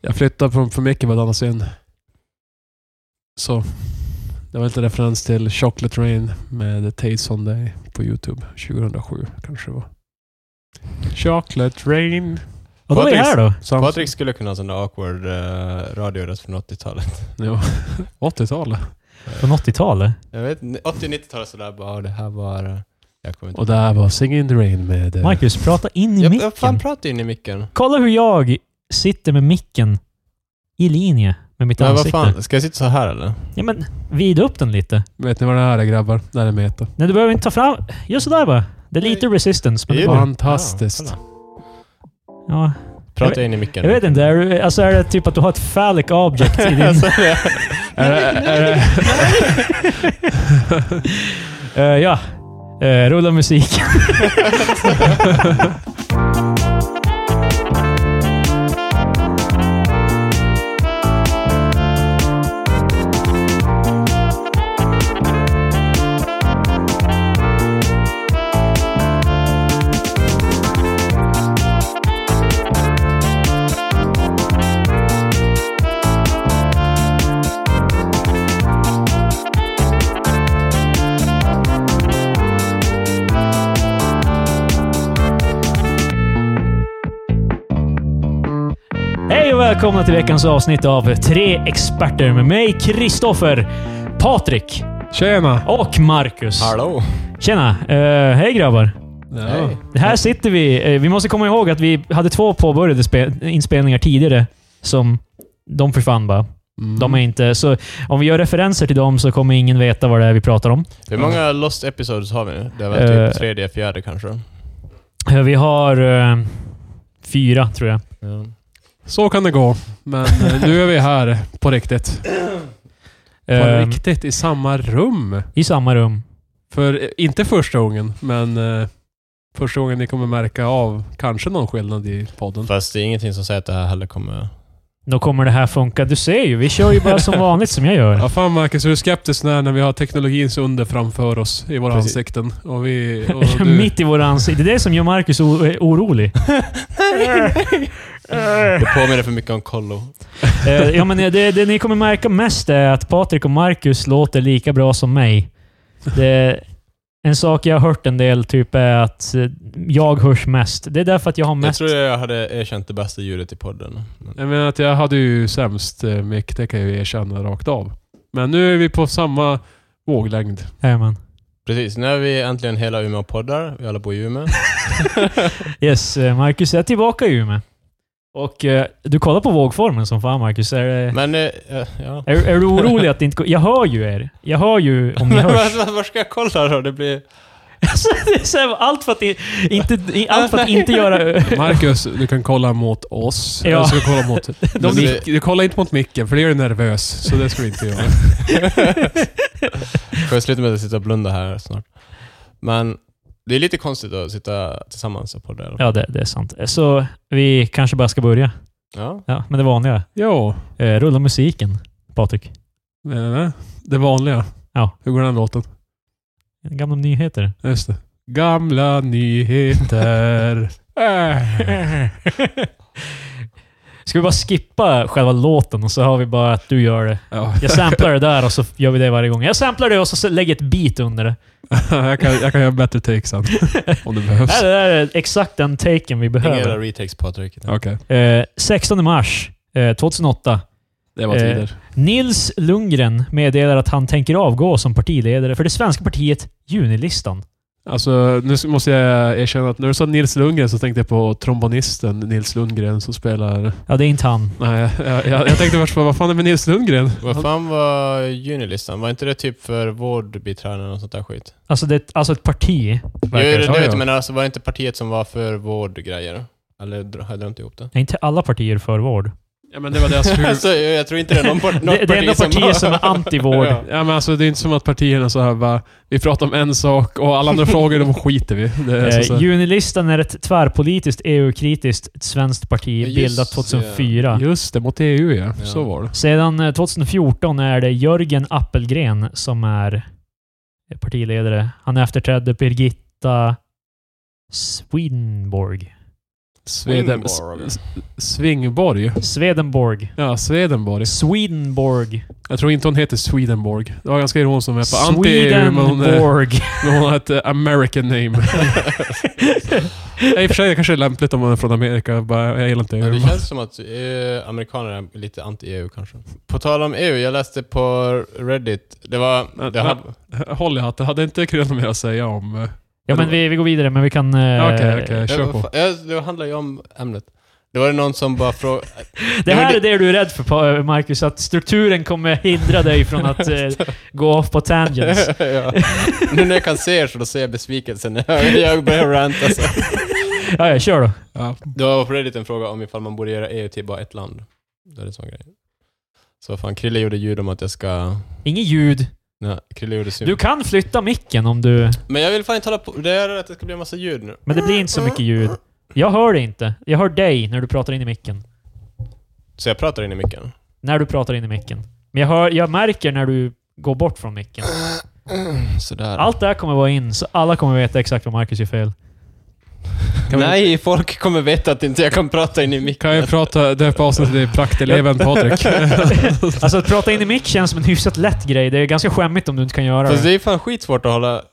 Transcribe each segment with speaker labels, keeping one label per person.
Speaker 1: Jag flyttade från för mycket för att dansa in. Så. Det var lite referens till Chocolate Rain med Taste on Day på Youtube 2007 kanske det var. Chocolate Rain.
Speaker 2: Och då är vi här då.
Speaker 1: Sam-
Speaker 3: Patrik skulle kunna ha sån där awkward uh, radioröst från 80-talet.
Speaker 1: Jo. 80-talet.
Speaker 2: Från 80-talet.
Speaker 3: Jag vet 80-90-talet sådär bara, "Ja, det här var... eh, Jag kommer inte...
Speaker 1: Och där var Singing in the Rain med... eh,
Speaker 2: Marcus, prata in i
Speaker 3: jag, jag fan
Speaker 2: micken.
Speaker 3: pratar in i micken.
Speaker 2: Kolla hur jag sitter med micken i linje med mitt
Speaker 3: Men vad
Speaker 2: ansikte.
Speaker 3: fan, ska jag sitta så här eller?
Speaker 2: Ja, men vid upp den lite.
Speaker 1: Vet ni vad det här är grabbar? Det här är Meta.
Speaker 2: Nej, du behöver inte ta fram... Gör sådär bara. Det är lite resistance. Men det
Speaker 3: Är
Speaker 2: är
Speaker 3: det?
Speaker 2: bara,
Speaker 1: Fantastiskt.
Speaker 2: ja.
Speaker 3: Ja, Prata in i micken.
Speaker 2: Jag vet inte. Är, du- alltså, är det typ att du har ett phallic object i din...
Speaker 3: Alltså, det-
Speaker 1: är, det- är, det-
Speaker 2: Eh, ja. Eh, rulla musik. Hej och välkomna till veckans avsnitt av Tre Experter med mig, Kristoffer, Patrik
Speaker 1: Tjena!
Speaker 2: och Marcus.
Speaker 3: Hallå!
Speaker 2: Tjena! Eh, hej grabbar!
Speaker 1: Ja.
Speaker 3: Hej.
Speaker 1: Mm.
Speaker 2: Här sitter vi. Eh, vi måste komma ihåg att vi hade två påbörjade spe- inspelningar tidigare som de försvann bara.
Speaker 1: Mm.
Speaker 2: De är inte... Så om vi gör referenser till dem så kommer ingen veta vad det är vi pratar om.
Speaker 3: Hur många lost episodes har vi nu? Det var typ
Speaker 2: Eh.
Speaker 3: tredje, fjärde kanske?
Speaker 2: Eh, vi har eh, fyra, tror jag.
Speaker 3: Ja.
Speaker 1: Så kan det gå. Men eh, nu är vi här på riktigt. På
Speaker 2: Eh,
Speaker 1: riktigt, i samma rum.
Speaker 2: I samma rum.
Speaker 1: För eh, inte första gången, men eh, första gången ni kommer märka av kanske någon skillnad i podden.
Speaker 3: Fast det är ingenting som säger att det här heller kommer...
Speaker 2: Då kommer det här funka. Du ser ju, vi kör ju bara som vanligt som jag gör.
Speaker 1: Ja, fan Marcus, hur är skeptisk när, när vi har teknologins under framför oss i våra
Speaker 3: Precis.
Speaker 1: ansikten. Och vi, och du,
Speaker 2: Mitt i våra ansikten. Det är det som gör Marcus o- eh, orolig.
Speaker 3: Det påminner för mycket om kollo.
Speaker 2: Eh, ja, men det, det ni kommer märka mest är att Patrik och Marcus låter lika bra som mig. Det, en sak jag har hört en del typ är att eh, jag hörs mest. Det är därför att jag har
Speaker 3: Jag
Speaker 2: mest...
Speaker 3: tror jag hade erkänt det bästa ljudet i podden. Men-
Speaker 1: Jag menar att jag hade ju sämst eh, mick, det kan jag ju erkänna rakt av. Men nu är vi på samma våglängd.
Speaker 2: Jajamän.
Speaker 3: Precis, nu är vi äntligen hela Umeå-poddar. Vi alla bor i Umeå.
Speaker 2: Yes, eh, Marcus är tillbaka i Umeå. Och eh, du kollar på vågformen som fan Marcus. Är, det-
Speaker 3: Men, eh, eh, ja.
Speaker 2: är, är du orolig att det inte går? Jag hör ju er. Jag hör ju om ni
Speaker 3: Men
Speaker 2: hörs.
Speaker 3: var, var ska jag kolla då? Det blir...
Speaker 2: Alltså, det är så här, allt för att, i- inte, i- allt för att inte göra...
Speaker 1: Marcus, du kan kolla mot oss.
Speaker 2: Ja.
Speaker 1: Eller så kan du kolla mot...
Speaker 3: Men det-
Speaker 1: Mick, du kollar inte mot micken, för det gör dig nervös. Så det ska du inte göra.
Speaker 3: Får jag sluta med att sitta och blunda här snart? Men det är lite konstigt att sitta tillsammans och podda. Ja.
Speaker 2: Ja, det, det är sant. Så vi kanske bara ska börja.
Speaker 3: ja.
Speaker 2: Ja, men det vanliga.
Speaker 1: Jo,
Speaker 2: Eh, rulla musiken, Patrik.
Speaker 1: eh, det vanliga.
Speaker 2: Ja.
Speaker 1: Hur går den låten?
Speaker 2: Gamla nyheter.
Speaker 1: Just det. Gamla nyheter. Äh.
Speaker 2: Ska vi bara skippa själva låten och så har vi bara att du gör det.
Speaker 1: ja.
Speaker 2: Jag samplar det där och så gör vi det varje gång. Jag samplar det och så lägger ett beat under det.
Speaker 1: jag, kan, jag kan göra bättre take sen. Om det
Speaker 2: Nej,
Speaker 1: behövs.
Speaker 2: Det där är exakt den taken vi
Speaker 3: Inga
Speaker 2: behöver.
Speaker 3: retakes Patrik.
Speaker 1: Okej.
Speaker 2: Eh, 16 mars eh, 2008.
Speaker 1: Det var
Speaker 2: Eh,
Speaker 1: tider.
Speaker 2: Nils Lundgren meddelar att han tänker avgå som partiledare för det svenska partiet Junilistan.
Speaker 1: Alltså, nu s- måste jag erkänna att när du sa Nils Lundgren så tänkte jag på trombonisten Nils Lundgren som spelar...
Speaker 2: Ja, det är inte han.
Speaker 1: Nej, jag, jag, jag tänkte först på vad fan är med Nils Lundgren?
Speaker 3: Vad fan var junilistan? Var inte det typ för vårdbiträden och sånt där skit?
Speaker 2: Alltså, det, alltså ett parti.
Speaker 3: Jo,
Speaker 2: verkar
Speaker 3: det,
Speaker 2: det som.
Speaker 3: det
Speaker 1: ja,
Speaker 3: vet
Speaker 1: ja.
Speaker 3: jag, men alltså var det inte partiet som var för vårdgrejer? Eller dr- har jag drömt ihop det?
Speaker 2: Är inte alla partier för vård?
Speaker 1: Ja, men det var deras huvud...
Speaker 3: alltså, jag, jag tror inte det är någon part, något
Speaker 2: Det, det enda partiet som är anti-vård.
Speaker 3: Ja.
Speaker 1: Ja, men alltså, det är inte som att partierna så här bara, vi pratar om en sak och alla andra frågor, de skiter vi det är så, så.
Speaker 2: Eh,
Speaker 1: här-
Speaker 2: Junilistan är ett tvärpolitiskt, EU-kritiskt svenskt parti
Speaker 3: Just
Speaker 2: bildat
Speaker 3: det.
Speaker 2: 2004.
Speaker 1: Just det, mot EU ja.
Speaker 3: Ja.
Speaker 1: Så var det.
Speaker 2: Sedan eh, 2014 är det Jörgen Appelgren som är eh, partiledare. Han efterträdde Birgitta Swinborg.
Speaker 1: Sveden, S-
Speaker 3: Swingborg.
Speaker 1: S- Svingborg.
Speaker 2: Swedenborg.
Speaker 1: Ja, Swedenborg.
Speaker 2: Swedenborg.
Speaker 1: Jag tror inte hon heter Swedenborg. Det var ganska ironiskt om hon hette anti-EU, men hon, eh,
Speaker 2: Swedenborg.
Speaker 1: men hon hette American name. I och för sig, det kanske är lämpligt om man är från Amerika. Bara, jag gillar inte
Speaker 3: Ja,
Speaker 1: EU.
Speaker 3: det känns som att eh, amerikaner är lite anti-EU kanske. På tal om EU, jag läste på Reddit. Det var... Det
Speaker 1: Ja.
Speaker 3: hade,
Speaker 1: Håll i hatten. Hade inte Kröll mer att säga om... eh,
Speaker 2: Ja, men vi, vi går vidare, men vi kan... eh,
Speaker 1: Okej, okej. kör
Speaker 3: det,
Speaker 1: på.
Speaker 3: var, ja, det handlar ju om ämnet. Det var det någon som bara frågade...
Speaker 2: Det
Speaker 3: Ja, men
Speaker 2: här
Speaker 3: det-
Speaker 2: är det du är rädd för, Pa- eh, Marcus, att strukturen kommer hindra dig från att eh, gå off på tangents.
Speaker 3: ja. Nu när jag kan se er så då ser jag besvikelsen när jag- jag alltså? börjar ranta. Så.
Speaker 2: Ja, ja, kör då.
Speaker 1: Ja.
Speaker 3: Det var på Reddit en fråga om ifall man borde göra EU till bara ett land. Det är en sån grej. Så fan, Krille gjorde ljud om att jag ska...
Speaker 2: Inget ljud.
Speaker 3: Nej, Krille gjorde syn.
Speaker 2: Du kan flytta micken om du...
Speaker 3: Men jag vill fan inte hålla på... Det är att det ska bli en massa ljud nu.
Speaker 2: Men det blir inte så mycket ljud. Jag hör det inte. Jag hör dig när du pratar in i micken.
Speaker 3: Så jag pratar in i micken.
Speaker 2: När du pratar in i micken. Men jag, hör, jag märker när du går bort från micken.
Speaker 3: Sådär.
Speaker 2: Allt det här kommer vara in, så alla kommer veta exakt vad Marcus gör fel.
Speaker 1: Kan vi-
Speaker 3: Nej, folk kommer veta att inte jag kan prata in i micken.
Speaker 1: Kan jag prata döpa avsnittet till prakteleven Patrik?
Speaker 2: Alltså att prata in i mick känns som en hyfsat lätt grej. Det är ganska skämmigt om du inte kan göra
Speaker 3: Fast det
Speaker 2: det.
Speaker 3: är fan skitsvårt att hålla...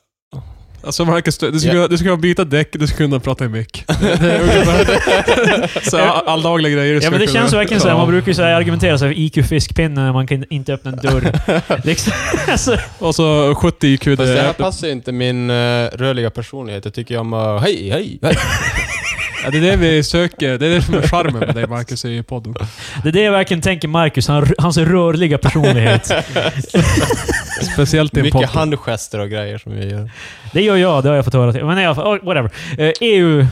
Speaker 1: Alltså Marcus, du, du, skulle, du skulle kunna byta däck, du skulle kunna prata i mick. Det det är ungefär- så all- alldagliga grejer. du
Speaker 2: Ja
Speaker 1: skulle
Speaker 2: men det
Speaker 1: kunna-
Speaker 2: känns verkligen såhär.
Speaker 1: Ja.
Speaker 2: Man brukar ju så här argumentera såhär IQ-fiskpinne när man kan inte öppna en dörr. Liksom, alltså,
Speaker 1: Och så 70 IQ. Det,
Speaker 3: Fast det här
Speaker 1: är-
Speaker 3: passar ju inte min uh, rörliga personlighet. Jag tycker ju om att... hej, hej, hej.
Speaker 1: ja, det är det vi söker. Det är det som är charmen med dig Marcus i podden.
Speaker 2: det är det jag verkligen tänker Marcus. Han, hans rörliga personlighet.
Speaker 1: Speciellt i en
Speaker 3: Mycket
Speaker 1: podd.
Speaker 3: handgester och grejer som jag gör.
Speaker 2: Det gör jag, det har jag fått höra. till. Men i alla fall, oh, whatever. Eh, EU.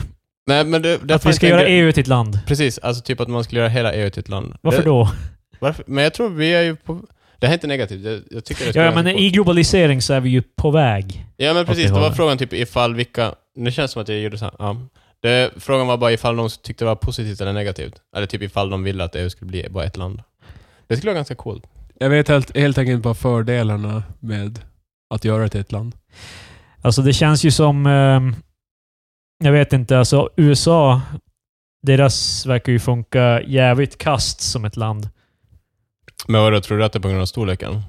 Speaker 3: Nej, men det, det är
Speaker 2: Att
Speaker 3: fan
Speaker 2: vi ska
Speaker 3: inte en
Speaker 2: göra
Speaker 3: grej-
Speaker 2: EU till ett land.
Speaker 3: Precis, alltså typ att man skulle göra hela EU till ett land.
Speaker 2: Varför
Speaker 3: det,
Speaker 2: då?
Speaker 3: Varför? Men jag tror vi är ju på... Det här är inte negativt. Jag, jag tycker det ska
Speaker 2: Ja, ja,
Speaker 3: vara
Speaker 2: men
Speaker 3: på-
Speaker 2: i globalisering så är vi ju på väg.
Speaker 3: Ja, men precis.
Speaker 2: det
Speaker 3: Det var
Speaker 2: håller.
Speaker 3: frågan typ ifall vilka... Nu känns det som att jag gjorde så här. Ja. Det, frågan var bara ifall de tyckte det var positivt eller negativt. Eller typ ifall de ville att EU skulle bli bara ett land. Det skulle vara ganska coolt.
Speaker 1: Jag vet helt, helt enkelt bara fördelarna med att göra det till ett land.
Speaker 2: Alltså det känns ju som... ehm, jag vet inte, alltså USA, deras verkar ju funka jävligt kast som ett land.
Speaker 3: Men vadå, tror du att det är på grund av storleken?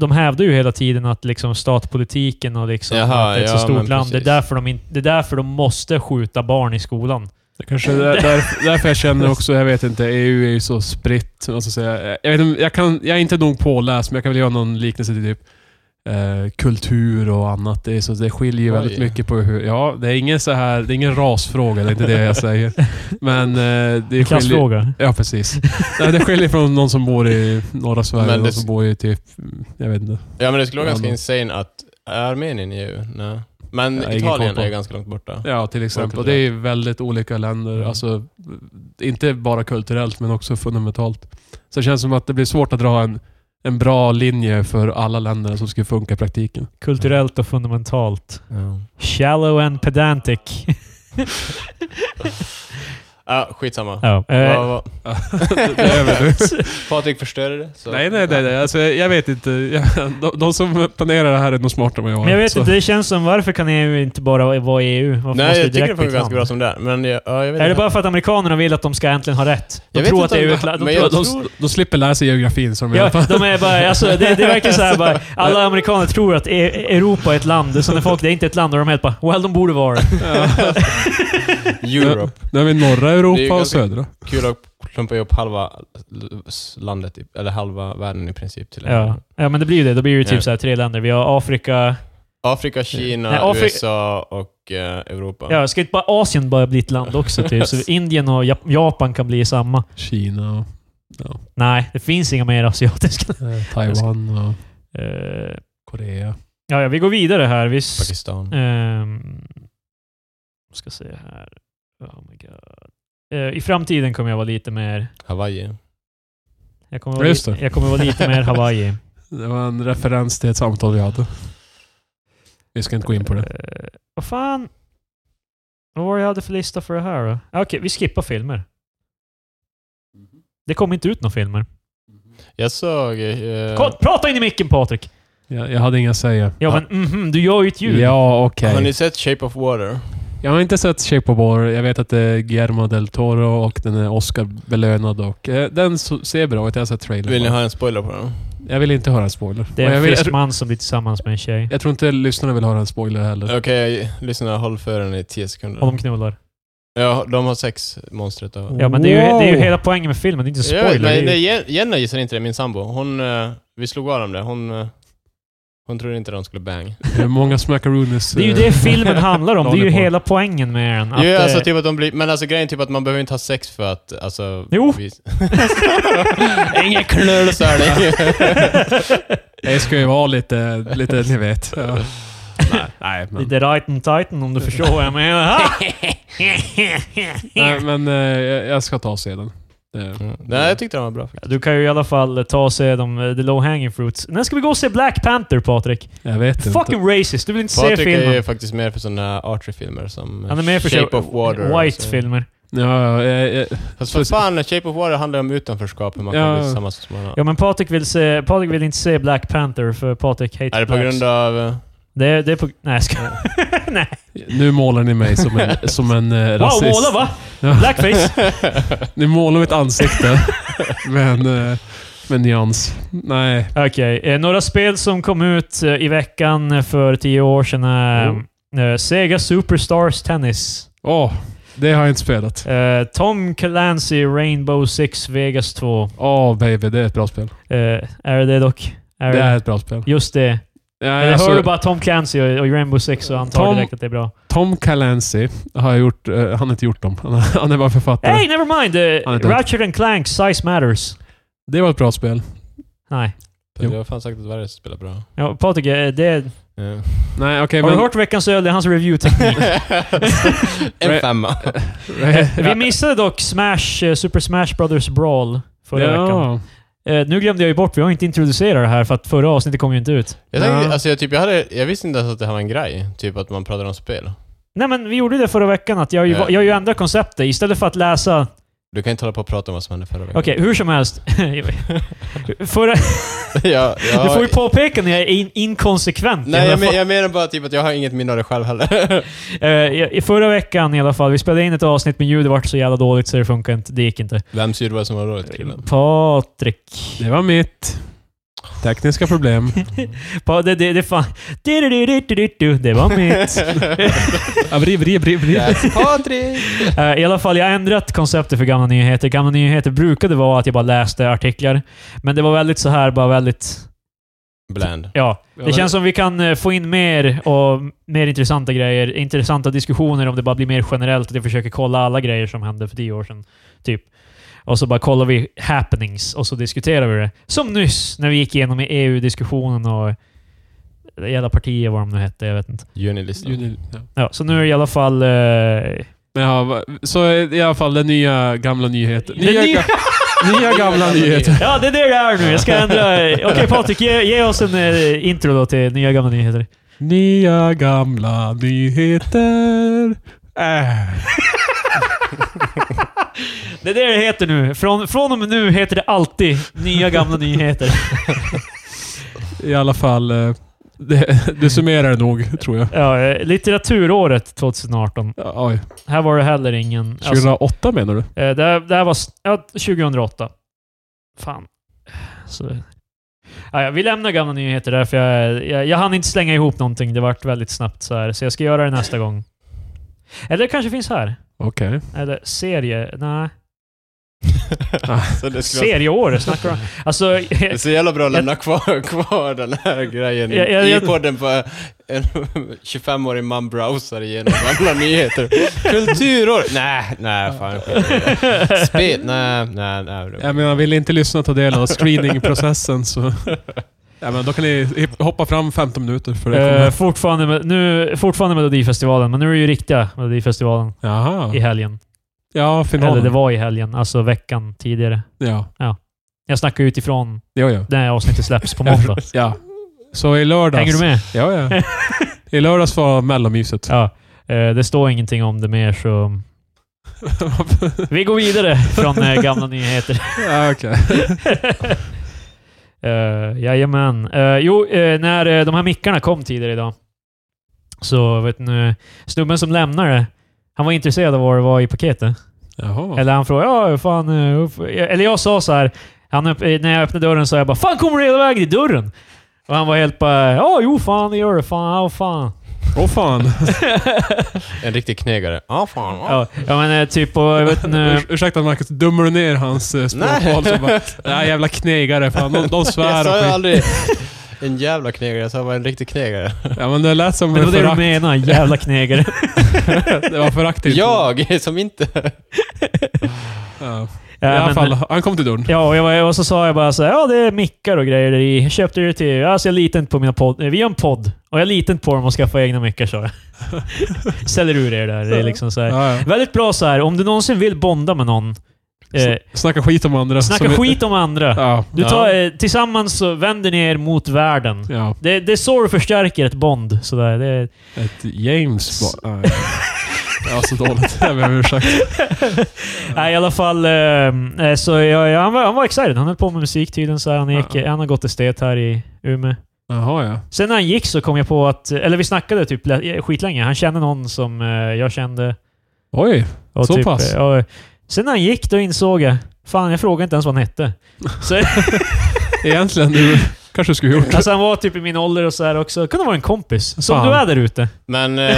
Speaker 2: De hävdar ju hela tiden att liksom statpolitiken och liksom
Speaker 3: Jaha,
Speaker 2: att det är ett
Speaker 3: ja,
Speaker 2: så stort
Speaker 3: men
Speaker 2: land. Det är,
Speaker 3: precis.
Speaker 2: därför de in, det är därför de måste skjuta barn i skolan.
Speaker 1: Det kanske är där, där, därför jag känner också, jag vet inte, EU är ju så spritt. Alltså, så jag, jag, vet, inte, jag, kan, jag är inte nog påläst, men jag kan väl göra någon liknelse till typ eh, kultur och annat. Det, är så, det skiljer ju
Speaker 3: Oj.
Speaker 1: väldigt mycket på hur... Ja, det är ingen så här, det är ingen rasfråga, det är inte det jag säger. Men eh, det skiljer...
Speaker 2: Klassfråga.
Speaker 1: Ja, precis. Nej, det skiljer från någon som bor i norra Sverige
Speaker 3: Men
Speaker 1: och någon
Speaker 3: det-
Speaker 1: som bor i typ... Jag vet inte.
Speaker 3: Ja, men det skulle vara
Speaker 1: Ja,
Speaker 3: ganska
Speaker 1: men-
Speaker 3: insane att... Är Armenien i EU? Nej. Men
Speaker 1: Jag har ingen koll
Speaker 3: Italien
Speaker 1: på.
Speaker 3: är ju ganska långt borta.
Speaker 1: Ja, till exempel. Och det är ju väldigt olika länder.
Speaker 3: Mm.
Speaker 1: Alltså, inte bara kulturellt, men också fundamentalt. Så det känns som att det blir svårt att dra en, en bra linje för alla länder som skulle funka i praktiken.
Speaker 2: Kulturellt och fundamentalt.
Speaker 3: Ja.
Speaker 2: Shallow and pedantic.
Speaker 3: Ah, skitsamma.
Speaker 2: ja. eh,
Speaker 3: Vad- vad-
Speaker 1: Det är över nu.
Speaker 3: Patrik förstörde det. Så.
Speaker 1: nej, nej, nej. nej. Alltså, jag vet inte. Jag- De, de som planerar det här är nog smartare än vad jag är.
Speaker 2: Men jag vet
Speaker 1: Så-
Speaker 2: inte, det känns som varför kan EU inte bara vara EU? Varför
Speaker 3: Nej,
Speaker 2: måste
Speaker 3: jag
Speaker 2: det direkt
Speaker 3: tycker det
Speaker 2: bli ett
Speaker 3: funkar ganska
Speaker 2: land?
Speaker 3: bra som det är. Men jag, ja, jag vet
Speaker 2: Är det
Speaker 3: inte.
Speaker 2: bara för att amerikanerna vill att de ska äntligen ha rätt? De
Speaker 3: Jag vet
Speaker 2: tror
Speaker 3: inte
Speaker 2: att det
Speaker 3: om
Speaker 2: är
Speaker 3: det-
Speaker 2: ett land.
Speaker 3: men
Speaker 2: De
Speaker 3: jag
Speaker 2: tror
Speaker 1: de,
Speaker 2: att...
Speaker 1: de, de slipper lära sig geografin, som i alla
Speaker 2: Ja,
Speaker 1: fall.
Speaker 2: de är bara, alltså, det, det är verkligen såhär bara, alla amerikaner tror att E- Europa är ett land, så när folk, det är inte ett land, och de är helt bara, well de borde vara det."
Speaker 3: Europe.
Speaker 1: Nu har vi norra
Speaker 3: Det är ju
Speaker 1: Europa och
Speaker 3: ganska-
Speaker 1: södra.
Speaker 3: Kul att klumpa ihop halva landet, i- eller halva världen i princip till en.
Speaker 2: ja. ja, men det blir ju det. Då blir det ju typ
Speaker 3: typ, Ja.
Speaker 2: så här tre länder. Vi har Afrika...
Speaker 3: Afrika, Kina,
Speaker 2: Nej, Afri-
Speaker 3: USA och eh, Europa.
Speaker 2: Ja, ska inte bara Asien bara bli ett land också? Typ. Så Indien och Jap- Japan kan bli samma.
Speaker 1: Kina och
Speaker 2: Nej, det finns inga mer asiatiska.
Speaker 1: eh, Taiwan och
Speaker 2: Eh,
Speaker 1: Korea.
Speaker 2: ja, ja, vi går vidare här. Vi s-
Speaker 3: Pakistan.
Speaker 2: Ehm, ska se här. Oh my god. Eh, I framtiden kommer jag vara lite mer...
Speaker 3: Hawaii.
Speaker 2: Jag kommer vara,
Speaker 1: Just
Speaker 2: li-
Speaker 1: det.
Speaker 2: jag kommer vara lite mer Hawaii.
Speaker 1: Det var en referens till ett samtal vi hade. Vi ska inte gå in på det.
Speaker 2: Eh, vad fan? Vad var det jag hade för lista för det här då? Ah, Okej, vi skippar filmer. Det kom inte ut några filmer.
Speaker 3: Jag såg... Eh,
Speaker 2: Kom, prata in i micken Patrik!
Speaker 1: Jag, jag hade inga att säga.
Speaker 2: Ja,
Speaker 3: Ja.
Speaker 2: men mhm, du gör ju ett ljud.
Speaker 1: Ja, okej.
Speaker 3: Har ni sett Shape of Water?
Speaker 1: Jag har inte sett Shape of War. Jag vet att det är Guillermo del Toro och den är Oscar-belönad. Och, eh, den so- ser bra ut. Jag har sett trailern.
Speaker 3: Vill ni
Speaker 1: bara.
Speaker 3: ha en spoiler på den?
Speaker 1: Jag vill inte höra en spoiler.
Speaker 2: Det
Speaker 1: Och
Speaker 2: är
Speaker 1: jag,
Speaker 2: en
Speaker 1: vill,
Speaker 2: frisk man som blir tillsammans med en tjej.
Speaker 1: jag tror inte lyssnarna vill höra en spoiler heller.
Speaker 3: Okej, lyssna. Håll för den i 10
Speaker 2: Och
Speaker 3: sekunder.
Speaker 2: de knullar.
Speaker 3: Ja, de har sex, monstret. Och...
Speaker 2: Ja, men det är, ju, det är ju hela poängen med filmen. Det är inte
Speaker 3: Jag vet,
Speaker 2: Mm. spoiler.
Speaker 3: nej,
Speaker 2: det är
Speaker 3: nej,
Speaker 2: ju-
Speaker 3: Jen- Jenna gissar inte det, min sambo. Hon, eh, vi slog av dem det. Hon, eh, hon trodde inte de skulle bang.
Speaker 1: Det är många smackaroonies.
Speaker 2: det är ju
Speaker 1: eh,
Speaker 2: det filmen handlar om. Det är ju
Speaker 1: Planer på.
Speaker 2: hela poängen med den. Att,
Speaker 3: Jo, alltså,
Speaker 2: eh,
Speaker 3: typ att de blir, men alltså grejen är typ att man behöver inte ha sex för att... Alltså,
Speaker 2: Jo.
Speaker 3: Vi, Inga knull, så är det
Speaker 1: Det ska ju vara lite, lite ni vet. Ja. Nej, nej, men,
Speaker 2: Lite right and titan om du förstår vad jag menar.
Speaker 1: nej, men eh, jag jag ska ta och se den. Det-
Speaker 3: Mm. Nej, jag tyckte de var bra faktiskt.
Speaker 2: Du kan ju i alla fall ta och se de, eh, the low hanging fruits. När ska vi gå och se Black Panther, Patrik?
Speaker 1: Jag vet inte.
Speaker 2: Fucking racist! Du vill inte se
Speaker 3: Patrik är ju
Speaker 2: filmen.
Speaker 3: faktiskt mer för sådana archery-filmer som eh,
Speaker 2: Han är med för
Speaker 3: Shape of Water. alltså. och så.
Speaker 2: White-filmer.
Speaker 1: Ja, jag, jag,
Speaker 3: Fast för fan, Shape of Water handlar om utanförskap, hur man kan
Speaker 1: Ja.
Speaker 3: bli tillsammans med småna.
Speaker 2: Ja, men Patrik vill, se, Patrik vill inte se Black Panther, för Patrik hates
Speaker 3: Är det på
Speaker 2: blacks.
Speaker 3: grund av... eh,
Speaker 2: Det är, det är på... Nej, jag skojar. Nej.
Speaker 1: nu målar ni mig som en, som en eh,
Speaker 2: Wow,
Speaker 1: rasist.
Speaker 2: måla va? Blackface?
Speaker 1: Ni målar mitt ansikte. men, eh, med nyans. Nej.
Speaker 2: Okej. Eh, några spel som kom ut eh, i veckan för tio år sedan är
Speaker 1: Oh.
Speaker 2: eh, Sega Superstars Tennis.
Speaker 1: Åh, det har jag inte spelat.
Speaker 2: Eh, Tom Clancy Rainbow Six Vegas 2.
Speaker 1: Åh baby, det är ett bra spel.
Speaker 2: Eh, är det det dock? Är
Speaker 1: Det är ett bra spel.
Speaker 2: Just det.
Speaker 1: Ja,
Speaker 2: Jag
Speaker 1: alltså,
Speaker 2: hörde bara Tom Clancy och, och Rainbow Six och antar
Speaker 1: Tom-
Speaker 2: direkt att det är bra.
Speaker 1: Tom Clancy har gjort... eh, han har inte gjort dem. Han, han är bara författare.
Speaker 2: Hey, never mind!
Speaker 1: Han är
Speaker 2: Eh,
Speaker 1: död.
Speaker 2: Ratchet and Clank Size Matters.
Speaker 1: Det var ett bra spel.
Speaker 2: Nej.
Speaker 1: Jo.
Speaker 3: Jag har fan sagt att varje spelar bra.
Speaker 2: Ja, Patrik, eh, det...
Speaker 3: Ja.
Speaker 1: Nej, okej
Speaker 2: Har
Speaker 1: men...
Speaker 2: du hört Veckans Öl? Det är hans review-teknik.
Speaker 3: en femma.
Speaker 2: Vi missade dock Smash, eh, Super Smash Brothers Brawl förra veckan.
Speaker 1: ja.
Speaker 2: Eh, nu glömde jag ju bort, vi har inte introducerat det här för att förra avsnittet kom ju inte ut.
Speaker 3: Jag, tänkte,
Speaker 1: Ja.
Speaker 3: alltså, jag, typ, jag, hade, jag visste inte ens att det här var en grej. Typ att man pratar om spel.
Speaker 2: Nej men vi gjorde det förra veckan, att jag, har ju-
Speaker 3: Ja.
Speaker 2: jag har ju ändrat konceptet. Istället för att läsa...
Speaker 3: Du kan inte hålla på och prata om vad som hände förra veckan.
Speaker 2: Okej, hur som helst. förra,
Speaker 3: jag, jag,
Speaker 2: du får ju påpeka när jag är in, inkonsekvent.
Speaker 3: Nej,
Speaker 2: I alla
Speaker 3: jag, men,
Speaker 2: fall.
Speaker 3: jag menar bara typ att jag har inget minne av det själv heller.
Speaker 2: Eh, jag- i förra veckan i alla fall, vi spelade in ett avsnitt men ljudet vart så jävla dåligt så det funkar inte. Det gick inte.
Speaker 3: Vem syr vad som var dåligt killen?
Speaker 2: Patrik.
Speaker 1: Det var mitt. Tekniska problem.
Speaker 2: Pa, det, det, det är fan... Du-du-du-du-du-du. Det var mitt.
Speaker 1: Abri, abri, abri, abri.
Speaker 3: Patrik!
Speaker 2: Eh, I alla fall, jag har ändrat konceptet för gamla nyheter. Gamla nyheter brukade vara att jag bara läste artiklar. Men det var väldigt så här, bara väldigt...
Speaker 3: Bland.
Speaker 2: Ja.
Speaker 1: Ja,
Speaker 2: Det känns som vi kan eh, få in mer och mer intressanta grejer. Intressanta diskussioner om det bara blir mer generellt. Att jag försöker kolla alla grejer som hände för tio år sedan. Typ. Och så bara kollar vi happenings och så diskuterar vi det. Som nyss, när vi gick igenom i EU-diskussionen och... det Jävla partier, vad de nu hette. Jag vet inte.
Speaker 3: Junilistan.
Speaker 1: Juni- ja.
Speaker 2: Ja, så nu är det i alla fall... eh,
Speaker 1: Men ja, va- så i alla fall den nya gamla nyheten.
Speaker 2: Den
Speaker 1: Nya,
Speaker 2: nya-
Speaker 1: ga- nya gamla nyheter.
Speaker 2: Ja, det är det jag är nu. Jag ska ändra... Okej Patrik, ge, ge oss en eh, intro då till Nya Gamla Nyheter.
Speaker 1: Nya gamla nyheter. Äh.
Speaker 2: Det är det det heter nu. Från, från och med nu heter det alltid Nya Gamla Nyheter.
Speaker 1: I alla fall, eh, det, det summerar det nog, tror jag.
Speaker 2: Ja, eh, litteraturåret 2018.
Speaker 1: Ja, Oj.
Speaker 2: Här var det heller ingen... Alltså,
Speaker 1: 2008 menar du?
Speaker 2: eh, det, här, det här var... s- Ja, 2008. Fan. Så, ja, ja, vi lämnar Gamla Nyheter där, för jag, jag, jag hann inte slänga ihop någonting. Det vart väldigt snabbt så här, så jag ska göra det nästa gång. Eller det kanske finns här.
Speaker 1: Okej.
Speaker 2: Eller serie... Nej.
Speaker 1: Ah.
Speaker 3: Så det, skulle vara,
Speaker 2: Serieåret snackar du om. Alltså,
Speaker 3: det är så jävla bra att lämna kvar, kvar den här grejen i-
Speaker 2: Jag- jag-
Speaker 3: i
Speaker 2: jag-
Speaker 3: podden på en 25-årig man browsar igenom gamla nyheter. Kulturår? Nej, nej fan skit i det. Spel? Nej, nej, nej.
Speaker 1: Jag menar, vill ni inte lyssna och ta del av screeningprocessen så... Ja, men då kan ni hip- hoppa fram 15 minuter för det
Speaker 2: eh,
Speaker 1: kommer...
Speaker 2: fortfarande, med, nu, fortfarande Melodifestivalen, men nu är det ju riktiga Melodifestivalen i
Speaker 1: Jaha.
Speaker 2: helgen.
Speaker 1: Ja,
Speaker 2: Eller det
Speaker 1: finalen.
Speaker 2: var i helgen, alltså veckan tidigare.
Speaker 1: Ja,
Speaker 2: Jag snackar utifrån
Speaker 1: jo, jo.
Speaker 2: det här avsnittet släpps på måndag.
Speaker 1: Ja. Så i lördags...
Speaker 2: Hänger du med?
Speaker 1: Ja, ja. I lördags var mellanmyset.
Speaker 2: Ja. Eh, Det står ingenting om det mer, så vi går vidare från eh, gamla nyheter.
Speaker 1: ja, okej.
Speaker 2: eh, uh, jajamän. Eh, jo, eh, när eh, de här mickarna kom tidigare idag Så vet ni, snubben som lämnade, han var intresserad av vad det var i paketet.
Speaker 1: Jaha.
Speaker 2: Eller han frågade ja, hur fan... eh, hur f- Eller jag sa så här, han, öpp- eh, när jag öppnade dörren sa jag bara “Fan, kommer du hela vägen till dörren?” Och han var helt bara “Ja, jo fan, det gör det. Fan, ja, fan.”
Speaker 1: Åh fan.
Speaker 3: En riktig knegare. Ja, fan. Ja.
Speaker 2: Ja, ja men eh, typ, och jag vet nu...
Speaker 1: Urs- Ursäkta Marcus, dömer du ner hans eh, språkval som bara Nej, jävla knegare. Fan, de, de
Speaker 3: Jag
Speaker 1: svär
Speaker 3: sa ju
Speaker 1: och skit.
Speaker 3: aldrig en jävla knegare, jag sa bara en riktig knegare.
Speaker 1: Ja, men det lät som
Speaker 2: Det var det du
Speaker 1: förakt.
Speaker 2: menade, jävla knegare.
Speaker 1: Det var föraktigt.
Speaker 3: Jag som inte...
Speaker 1: Ja. I
Speaker 2: Ja,
Speaker 1: alla
Speaker 2: men- eh,
Speaker 1: fall, han kom till dörren.
Speaker 2: Ja, och, jag var, och så sa jag bara så här, ja det är mickar och grejer där i. Jag Köpte det till... Alltså jag litar inte på mina podd... eh, Vi har en podd. Och jag litar inte på dem och skaffa egna mickar, sa jag. Säljer ur er där. Det är liksom så här.
Speaker 1: Ja, ja.
Speaker 2: Väldigt bra så här. om du någonsin vill bonda med någon. Eh,
Speaker 1: S- Snacka skit om andra.
Speaker 2: snacka
Speaker 1: som-
Speaker 2: skit om andra.
Speaker 1: Ja.
Speaker 2: Du tar, eh, tillsammans så vänder ni er mot världen.
Speaker 1: Ja,
Speaker 2: Det, det är så du förstärker ett bond. Så där. Det,
Speaker 1: ett James bara... Nej. Ja, så dåligt. Jag ber om ursäkt.
Speaker 2: Nej, i alla fall. ehm, Eh, så jag, jag, han, var, han var excited. Han höll på med musik tydligen. Så här, han, gick, eh,
Speaker 1: Ja.
Speaker 2: han har gått estet här i Umeå.
Speaker 1: Jaha, ja.
Speaker 2: Sen när han gick så kom jag på att... Eller vi snackade typ lä- skitlänge. Han kände någon som eh, jag kände.
Speaker 1: Oj.
Speaker 2: Och
Speaker 1: Så
Speaker 2: typ,
Speaker 1: pass?
Speaker 2: eh, Och, sen när han gick då insåg jag... Fan, jag frågade inte ens vad han hette. Så,
Speaker 1: Egentligen, du kanske du skulle gjort.
Speaker 2: alltså han var typ i min ålder och så här också. Kunde vara en kompis. Som
Speaker 1: Fan.
Speaker 2: du är där ute.
Speaker 3: Men eh,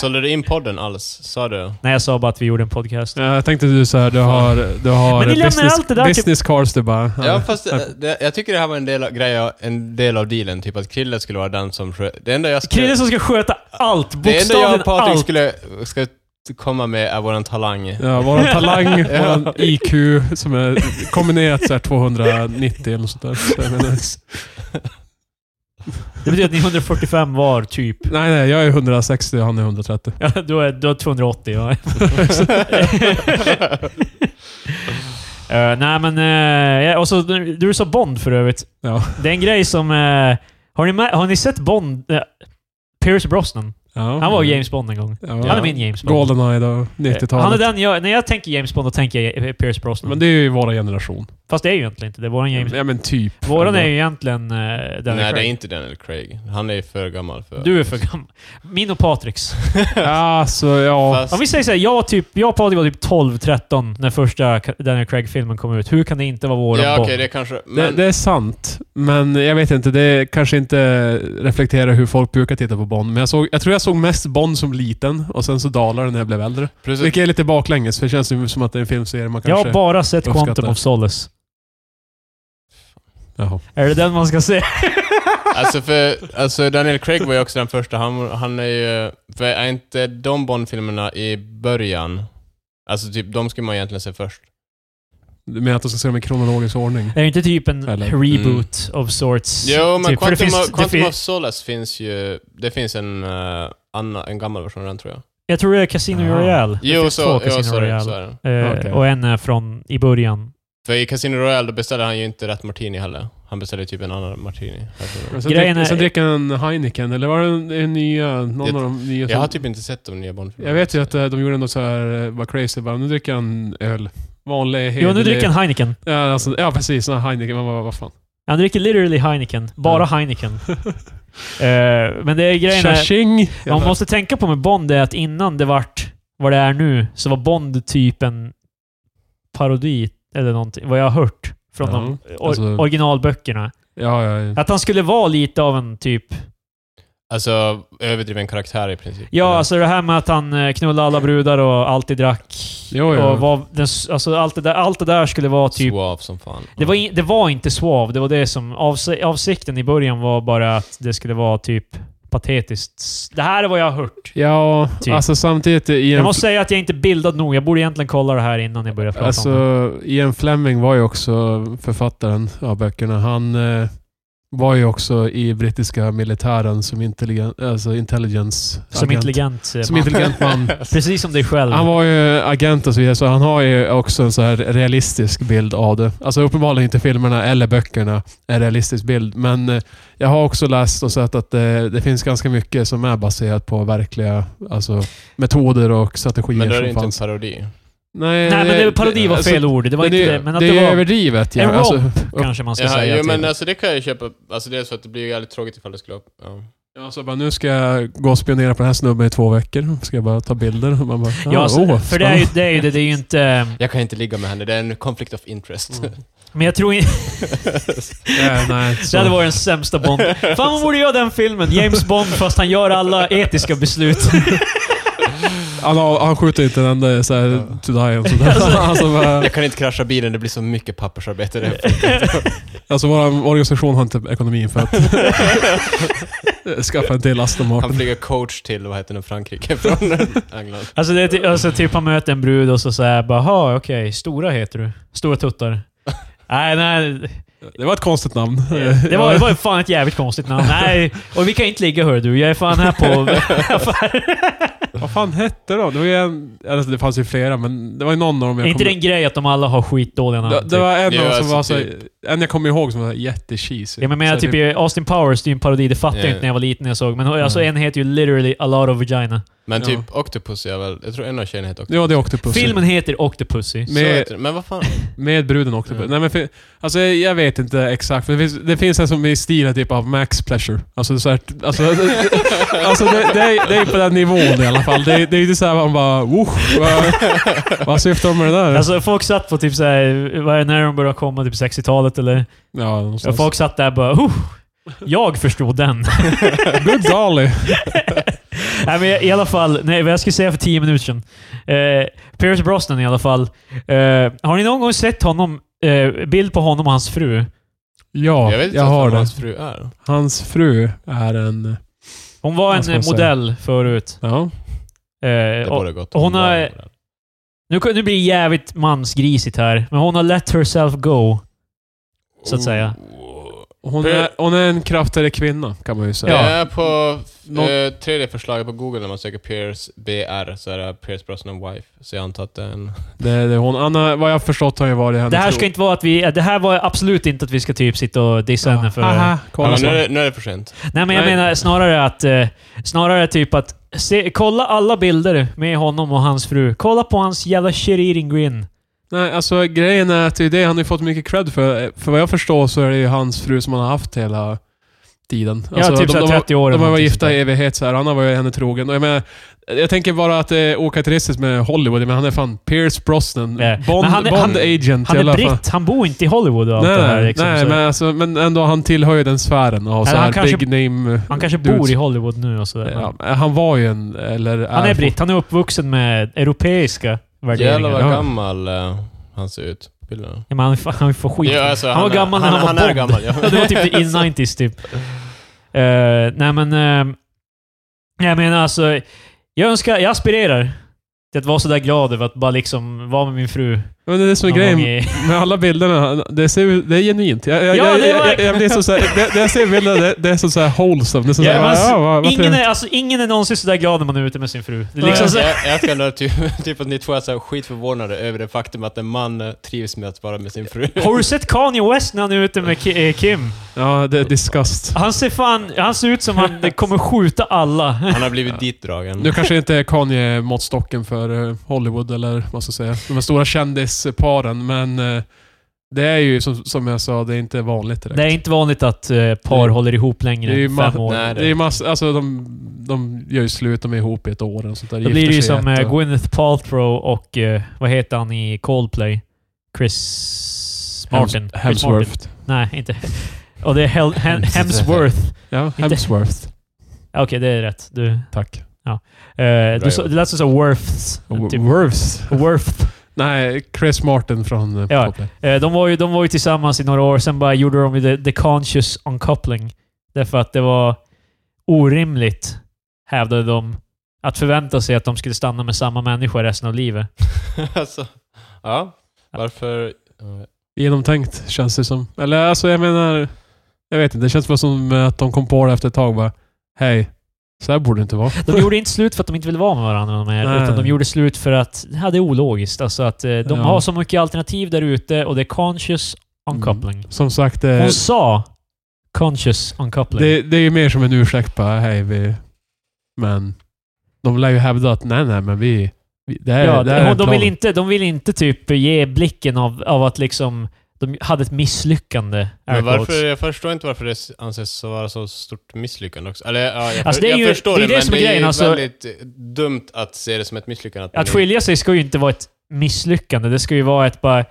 Speaker 3: sålde du in podden alls? Sa du?
Speaker 2: Nej, jag sa bara att vi gjorde en podcast.
Speaker 1: Ja, Jag tänkte du så här, du har, du har
Speaker 2: Men ni lämnar
Speaker 1: business,
Speaker 2: allt det där typ- till-
Speaker 1: business cards du bara...
Speaker 3: Ja, fast eh, det, jag tycker det här var en del av, grej, av- en del av dealen. Typ att Krille skulle vara den som... skö- Det enda jag
Speaker 2: Krille
Speaker 3: skulle...
Speaker 2: som ska sköta allt.
Speaker 3: Det enda jag
Speaker 2: Bokstavligen
Speaker 3: och Patrik
Speaker 2: allt.
Speaker 3: skulle ska komma med är våran talang.
Speaker 1: Ja, våran talang,
Speaker 3: Ja.
Speaker 1: våran IQ som är kombinerat så här 290 eller något sånt där. Så jag menar,
Speaker 2: Det betyder att ni är 145 var, typ.
Speaker 1: nej, nej, jag är 160 och han är 130.
Speaker 2: Ja, du är, du är 280. Ja. Eh, nej, men... eh, ja, och så, du du sa Bond för övrigt.
Speaker 1: Ja.
Speaker 2: Det är en grej som... eh, har, ni, mä- har ni sett Bond? Uh, Pierce Brosnan.
Speaker 1: ja.
Speaker 2: Han var James Bond en gång.
Speaker 1: Ja.
Speaker 2: Han är min James Bond.
Speaker 1: Goldeneye då,
Speaker 2: Eh, Han är
Speaker 1: 90-talet.
Speaker 2: den jag, när jag tänker James Bond, då tänker jag eh, Pierce Brosnan.
Speaker 1: Men det är ju vår generation.
Speaker 2: Fast det är ju egentligen inte det. är Våran, James,
Speaker 1: Ja men typ.
Speaker 2: våran är ju egentligen uh, Daniel
Speaker 3: Nej, det är
Speaker 2: Craig.
Speaker 3: inte Daniel Craig. Han är för gammal för...
Speaker 2: Du är för gammal. Min och Patriks.
Speaker 1: Ja, så ja.
Speaker 3: Fast-
Speaker 2: Om vi säger såhär, jag, typ, jag och Patrik var typ 12-13 när första Daniel Craig-filmen kom ut. Hur kan det inte vara våran
Speaker 3: Ja, okej,
Speaker 2: Bond?
Speaker 3: det kanske... Men,
Speaker 1: Det, det är sant, men jag vet inte. Det kanske inte reflekterar hur folk brukar titta på Bond. Men jag, såg, jag tror jag såg mest Bond som liten och sen så dalade det när jag blev äldre.
Speaker 3: plus,
Speaker 1: Vilket är lite baklänges, för det känns ju som att det är en filmserie man
Speaker 2: jag
Speaker 1: kanske...
Speaker 2: har bara sett
Speaker 1: uppskattar.
Speaker 2: Quantum of Solace.
Speaker 1: Jaha.
Speaker 2: Är det den man ska se?
Speaker 3: alltså, för, alltså Daniel Craig var ju också den första. Han, han är ju... För är inte de Bond-filmerna i början? Alltså typ, de skulle man egentligen se först.
Speaker 1: Du menar att de ska se dem i kronologisk ordning?
Speaker 2: Är det inte typ en
Speaker 1: Eller-
Speaker 2: reboot of sorts?
Speaker 3: Mm. Jo, men
Speaker 2: typ? För det
Speaker 3: Quantum,
Speaker 2: finns-
Speaker 3: of,
Speaker 2: det
Speaker 3: Quantum
Speaker 2: fin-
Speaker 3: of Solace finns ju... Det finns en, eh, anna, en gammal version av den, tror jag.
Speaker 2: Jag tror det är Casino
Speaker 1: Jaha.
Speaker 2: Royale. Det
Speaker 3: Jo,
Speaker 2: finns
Speaker 3: så,
Speaker 2: två
Speaker 3: jo,
Speaker 2: Casino
Speaker 3: så, är det, så
Speaker 2: Royale.
Speaker 3: är det.
Speaker 2: Eh,
Speaker 1: Okej.
Speaker 2: Och en är från i början.
Speaker 3: För i Casino Royale då beställde han ju inte rätt martini heller. Han beställde typ en annan martini. Jag tror det.
Speaker 1: Men Sen,
Speaker 2: Grejen
Speaker 1: drick,
Speaker 2: är-
Speaker 1: sen dricker han Heineken, eller var det en, en nya, någon
Speaker 3: Jag-
Speaker 1: av de nya?
Speaker 3: Jag har typ inte sett de nya Bond-filmerna.
Speaker 1: jag vet ju att eh, de gjorde något så här, eh, var crazy, bara, nu dricker han öl. Vanlig,
Speaker 2: Jo, nu
Speaker 1: hederlig-
Speaker 2: dricker han Heineken.
Speaker 1: Ja, alltså, ja precis, sån här Heineken, men vad, vad fan.
Speaker 2: Han dricker literally Heineken. Bara Heineken. Eh, men det är grejen är...
Speaker 1: Tja-tjing!
Speaker 2: Man måste tänka på med Bond är att innan det vart vad det är nu, så var Bond typ en parodi eller någonting, vad jag har hört från
Speaker 1: Ja,
Speaker 2: de or-
Speaker 1: alltså-
Speaker 2: originalböckerna.
Speaker 1: Ja, ja, ja.
Speaker 2: Att han skulle vara lite av en typ...
Speaker 3: Alltså, överdriven karaktär i princip.
Speaker 2: Ja,
Speaker 3: Eller?
Speaker 2: alltså det här med att han eh, knullade alla brudar och alltid drack.
Speaker 1: Jo, jo.
Speaker 2: Och var den, s- alltså allt, det där, allt det där skulle vara typ...
Speaker 3: Suave som fan.
Speaker 2: Det var, in, det var inte swav, det var det som... avsi- Avsikten i början var bara att det skulle vara typ patetiskt. Det här är vad jag har hört.
Speaker 1: Ja,
Speaker 2: Typ.
Speaker 1: alltså samtidigt i en...
Speaker 2: Jag måste säga att jag inte är bildad nog. Jag borde egentligen kolla det här innan jag börjar prata
Speaker 1: Alltså,
Speaker 2: om det.
Speaker 1: Ian Fleming var ju också författaren av böckerna. Han eh, var ju också i brittiska militären som intelligen, alltså intelligence
Speaker 2: Som intelligent. eh,
Speaker 1: Som
Speaker 2: man.
Speaker 1: intelligent man.
Speaker 2: Precis som dig själv.
Speaker 1: Han var ju agent och så vidare, så han har ju också en så här realistisk bild av det. Alltså uppenbarligen inte filmerna eller böckerna en realistisk bild, men eh, jag har också läst och sett att eh, det, det finns ganska mycket som är baserat på verkliga alltså, metoder och strategier
Speaker 3: Men då är det
Speaker 1: som
Speaker 3: inte
Speaker 1: fanns.
Speaker 3: en parodi.
Speaker 1: Nej,
Speaker 2: Nej, men det, parodi var
Speaker 1: alltså,
Speaker 2: fel ord. Det var
Speaker 1: men
Speaker 2: inte
Speaker 1: det,
Speaker 2: det. Men att
Speaker 1: det,
Speaker 2: det,
Speaker 1: är
Speaker 2: var...
Speaker 1: överdrivet.
Speaker 2: En
Speaker 1: Ja. Alltså,
Speaker 2: romp, kanske man ska
Speaker 3: Ja,
Speaker 2: säga.
Speaker 3: jo,
Speaker 2: till
Speaker 3: men
Speaker 2: det.
Speaker 3: alltså det kan jag ju köpa. Alltså dels för att det blir ju jävligt tråkigt ifall det skulle upp. Ja.
Speaker 1: Ja, så bara, nu ska jag gå och spionera på den här snubben i två veckor. Ska jag bara ta bilder? Och man bara,
Speaker 2: Ja,
Speaker 1: ah,
Speaker 2: alltså,
Speaker 1: åh,
Speaker 2: för det är ju det. Är ju, det, det är ju inte...
Speaker 3: Jag kan inte ligga med henne, det är en conflict of interest.
Speaker 1: Mm.
Speaker 2: Men jag tror inte...
Speaker 1: spännande. Ja, nej,
Speaker 2: Det
Speaker 1: så.
Speaker 2: hade varit den sämsta Bond. Fan, man borde göra den filmen. James Bond, fast han gör alla etiska beslut.
Speaker 1: han, har- han skjuter inte en enda så här,
Speaker 3: Ja.
Speaker 1: to die och sådär. Alltså, bara,
Speaker 3: Jag kan inte krascha bilen, det blir så mycket pappersarbete. Det här.
Speaker 1: alltså vår organisation har inte ekonomin för
Speaker 3: Mm.
Speaker 1: att skaffa en till Aston
Speaker 3: han
Speaker 1: Martin.
Speaker 3: flyger coach till, vad heter den, Frankrike från England.
Speaker 2: Alltså, det är ty- alltså typ han möter en brud och så säger bara "Jaha, okej, stora heter du. Stora tuttar. Nej, nej.
Speaker 1: Det var ett konstigt namn.
Speaker 2: Det var, det var ju fan ett jävligt konstigt namn. Nej, och vi kan inte ligga hör du. Jag är fan här på affär.
Speaker 1: Vad fan hette de? Det, var ju en, alltså, det fanns ju flera, men det var ju någon av dem
Speaker 2: Är
Speaker 1: jag
Speaker 2: inte
Speaker 1: kommer
Speaker 2: det en grej att de alla har skitdåliga namn?
Speaker 1: det,
Speaker 2: typ?
Speaker 1: det var en av
Speaker 3: Ja,
Speaker 1: dem som
Speaker 3: alltså
Speaker 1: var så,
Speaker 3: typ.
Speaker 1: En jag kommer ihåg som var jättecheesy.
Speaker 2: Ja, men jag
Speaker 1: Så
Speaker 2: menar,
Speaker 1: här,
Speaker 2: typ i Austin Powers, det är ju en parodi. Det fattade
Speaker 3: Ja,
Speaker 2: jag
Speaker 3: ja.
Speaker 2: inte när jag var liten när jag såg. Men alltså,
Speaker 1: Mm.
Speaker 2: en heter ju literally A lot of vagina.
Speaker 3: Men typ Octopus är väl, jag tror en av tjejerna heter Octopus.
Speaker 1: Ja, det är Octopus.
Speaker 2: Filmen heter Octopussy.
Speaker 3: Så
Speaker 1: med-
Speaker 3: heter det. Men vad fan?
Speaker 1: Med bruden också.
Speaker 3: Ja.
Speaker 1: Nej, men för, alltså, jag vet inte exakt. men Det finns, det finns en som är i stilen typ av Max Pleasure. Alltså, så här, alltså, alltså det, det, är, det är på den nivån i alla fall. Det, det är inte såhär man bara "Wosh, vad, vad syftar de med det där?
Speaker 2: Alltså folk satt på typ såhär, vad är det, när de började komma, typ 60-talet eller?
Speaker 1: ja,
Speaker 2: Ja,
Speaker 1: någonstans.
Speaker 2: folk satt där bara oh, Jag förstod den.
Speaker 1: Good Dolly.
Speaker 2: nej men i alla fall, nej vad jag skulle säga för 10 minuter sedan. Eh, Pierce Brosnan i alla fall. Eh, har ni någon gång sett honom, eh, bild på honom och hans fru?
Speaker 1: Ja,
Speaker 3: jag vet
Speaker 1: jag,
Speaker 3: inte ens
Speaker 1: har
Speaker 3: vem
Speaker 1: det.
Speaker 3: hans fru är.
Speaker 1: Hans fru är en...
Speaker 2: Hon var
Speaker 1: Vad
Speaker 2: en
Speaker 1: ska man
Speaker 2: eh,
Speaker 1: säga?
Speaker 2: modell förut.
Speaker 1: Ja.
Speaker 2: Eh,
Speaker 3: Det
Speaker 2: och,
Speaker 3: borde gått.
Speaker 2: hon
Speaker 3: Hon
Speaker 2: har-
Speaker 3: var en modell.
Speaker 2: nu, nu blir det jävligt mansgrisigt här, men hon har let herself go. så att säga.
Speaker 3: Oh.
Speaker 1: Hon, är, hon är en kraftigare kvinna kan man ju säga.
Speaker 3: Det är på
Speaker 1: Nå-
Speaker 3: eh, tredje förslaget på Google när man söker Pierce BR så är det Pierce Brosnan Wife. Så jag antar att det är en...
Speaker 1: Det, det, är hon, Anna, vad jag har förstått har ju varit hennes
Speaker 2: Det här ska inte vara att vi... eh, Det här var absolut inte att vi ska typ sitta och dissa henne för...
Speaker 1: Aha,
Speaker 3: Ja,
Speaker 1: kolla
Speaker 3: men
Speaker 1: så.
Speaker 3: nu, är det, nu är det för sent.
Speaker 2: Nej, men jag
Speaker 1: Nej.
Speaker 2: menar snarare att... Eh, snarare typ att... Se, kolla alla bilder med honom och hans fru. Kolla på hans jävla shiririn grin.
Speaker 1: Nej, alltså grejen är att det är det han har ju fått mycket cred för. För vad jag förstår så är det ju hans fru som han har haft hela tiden. Alltså,
Speaker 2: ja, typ
Speaker 1: de,
Speaker 2: såhär
Speaker 1: de, har-
Speaker 2: 30 år.
Speaker 1: de har
Speaker 2: eller
Speaker 1: varit
Speaker 2: någonting
Speaker 1: gifta
Speaker 2: sånt
Speaker 1: i
Speaker 2: där.
Speaker 1: evighet så här. Han har varit henne trogen. Och jag, menar, jag tänker bara att det är okaraktäristiskt med Hollywood, men han är fan Pierce Brosnan.
Speaker 2: Ja.
Speaker 1: Bond,
Speaker 2: Men han är-
Speaker 1: Bond
Speaker 2: han-
Speaker 1: agent.
Speaker 2: Han
Speaker 1: jävla
Speaker 2: är
Speaker 1: fan.
Speaker 2: britt. Han bor inte i Hollywood och allt
Speaker 1: Nej,
Speaker 2: det här.
Speaker 1: nej,
Speaker 2: Liksom,
Speaker 1: nej
Speaker 2: så
Speaker 1: men, alltså, men ändå han tillhör ju den sfären av så
Speaker 2: han
Speaker 1: här
Speaker 2: kanske-
Speaker 1: big name...
Speaker 2: han kanske
Speaker 1: dudes.
Speaker 2: bor i Hollywood nu och sådär.
Speaker 1: Ja, han var ju en... Eller
Speaker 2: men Han är britt. Han är uppvuxen med europeiska
Speaker 3: Jävlar
Speaker 2: värderingar.
Speaker 3: vad
Speaker 1: Ja.
Speaker 3: gammal eh, han ser ut på bilderna.
Speaker 2: Ja, men han, han får skit.
Speaker 3: Ja, alltså,
Speaker 2: han, var
Speaker 3: är-
Speaker 2: gammal när han,
Speaker 3: han
Speaker 2: var
Speaker 3: är
Speaker 2: Bond.
Speaker 3: gammal, ja.
Speaker 2: Ja, det var typ in 90s typ. Eh, nej men... eh, jag menar alltså... Jag önskar... Jag aspirerar till att vara sådär glad över att bara liksom vara med min fru.
Speaker 1: Men det är det som är
Speaker 2: någon
Speaker 1: grejen.
Speaker 2: gång i-
Speaker 1: Med alla bilderna, det, ser, ut- det är genuint. Jag, jag,
Speaker 2: Ja,
Speaker 1: jag,
Speaker 2: det är
Speaker 1: jag, jag,
Speaker 2: verkligen-
Speaker 1: jag, blir så såhär, det, det jag ser bilderna, det, det är så såhär wholesome. Det är så
Speaker 2: Ja,
Speaker 1: såhär,
Speaker 2: men alltså,
Speaker 1: ja, vad, vad
Speaker 2: ingen,
Speaker 1: trevligt.
Speaker 2: är, alltså, ingen är någonsin sådär glad när man är ute med sin fru. Det är liksom
Speaker 1: Nej. alltså,
Speaker 2: så,
Speaker 3: Eh, jag, jag ska ändå typ, typ att ni två är så här skitförvånade över det faktum att en man eh, trivs med att vara med sin fru.
Speaker 2: har du sett Kanye West när han är ute med Ki- eh, Kim?
Speaker 1: Ja, det är disgust.
Speaker 2: Han ser fan... Han ser ut som han kommer skjuta alla.
Speaker 3: Han har blivit ditdragen.
Speaker 1: Nu kanske inte är Kanye måttstocken för eh, Hollywood eller vad ska jag säga. De här stora kändisparen, men eh, det är ju som, som jag sa, det är inte vanligt direkt.
Speaker 2: Det är inte vanligt att eh, par
Speaker 1: Det-
Speaker 2: håller ihop längre
Speaker 1: det är ju
Speaker 2: än fem
Speaker 1: ma-
Speaker 2: år.
Speaker 3: Nej,
Speaker 1: det är ju mass, alltså de, de gör ju slut, de är ihop i ett år och sånt där.
Speaker 2: Då
Speaker 1: gifter
Speaker 2: blir det ju
Speaker 1: sig
Speaker 2: som
Speaker 1: ett
Speaker 2: eh,
Speaker 1: och-
Speaker 2: Gwyneth Paltrow och, eh, vad heter han i Coldplay? Chris
Speaker 1: Hems-
Speaker 2: Martin? Chris
Speaker 1: Hemsworth.
Speaker 2: Martin. Nej, inte. Och det är Hel- Hem- Hemsworth.
Speaker 1: Ja,
Speaker 2: Inte-
Speaker 1: Hemsworth.
Speaker 2: Okej, det är rätt. Du,
Speaker 1: Tack.
Speaker 2: eh, du
Speaker 3: jobbat.
Speaker 2: sa, det lät som så Worths. Typ.
Speaker 1: Worth.
Speaker 2: Worth.
Speaker 1: Nej, Chris Martin från eh,
Speaker 2: Ja.
Speaker 1: Coldplay.
Speaker 2: Eh, de, var ju, de var ju tillsammans i några år, sen bara gjorde de ju the, the conscious uncoupling. Därför att det var orimligt, hävdade de, att förvänta sig att de skulle stanna med samma människa resten av livet.
Speaker 3: alltså, ja, varför... eh,
Speaker 1: genomtänkt känns det som. Eller alltså jag menar... Jag vet inte, det känns bara som att de kom på det efter ett tag bara Hej, så här borde det inte vara.
Speaker 2: De gjorde inte slut för att de inte ville vara med varandra mer,
Speaker 1: Nej.
Speaker 2: utan de gjorde slut för att ja, det är ologiskt. Alltså att eh, de
Speaker 1: Ja.
Speaker 2: har så mycket alternativ där ute och det är conscious uncoupling.
Speaker 1: Som sagt,
Speaker 2: Hon
Speaker 1: det,
Speaker 2: sa conscious uncoupling.
Speaker 1: Eh. det, det är ju mer som en ursäkt bara hej vi... Men... De lär ju hävda att nej nej men vi... vi det här,
Speaker 2: ja,
Speaker 1: det här är en
Speaker 2: de,
Speaker 1: plan.
Speaker 2: vill inte, de vill inte typ ge blicken av, av att liksom... de hade ett misslyckande. air
Speaker 3: Men
Speaker 2: quotes.
Speaker 3: varför, jag förstår inte varför det anses vara så stort misslyckande också. Eller, ja, jag,
Speaker 2: Alltså,
Speaker 3: för,
Speaker 2: det är
Speaker 3: jag
Speaker 2: ju-
Speaker 3: förstår
Speaker 2: det
Speaker 3: det,
Speaker 2: är det
Speaker 3: men
Speaker 2: som är
Speaker 3: det är
Speaker 2: grejen,
Speaker 3: ju
Speaker 2: alltså.
Speaker 3: väldigt eh, dumt att se det som ett misslyckande.
Speaker 2: Att
Speaker 3: ni-
Speaker 2: skilja sig ska ju inte vara ett misslyckande. Det ska ju vara ett bara...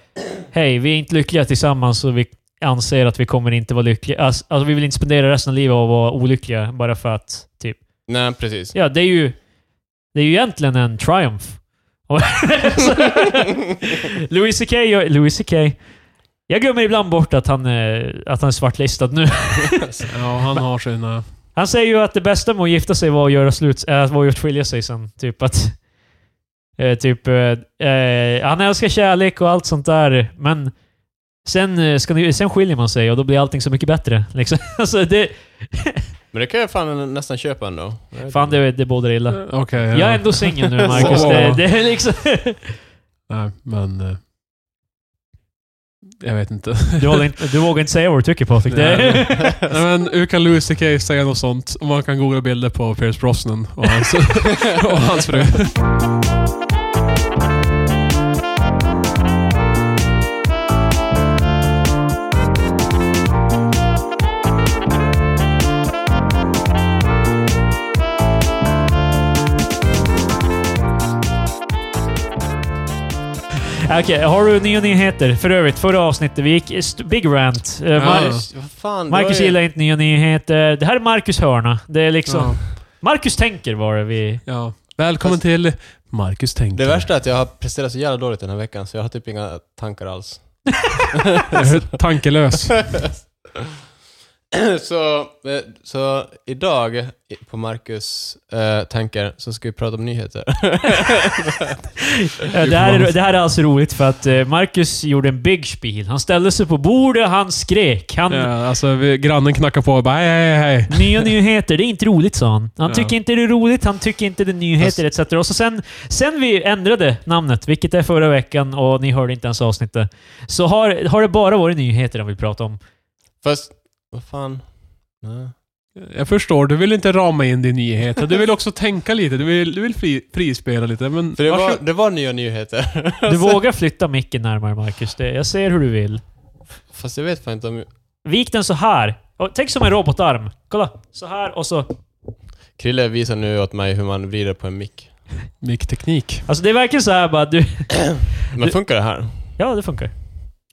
Speaker 2: Hej, vi är inte lyckliga tillsammans och vi anser att vi kommer inte vara lyckliga. Alltså, alltså vi vill inte spendera resten av livet och vara olyckliga bara för att... Typ.
Speaker 3: Nej, precis.
Speaker 2: Ja, det är ju... Det är ju egentligen en triumph. Och- Louis CK gör- Louis CK. Jag glömmer ibland bort att han, är, att han är svartlistad nu.
Speaker 1: Ja, han har sina...
Speaker 2: Han säger ju att det bästa med att gifta sig var att göra slut, äh, var ju att skilja sig sen. Typ att... eh, typ... eh, eh, han älskar kärlek och allt sånt där, men sen, eh, ska ni, sen skiljer man sig och då blir allting så mycket bättre. Liksom. Alltså det...
Speaker 3: Men det kan jag fan nästan köpa ändå. Jag vet
Speaker 2: Fan,
Speaker 3: inte.
Speaker 2: det, det bådar illa.
Speaker 1: Okej. ja.
Speaker 2: Jag är ändå singel nu, Marcus.
Speaker 1: Så.
Speaker 2: Det, det är liksom...
Speaker 1: Nej, men... eh, Jag vet inte.
Speaker 2: Du, håller inte, du vågar inte säga vad du tycker, Patrik. Det...
Speaker 1: Nej, men hur kan Louis CK säga något sånt? Och man kan googla bilder på Pierce Brosnan och hans, och hans fru.
Speaker 2: Okej, har du nya nyheter? För övrigt, förra avsnittet, vi gick... st- Big rant. Eh,
Speaker 1: Ja.
Speaker 2: Mar-
Speaker 3: Marcus, vad fan, det
Speaker 2: Marcus
Speaker 3: var ju-
Speaker 2: gillar inte nya nyheter. Det här är Marcus hörna. Det är liksom...
Speaker 1: Ja,
Speaker 2: Marcus tänker var det vi...
Speaker 1: ja. Välkommen till Marcus tänker.
Speaker 3: Det värsta är att jag har presterat så jävla dåligt den här veckan, så jag har typ inga tankar alls.
Speaker 1: Jag är Tankelös.
Speaker 3: så, eh, så idag, i- på Marcus eh, tankar, så ska vi prata om nyheter.
Speaker 2: Eh, Det här, är, det här är alltså roligt för att eh, Marcus gjorde en big spiel. Han ställde sig på bordet, han skrek. Han,
Speaker 1: Ja, alltså, vi, grannen knackar på och bara hej, hej, hej.
Speaker 2: Nya nyheter, det är inte roligt sa han. Han
Speaker 1: Ja.
Speaker 2: tycker inte det är roligt, han tycker inte det är nyheter etc. Och så sen, sen vi ändrade namnet, vilket är förra veckan och ni hörde inte ens avsnittet, så har, har det bara varit nyheter han vill prata om.
Speaker 3: Fast, vad fan? Nej.
Speaker 1: Jag förstår, du vill inte rama in din nyhet. Du vill också tänka lite. Du vill, du vill fri, frispela lite. Men
Speaker 3: För det var,
Speaker 1: varsågod.
Speaker 3: det var nya nyheter.
Speaker 2: Du vågar flytta micken närmare Marcus, det, jag ser hur du vill.
Speaker 3: Fast jag vet fan inte om...
Speaker 2: Vik den så här. Och Tänk som en robotarm. Kolla, så här och så
Speaker 3: Krille visar nu åt mig hur man vrider på en mick.
Speaker 1: Mickteknik.
Speaker 2: Alltså det är verkligen så här bara du...
Speaker 3: Men funkar det här?
Speaker 2: Ja, det funkar.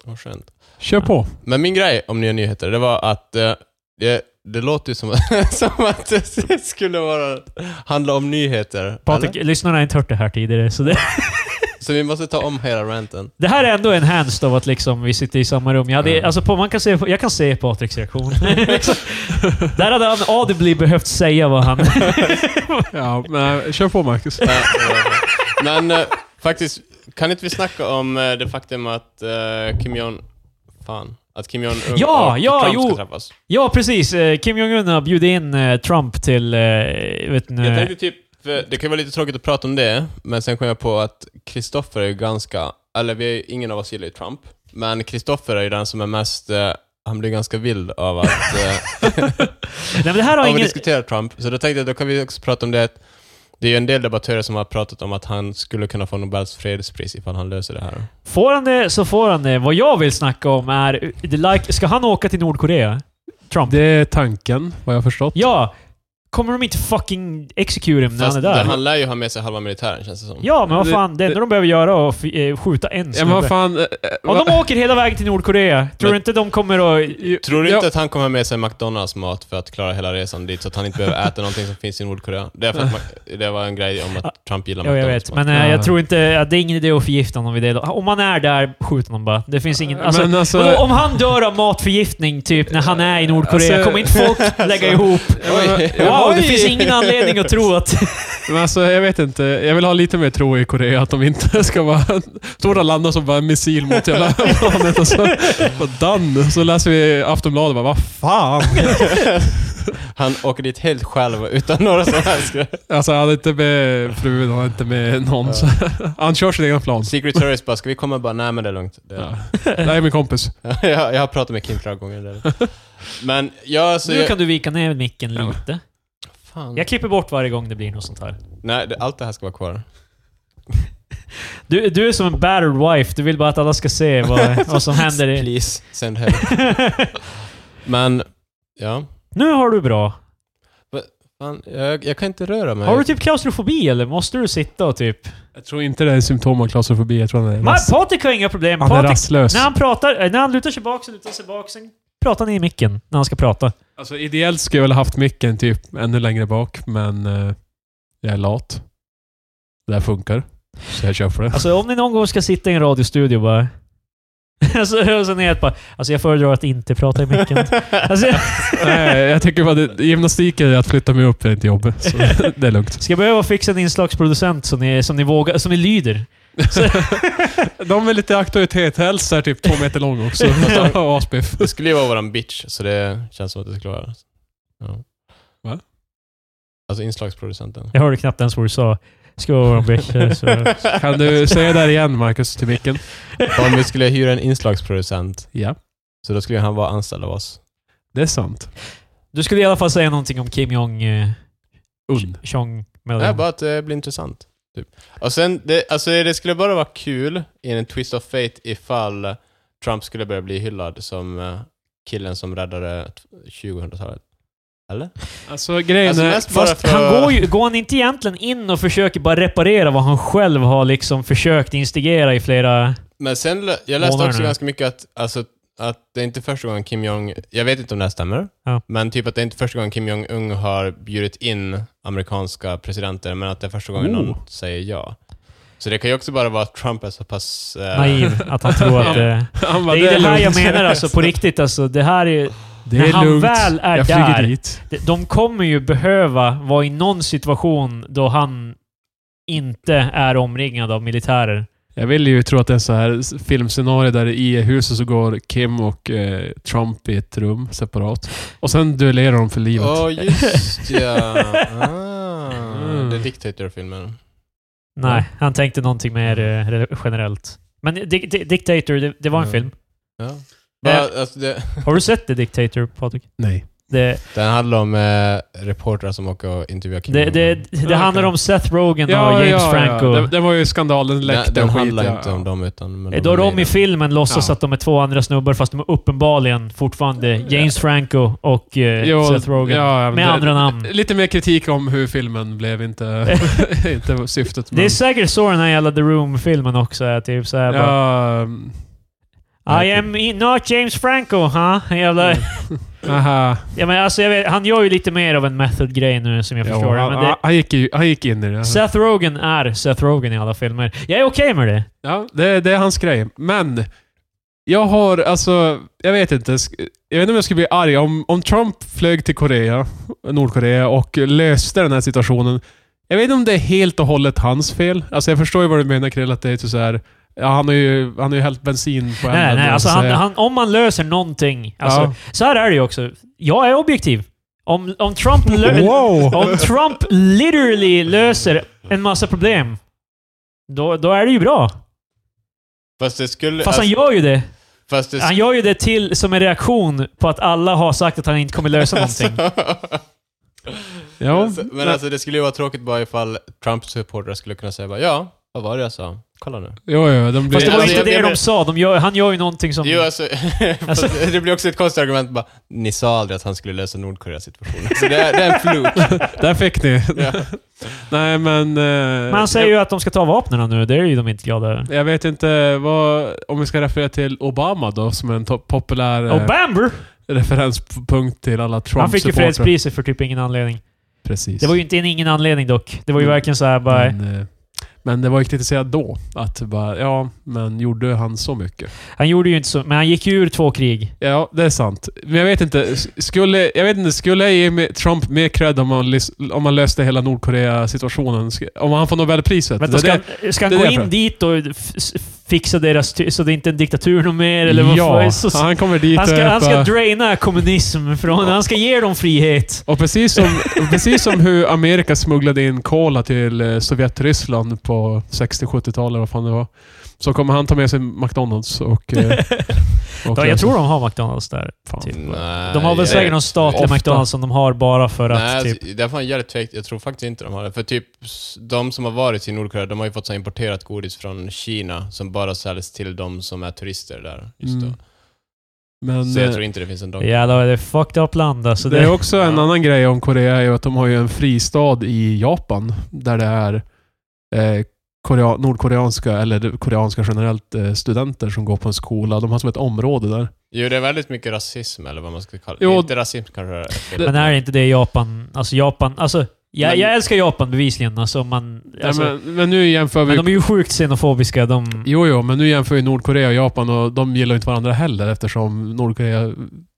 Speaker 3: Vad skönt.
Speaker 1: Kör på.
Speaker 3: Men min grej om nya nyheter, det var att eh, det, det låter ju som, som att det skulle vara, handla om nyheter.
Speaker 2: Patrik,
Speaker 3: eller?
Speaker 2: lyssnarna har inte hört det här tidigare. Så det,
Speaker 3: Så vi måste ta om hela ranten.
Speaker 2: det här är ändå en hands av att liksom vi sitter i samma rum. Jag, hade,
Speaker 3: Mm.
Speaker 2: alltså på, man kan se, jag kan se Patriks reaktion. Liksom. Där hade han audibly behövt säga vad han...
Speaker 1: Ja, men, kör på Marcus.
Speaker 3: Eh, Men eh, faktiskt, kan inte vi snacka om eh, det faktum att eh, Kim Jong... Fan. Att Kim Jong Un
Speaker 2: Ja,
Speaker 3: och
Speaker 2: ja,
Speaker 3: Trump
Speaker 2: jo.
Speaker 3: ska träffas.
Speaker 2: Ja, precis. Eh, Kim Jong-Un har bjudit in eh, Trump till... eh, Vet ni,
Speaker 3: Jag tänkte typ, för det kan vara lite tråkigt att prata om det, men sen kom jag på att Kristoffer är ju ganska, eller vi är, ju- ingen av oss gillar ju Trump, men Kristoffer är ju den som är mest, eh, han blir ganska vild av att, eh,
Speaker 2: nej, men det här
Speaker 3: av
Speaker 2: har
Speaker 3: att
Speaker 2: ingen...
Speaker 3: diskutera Trump. Så då tänkte jag, då kan vi också prata om det att det är ju en del debattörer som har pratat om att han skulle kunna få Nobels fredspris ifall han löser det här.
Speaker 2: Får han det så får han det. Vad jag vill snacka om är... The like, ska han åka till Nordkorea? Trump?
Speaker 1: Det är tanken, vad jag förstått.
Speaker 2: Ja! Kommer de inte fucking execute him när
Speaker 3: Fast
Speaker 2: han är där?
Speaker 3: han lär ju ha med sig halva militären känns det som.
Speaker 2: Ja, men vad
Speaker 1: Det-
Speaker 2: fan. Det enda de behöver göra är att f- eh, skjuta en
Speaker 1: Ja, men vad
Speaker 2: snubbe.
Speaker 1: fan. eh, eh,
Speaker 2: Om
Speaker 1: vad-
Speaker 2: de åker hela vägen till Nordkorea, tror du
Speaker 3: Men-
Speaker 2: inte de kommer att...
Speaker 3: Tror du
Speaker 1: Ja.
Speaker 3: inte att han kommer ha med sig McDonalds-mat för att klara hela resan dit, så att han inte behöver äta någonting som finns i Nordkorea? Det, är för att Ma- det var en grej om att Trump gillar
Speaker 2: Ja, jag vet.
Speaker 3: McDonalds-mat.
Speaker 2: Men eh,
Speaker 1: Ja.
Speaker 2: jag tror inte... att det är ingen idé att förgifta honom vid det. Om man är där, skjut honom bara. Det finns ingen... Alltså,
Speaker 1: men alltså,
Speaker 2: vadå, om han dör av matförgiftning typ när han är i Nordkorea,
Speaker 1: Alltså-
Speaker 2: kommer inte folk lägga ihop?
Speaker 3: Oj.
Speaker 2: Wow, det
Speaker 3: Oj.
Speaker 2: finns ingen anledning att tro att...
Speaker 1: men alltså, jag vet inte. Jag vill ha lite mer tro i Korea att de inte ska vara... Stora landa som bara en missil mot hela planet och så... Bara done! Så läser vi Aftonbladet och bara, vad fan?
Speaker 3: Han åker dit helt själv utan några som helst grejer.
Speaker 1: Alltså, han är inte med frun, han är inte med någon. Så, han kör sitt egna plan.
Speaker 3: Secret Service bara, ska vi komma? Bara, nej men det är lugnt. Det
Speaker 1: Ja. Det här är min kompis.
Speaker 3: jag, jag har pratat med Kim flera gånger. Där. Men jag... Så
Speaker 2: Nu
Speaker 3: jag
Speaker 2: kan du vika ner micken
Speaker 1: Ja. Mm.
Speaker 2: lite.
Speaker 3: fan.
Speaker 2: Jag klipper bort varje gång det blir något sånt här.
Speaker 3: Nej, det, allt det här ska vara kvar.
Speaker 2: Du, du är som en battered wife. Du vill bara att alla ska se vad, vad som händer. I...
Speaker 3: Please, send help. Men, ja.
Speaker 2: nu har du bra.
Speaker 3: Fan, jag, jag kan inte röra mig.
Speaker 2: Har du typ klaustrofobi eller måste du sitta och typ...
Speaker 1: Jag tror inte det är symptom av klaustrofobi. Jag tror han är,
Speaker 2: Man,
Speaker 1: rass,
Speaker 2: Patrik har inga problem.
Speaker 1: han är
Speaker 2: Patrik,
Speaker 1: rastlös.
Speaker 2: när han pratar, eh, när han lutar sig bak så lutar han sig bak. Sen pratar han i micken när han ska prata.
Speaker 1: Alltså, ideellt skulle jag väl haft micken typ ännu längre bak, men eh, jag är lat. Det här funkar. Så jag kör för det.
Speaker 2: Alltså om ni någon gång ska sitta i en radiostudio bara... Alltså, och sen är det bara... Alltså jag föredrar att inte prata i micken. Alltså,
Speaker 1: Nej, jag tycker bara det, gymnastiken är att flytta mig upp, det är inte jobb. Så det är lugnt.
Speaker 2: ska jag behöva fixa en inslagsproducent som ni, som ni vågar, som ni lyder?
Speaker 1: De är lite auktoritet. Helst är typ två meter lång också. Och asbiff.
Speaker 3: Det skulle ju vara våran bitch, så det känns som att det skulle vara... Ja.
Speaker 1: Va?
Speaker 3: Alltså inslagsproducenten.
Speaker 2: Jag hörde knappt ens vad du sa. Ska vara vår bitch. Så.
Speaker 1: Kan du säga det här igen, Marcus, till micken?
Speaker 3: Om vi skulle hyra en inslagsproducent,
Speaker 1: Ja,
Speaker 3: så då skulle han vara anställd av oss.
Speaker 1: det är sant.
Speaker 2: Du skulle i alla fall säga någonting om Kim Jong... Eh,
Speaker 1: Und.
Speaker 2: Chong...
Speaker 3: Nej, bara att det blir intressant. Typ. Och sen, det, alltså det skulle bara vara kul i en twist of fate ifall Trump skulle börja bli hyllad som eh, killen som räddade t- 2000-talet. Eller?
Speaker 1: Alltså grejen
Speaker 3: Alltså,
Speaker 1: är...
Speaker 3: mest bara
Speaker 2: Fast
Speaker 3: för...
Speaker 2: han går, ju, går han inte egentligen in och försöker bara reparera vad han själv har liksom försökt instigera i flera...
Speaker 3: Men sen, lä- jag läste
Speaker 2: Månader
Speaker 3: också
Speaker 2: nu.
Speaker 3: ganska mycket att, alltså, att det är inte första gången Kim Jong... Jag vet inte om det här stämmer,
Speaker 2: Ja.
Speaker 3: men typ att det är inte första gången Kim Jong-Un har bjudit in amerikanska presidenter, men att det är första gången
Speaker 1: Oh.
Speaker 3: någon säger ja. Så det kan ju också bara vara att Trump är så pass... eh,
Speaker 2: Naiv. Att han tror att... Eh,
Speaker 1: Han bara,
Speaker 2: det är det här jag
Speaker 1: lugnt."
Speaker 2: menar alltså, på riktigt alltså. Det här är
Speaker 1: Det
Speaker 2: När
Speaker 1: är
Speaker 2: han
Speaker 1: lugnt.
Speaker 2: väl är
Speaker 1: jag flyger
Speaker 2: där.
Speaker 1: dit.
Speaker 2: de- De kommer ju behöva vara i någon situation då han inte är omringad av militärer.
Speaker 1: Jag vill ju tro att det är så här filmscenario där i huset så går Kim och eh, Trump i ett rum separat. Och sen duellerar de för livet.
Speaker 3: Ja, just ja. Ah,
Speaker 1: Mm.
Speaker 3: Det är Dictator-filmen.
Speaker 2: Nej, han tänkte någonting mer eh,
Speaker 1: Mm.
Speaker 2: re- generellt. Men Di- Di- Dictator, det, det var en
Speaker 3: Ja.
Speaker 2: film.
Speaker 3: Ja. Bara, alltså det,
Speaker 2: Har du sett The Dictator, Patrik?
Speaker 1: Nej.
Speaker 2: Det,
Speaker 3: den handlar om eh, reportrar som åker och intervjuar Kim
Speaker 2: det,
Speaker 3: Jong-Un.
Speaker 2: det, det
Speaker 1: Ja,
Speaker 2: handlar
Speaker 1: okej.
Speaker 2: om Seth Rogen och James Franco.
Speaker 1: Den, den var ju skandalen,
Speaker 3: Nej,
Speaker 1: läckte
Speaker 3: den
Speaker 1: och skit,
Speaker 3: handlar
Speaker 1: ja.
Speaker 3: inte om dem, utan... men
Speaker 2: Eh, Då
Speaker 3: är
Speaker 2: de
Speaker 3: i
Speaker 2: i
Speaker 3: den.
Speaker 2: filmen låtsas
Speaker 1: Ja.
Speaker 2: att de är två andra snubbar, fast de är uppenbarligen fortfarande James Franco och eh,
Speaker 1: Jo,
Speaker 2: Seth Rogen.
Speaker 1: ja, men
Speaker 2: med
Speaker 1: det-
Speaker 2: andra namn.
Speaker 1: Lite mer kritik om hur filmen blev, inte, inte syftet.
Speaker 2: Det är säkert så den här jävla The Room-filmen också är. Typ så här bara,
Speaker 1: ja,
Speaker 2: I am i- not James Franco, huh? Jävla,
Speaker 1: Mm. aha.
Speaker 2: ja, men alltså, jag vet, han gör ju lite mer av en method-grej nu som jag
Speaker 1: Jo,
Speaker 2: förstår det,
Speaker 1: han,
Speaker 2: men det.
Speaker 1: han, gick, ju- han gick in i det.
Speaker 2: Seth Rogen är Seth Rogen i alla filmer. Jag är okej med det.
Speaker 1: Ja, det, det är hans grej. Men jag har, alltså, jag vet inte. sk- Jag vet inte om jag skulle bli arg. Om, om Trump flög till Korea, Nordkorea och löste den här situationen. Jag vet inte om det är helt och hållet hans fel. Alltså jag förstår ju vad du menar Krill, att det är typ så här, ja, han har ju, han har ju hällt bensin på
Speaker 2: Nej,
Speaker 1: elden,
Speaker 2: nej,
Speaker 1: jag
Speaker 2: alltså
Speaker 1: ska
Speaker 2: han,
Speaker 1: säga.
Speaker 2: han, om man löser någonting. Alltså,
Speaker 1: Ja.
Speaker 2: Så här är det ju också. Jag är objektiv. Om, om, Trump lö-
Speaker 1: Wow!
Speaker 2: om Trump literally löser en massa problem, då, då är det ju bra.
Speaker 3: Fast det skulle...
Speaker 2: Fast han
Speaker 3: alltså,
Speaker 2: gör ju det.
Speaker 3: fast det
Speaker 2: Han gör ju det till som en reaktion på att alla har sagt att han inte kommer lösa någonting.
Speaker 1: Ja,
Speaker 3: Alltså, men
Speaker 1: men,
Speaker 3: alltså det skulle ju vara tråkigt bara ifall Trumps supportrar skulle kunna säga bara ja, vad var det jag sa? Kolla nu.
Speaker 1: jo, jo, de blir,
Speaker 2: Fast det var inte
Speaker 3: Alltså, jag-
Speaker 2: det
Speaker 3: jag
Speaker 2: de
Speaker 3: men-
Speaker 2: sa. De gör, han gör ju någonting som...
Speaker 3: Jo, alltså,
Speaker 2: Alltså-
Speaker 3: fast det blir också ett konstigt argument bara, ni sa aldrig att han skulle lösa Nordkoreas situation. Så det är, det är en fluk.
Speaker 1: Där fick ni.
Speaker 3: Ja.
Speaker 1: Nej, men... eh,
Speaker 2: Men han säger ju att de ska ta vapnen nu. Det är ju de inte glada över.
Speaker 1: Jag vet inte vad, om vi ska referera till Obama då, som är en to- populär eh,
Speaker 2: Och Bamber!
Speaker 1: referenspunkt till alla Trump-supportrar.
Speaker 2: Han fick ju fredspriset för typ ingen anledning.
Speaker 1: Precis.
Speaker 2: Det var ju inte en ingen anledning dock. Det var ju
Speaker 1: Mm.
Speaker 2: verkligen så här bara...
Speaker 1: men, eh, men det var ju kritiserat då. Att bara, ja, men gjorde han så mycket?
Speaker 2: Han gjorde ju inte så... Men han gick ju ur två krig.
Speaker 1: Ja, det är sant. Men jag vet inte, s- skulle jag, vet inte, skulle jag ge mig- Trump mer cred om han, lys- om han löste hela Nordkorea-situationen? Sk- Om han får Nobelpriset?
Speaker 2: Vänta,
Speaker 1: Det-
Speaker 2: ska,
Speaker 1: det-
Speaker 2: han- ska han
Speaker 1: det är
Speaker 2: gå
Speaker 1: det jag
Speaker 2: in dit och f- s- fixa deras... Ty- så det är inte är en diktatur någon mer? Eller vad
Speaker 1: ja,
Speaker 2: fan? Så-
Speaker 1: han kommer dit
Speaker 2: han ska,
Speaker 1: och
Speaker 2: han ska
Speaker 1: bara-
Speaker 2: draina kommunism från... Han ska ge dem frihet.
Speaker 1: Och precis som, precis som hur Amerika smugglade in kola till eh, Sovjetryssland på 60-70-talet, vad fan det var. Så kommer han ta med sig McDonalds och... eh,
Speaker 2: Ja, jag tror de har McDonalds där.
Speaker 1: Fan.
Speaker 2: Typ.
Speaker 3: Nej,
Speaker 2: De har väl
Speaker 3: jag-
Speaker 2: säkert någon statlig
Speaker 1: Ofta.
Speaker 2: McDonalds som de har bara för att
Speaker 3: Nej,
Speaker 2: typ...
Speaker 3: alltså, det är fan jävligt tvekt. Jag tror faktiskt inte de har det. För typ, s- de som har varit i Nordkorea, de har ju fått så här importerat godis från Kina som bara säljs till de som är turister där just då.
Speaker 1: Mm. Men
Speaker 3: Så jag
Speaker 1: eh,
Speaker 3: tror inte det finns en Donken.
Speaker 2: Jävlar, det är fucked up land alltså.
Speaker 1: det är
Speaker 2: Det,
Speaker 1: också en
Speaker 3: Ja.
Speaker 1: annan grej om Korea är ju att de har ju en fristad i Japan där det är eh, korea, nordkoreanska, eller koreanska generellt, eh, studenter som går på en skola. De har som ett område där.
Speaker 3: Jo, det är väldigt mycket rasism eller vad man ska kalla det.
Speaker 1: Jo,
Speaker 3: inte rasism kanske det är.
Speaker 2: men är inte det Japan? Alltså Japan... Alltså, jag,
Speaker 3: Men-
Speaker 2: jag älskar Japan bevisligen. Alltså, man, alltså,
Speaker 1: Nej, men, men nu jämför vi...
Speaker 2: men de är ju sjukt xenofobiska. De,
Speaker 1: Jo, jo, men nu jämför ju Nordkorea och Japan och de gillar ju inte varandra heller eftersom Nordkorea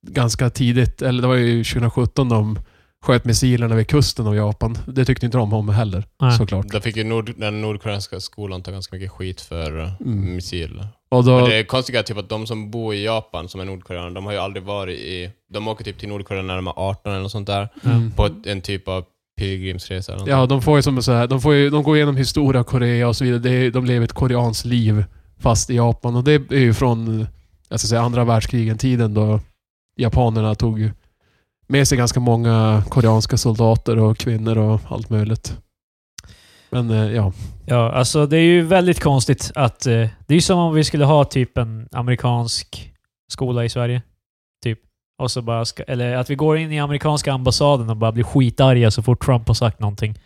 Speaker 1: ganska tidigt, eller det var ju 2017 de sköt missilerna vid kusten av Japan. Det tyckte inte de om heller,
Speaker 2: Nej.
Speaker 1: såklart.
Speaker 3: Då fick ju nord, den nordkoreanska skolan ta ganska mycket skit för eh,
Speaker 1: Mm.
Speaker 3: missiler.
Speaker 1: Och då,
Speaker 3: Och det konstiga är typ att de som bor i Japan, som är nordkoreaner, de har ju aldrig varit i... De åker typ till Nordkorea när de är 18 eller något sånt där.
Speaker 1: mm.
Speaker 3: På ett, en typ av pilgrimsresa eller något.
Speaker 1: Ja, de får ju som så här, de, får ju, de går igenom historia av Korea och så vidare. Det är, de lever ett koreanskt liv fast i Japan. Och det är ju från jag ska säga, andra världskrigen-tiden då japanerna tog med sig ganska många koreanska soldater och kvinnor och allt möjligt. Men eh, ja,
Speaker 2: Ja, alltså det är ju väldigt konstigt att... Eh, det är ju som om vi skulle ha typ en amerikansk skola i Sverige. Typ. Och så bara ska, eller att vi går in i amerikanska ambassaden och bara blir skitarga så fort Trump har sagt någonting.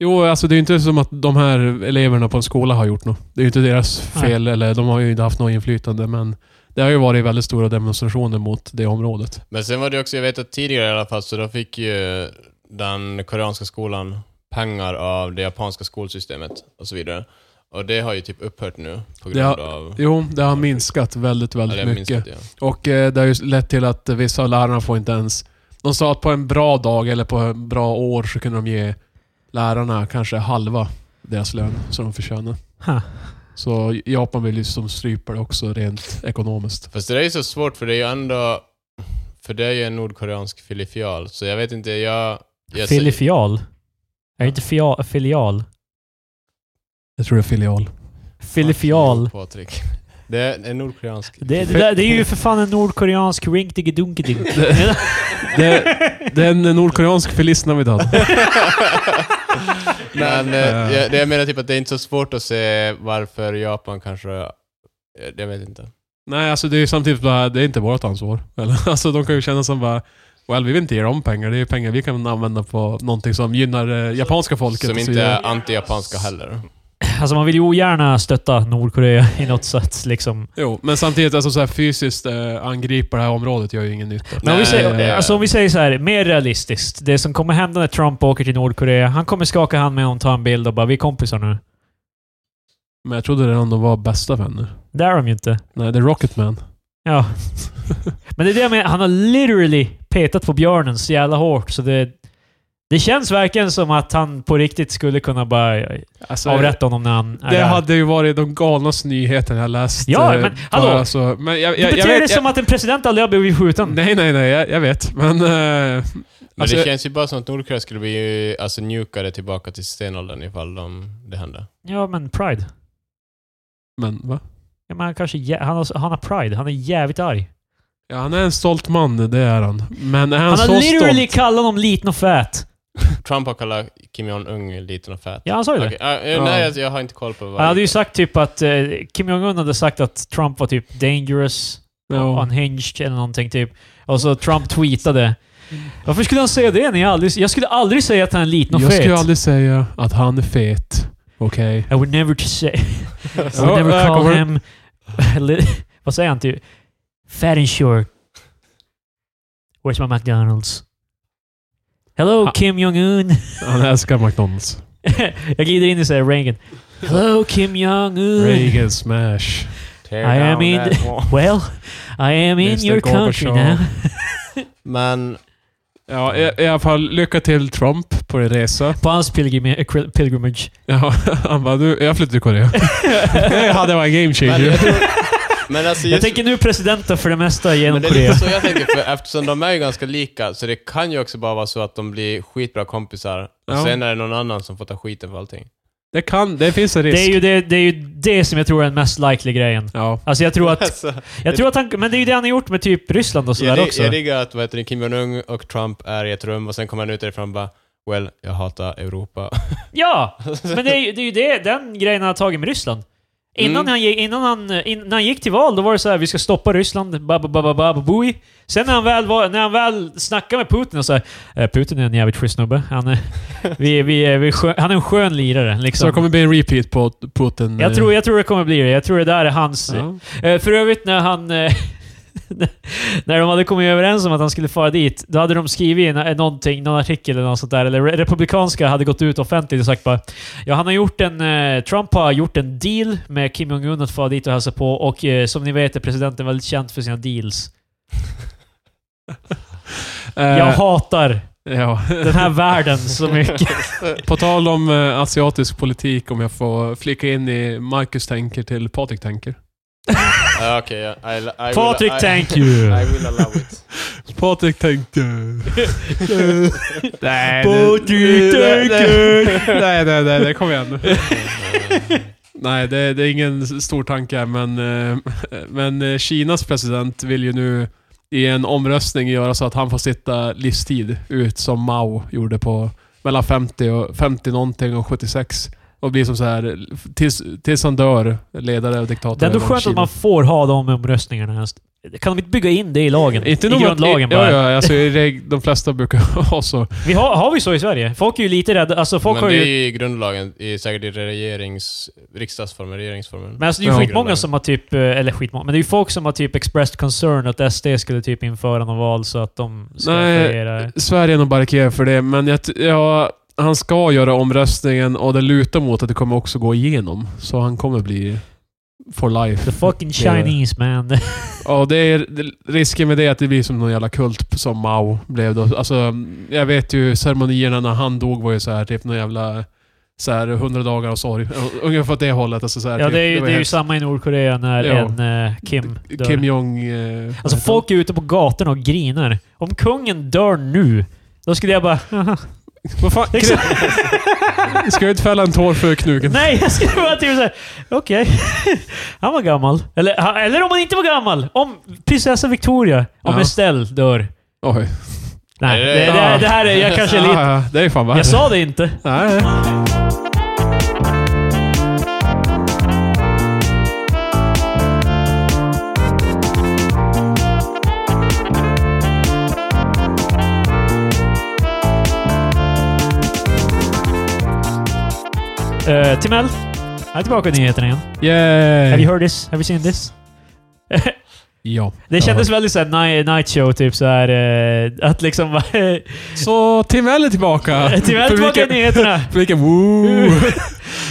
Speaker 1: Jo, alltså det är ju inte som att de här eleverna på en skola har gjort något. Det är ju inte deras fel, eller de har ju inte haft något inflytande, men det har ju varit väldigt stora demonstrationer mot det området.
Speaker 3: Men sen var det också, jag vet att tidigare i alla fall, så då fick ju den koreanska skolan pengar av det japanska skolsystemet och så vidare. Och det har ju typ upphört nu på
Speaker 1: Det
Speaker 3: grund
Speaker 1: har-
Speaker 3: av...
Speaker 1: Jo, det har minskat väldigt, väldigt
Speaker 3: Eller jag minns
Speaker 1: mycket.
Speaker 3: inte, ja.
Speaker 1: Och eh, det har ju lett till att vissa av lärarna får inte ens... De sa att på en bra dag eller på en bra år så kunde de ge lärarna kanske halva deras lön som de förtjänar.
Speaker 2: Huh.
Speaker 1: Så Japan vill ju som strypa det också rent ekonomiskt.
Speaker 3: Fast det där är ju så svårt för det är ju ändå... För det är ju en nordkoreansk filial, så jag vet inte, jag... jag
Speaker 2: Filifial? Är det inte fia, filial?
Speaker 1: Jag tror det är filial.
Speaker 2: Filifial.
Speaker 3: Patrik. Det är en nordkoreansk...
Speaker 2: Det, det, där, det är ju för fan en nordkoreansk rinkedigidunkidink.
Speaker 1: Det, det är en nordkoreansk Feliz Navidad.
Speaker 3: Men eh,
Speaker 1: Eh.
Speaker 3: jag, det jag menar typ att det är inte så svårt att se varför Japan kanske... Jag, jag vet inte.
Speaker 1: Nej, alltså det är ju samtidigt bara, det är inte vårt ansvar. Eller, alltså de kan ju känna som bara, well, vi vill inte ge dem pengar. Det är ju pengar vi kan använda på någonting som gynnar eh, japanska folket.
Speaker 3: Som
Speaker 1: och så
Speaker 3: inte
Speaker 1: vidare.
Speaker 3: är anti-japanska heller.
Speaker 2: Alltså man vill ju ogärna stötta Nordkorea i något sätt liksom.
Speaker 1: Jo, men samtidigt, alltså så här fysiskt eh, angripa det här området gör ju ingen nytta.
Speaker 2: Men om vi,
Speaker 3: Nej, det
Speaker 2: säger,
Speaker 3: är-
Speaker 2: alltså om vi säger så här, mer realistiskt. Det som kommer hända när Trump åker till Nordkorea, han kommer skaka hand med honom, ta en bild och bara “Vi är kompisar nu”.
Speaker 1: Men jag trodde redan de var bästa vänner.
Speaker 2: Det är de ju inte.
Speaker 1: Nej, det är Rocketman.
Speaker 2: Ja. Men det är det jag menar, han har literally petat på björnen så jävla hårt så det... Det känns verkligen som att han på riktigt skulle kunna bara
Speaker 1: Alltså,
Speaker 2: avrätta honom när han är
Speaker 1: Det
Speaker 2: där.
Speaker 1: hade ju varit de galnaste nyheterna jag läst.
Speaker 2: Ja,
Speaker 1: eh,
Speaker 2: men
Speaker 1: bara,
Speaker 2: hallå!
Speaker 1: Alltså, men jag,
Speaker 2: Du
Speaker 1: jag, jag
Speaker 2: beter dig
Speaker 1: vet,
Speaker 2: som
Speaker 1: jag,
Speaker 2: att en president aldrig har blivit skjuten.
Speaker 1: Nej, nej, nej. Jag, jag vet. Men... eh,
Speaker 3: Men
Speaker 1: alltså,
Speaker 3: det känns ju bara som att Nordkorea skulle bli alltså, njukare tillbaka till stenåldern ifall de, det hände.
Speaker 2: Ja, men pride.
Speaker 1: men va?
Speaker 2: Ja, men han, kanske, jä- han, har, han har pride. Han är jävligt arg.
Speaker 1: Ja, han är en stolt man, det är han. Men är han,
Speaker 2: Han
Speaker 1: så
Speaker 2: har literally
Speaker 1: stolt?
Speaker 2: kallat honom liten och fät.
Speaker 3: Trump har kallat Kim Jong-Un liten och fät.
Speaker 2: Ja, han sa ju det.
Speaker 3: Okej, ja, eh,
Speaker 1: Ja.
Speaker 3: Nej, jag, jag har inte koll på vad...
Speaker 2: Han hade ju sagt typ att eh, Kim Jong-Un hade sagt att Trump var typ dangerous,
Speaker 1: Ja.
Speaker 2: unhinged eller någonting typ. Och så Trump tweetade. Varför skulle han säga det? När jag, aldrig, jag skulle aldrig säga att han är liten och
Speaker 1: Jag
Speaker 2: fet.
Speaker 1: skulle aldrig säga att han är fet. Okej?
Speaker 2: I would never say... I
Speaker 1: Ja,
Speaker 2: would never
Speaker 1: där
Speaker 2: call
Speaker 1: kommer-
Speaker 2: him... li- Vad säger han typ? Fat and short. Where's my McDonalds? Hello
Speaker 1: Ha-
Speaker 2: Kim Jong-Un.
Speaker 1: Han älskar McDonalds.
Speaker 2: jag glider in och säger Reagan. Hello Kim Jong-Un.
Speaker 1: Reagan smash.
Speaker 3: Tear
Speaker 2: I am
Speaker 3: down
Speaker 2: in-
Speaker 3: that wall.
Speaker 2: Well, I am in
Speaker 1: Mr.
Speaker 2: your country
Speaker 1: Gorbachev.
Speaker 2: now.
Speaker 3: Men
Speaker 1: Ja, i, i alla fall lycka till Trump på din resa.
Speaker 2: På hans pilgrim- pilgrimage.
Speaker 1: Ja, han bara, du, jag flyttar till Korea. det hade varit en game
Speaker 3: Men,
Speaker 1: changer.
Speaker 3: jag, tror, men alltså
Speaker 2: Jag
Speaker 3: just,
Speaker 2: tänker nu presidenten för det mesta
Speaker 3: men
Speaker 2: genom
Speaker 3: det är lite
Speaker 2: Korea.
Speaker 3: så jag tänker, för eftersom de är ju ganska lika, så det kan ju också bara vara så att de blir skitbra kompisar, och
Speaker 1: Ja.
Speaker 3: sen är det någon annan som får ta skiten för allting.
Speaker 1: Det kan, det finns en risk.
Speaker 2: Det är, ju det, det är ju det som jag tror är den mest likely grejen.
Speaker 1: Ja.
Speaker 2: Alltså jag tror att...
Speaker 3: Alltså,
Speaker 2: Jag tror att han, men det är ju det han har gjort med typ Ryssland och sådär
Speaker 3: jag,
Speaker 2: också.
Speaker 3: jag diggar att vad heter det, Kim Jong-Un och Trump är i ett rum och sen kommer han ut därifrån och bara Well, jag hatar Europa.
Speaker 2: Ja! Men det är, ju- det är ju det, den grejen han har tagit med Ryssland. Innan,
Speaker 3: Mm.
Speaker 2: han, gick- innan han, in, när han gick till val, då var det så här, vi ska stoppa Ryssland, bababababababui. Sen när han väl, var, när han väl snackade med Putin och så här, "Eh, Putin är en jävligt schysst snubbe. Han är, vi, vi, är- vi är skö- han är en skön lirare.
Speaker 1: Så
Speaker 2: Liksom.
Speaker 1: det kommer bli en repeat på Putin. eh,
Speaker 2: jag, tror, jag tror det kommer bli det. Jag tror det där är hans...
Speaker 1: Mm. Ja.
Speaker 2: Eh, För övrigt när han... eh, när de hade kommit överens om att han skulle fara dit, då hade de skrivit in, eh, någonting, någon artikel eller något sånt där. Eller re- republikanska hade gått ut offentligt och sagt bara Ja, han har gjort en... eh, Trump har gjort en deal med Kim Jong-Un att fara dit och hälsa på och eh, som ni vet är presidenten väldigt känd för sina deals.
Speaker 1: Eh,
Speaker 2: Jag hatar
Speaker 1: ja.
Speaker 2: den här världen så mycket.
Speaker 1: På tal om eh, asiatisk politik, om jag får flika in i Marcus tänker till Patrik tänker.
Speaker 3: Ja, Okej, ja. I, I will-
Speaker 2: Patrik,
Speaker 3: I-
Speaker 2: thank you.
Speaker 3: I will allow it.
Speaker 1: Patrik tänkte... nej,
Speaker 2: Patrik
Speaker 1: nej,
Speaker 2: tänker.
Speaker 1: Nej, nej, nej, nej, kom igen nu. Nej, det, det är ingen stor tanke, men, eh, men eh, Kinas president vill ju nu i en omröstning göra så att han får sitta livstid ut som Mao gjorde på mellan 50 och 50 någonting och 76. Och blir som så här tills, tills han dör, ledare och diktator.
Speaker 2: Det är ändå
Speaker 1: över
Speaker 2: skönt att
Speaker 1: Kina.
Speaker 2: man får ha de omröstningarna. Kan de inte bygga in det i lagen?
Speaker 1: Inte
Speaker 2: I
Speaker 1: nog med att-
Speaker 2: grundlagen bara.
Speaker 1: ja, ja, alltså, i reg- De flesta brukar ha så.
Speaker 2: Vi har, har vi så i Sverige? Folk är ju lite rädda. Alltså folk
Speaker 3: Men
Speaker 2: har
Speaker 3: det är
Speaker 2: ju...
Speaker 3: ju i grundlagen, i, säkert i regerings... Riksdagsformen, regeringsformen.
Speaker 2: Men alltså det är ju
Speaker 1: Ja.
Speaker 2: skitmånga som har typ... eh, Eller skitmånga. Men det är ju folk som har typ expressed concern att SD skulle typ införa något val så att de ska
Speaker 1: Nej.
Speaker 2: regera.
Speaker 1: Sverige är nog barrikader för det, men jag, t- ja, han ska göra omröstningen och det lutar mot att det kommer också gå igenom. Så han kommer bli for life.
Speaker 2: The fucking Chinese man.
Speaker 1: Ja, det är, det- risken med det är att det blir som någon jävla kult som Mao blev då. Alltså, jag vet ju ceremonierna när han dog var ju så här typ någon jävla så här, 100 dagar av sorg. Ungefär åt det hållet. Alltså, så här,
Speaker 2: ja,
Speaker 1: typ,
Speaker 2: det är, ju-
Speaker 1: var
Speaker 2: det är ju
Speaker 1: helt-
Speaker 2: samma i Nordkorea när
Speaker 1: Ja.
Speaker 2: en eh, Kim dör.
Speaker 1: Kim Jong... Eh, vad
Speaker 2: Alltså
Speaker 1: heter han?
Speaker 2: folk är ute på gatorna och grinar. Om kungen dör nu, då skulle jag bara...
Speaker 1: Vad fan?
Speaker 2: Liksom.
Speaker 1: Ska jag inte fälla en tår för knuken?
Speaker 2: Nej, jag skulle vara typ såhär... Okej. Han var gammal. Eller, han- eller om han inte var gammal. Om prinsessa Victoria, om
Speaker 1: Ja.
Speaker 2: Estelle dör.
Speaker 1: Oj. Ah,
Speaker 2: Nej,
Speaker 3: Nej,
Speaker 2: det,
Speaker 3: det-
Speaker 2: det, det här är... Jag kanske är lite...
Speaker 1: Ja, ja, det är fan värre.
Speaker 2: Jag sa det inte.
Speaker 1: Nej.
Speaker 2: Uh, Timell, jag är tillbaka i nyheterna igen. Have you
Speaker 1: Yay!
Speaker 2: heard this? Have you seen this?
Speaker 1: Ja.
Speaker 2: det kändes väldigt såhär ni- night show, typ såhär... eh, att liksom... bara, eh,
Speaker 1: Så Timell är tillbaka!
Speaker 2: Timell tillbaka i nyheterna! Uh.
Speaker 1: Publiken woo!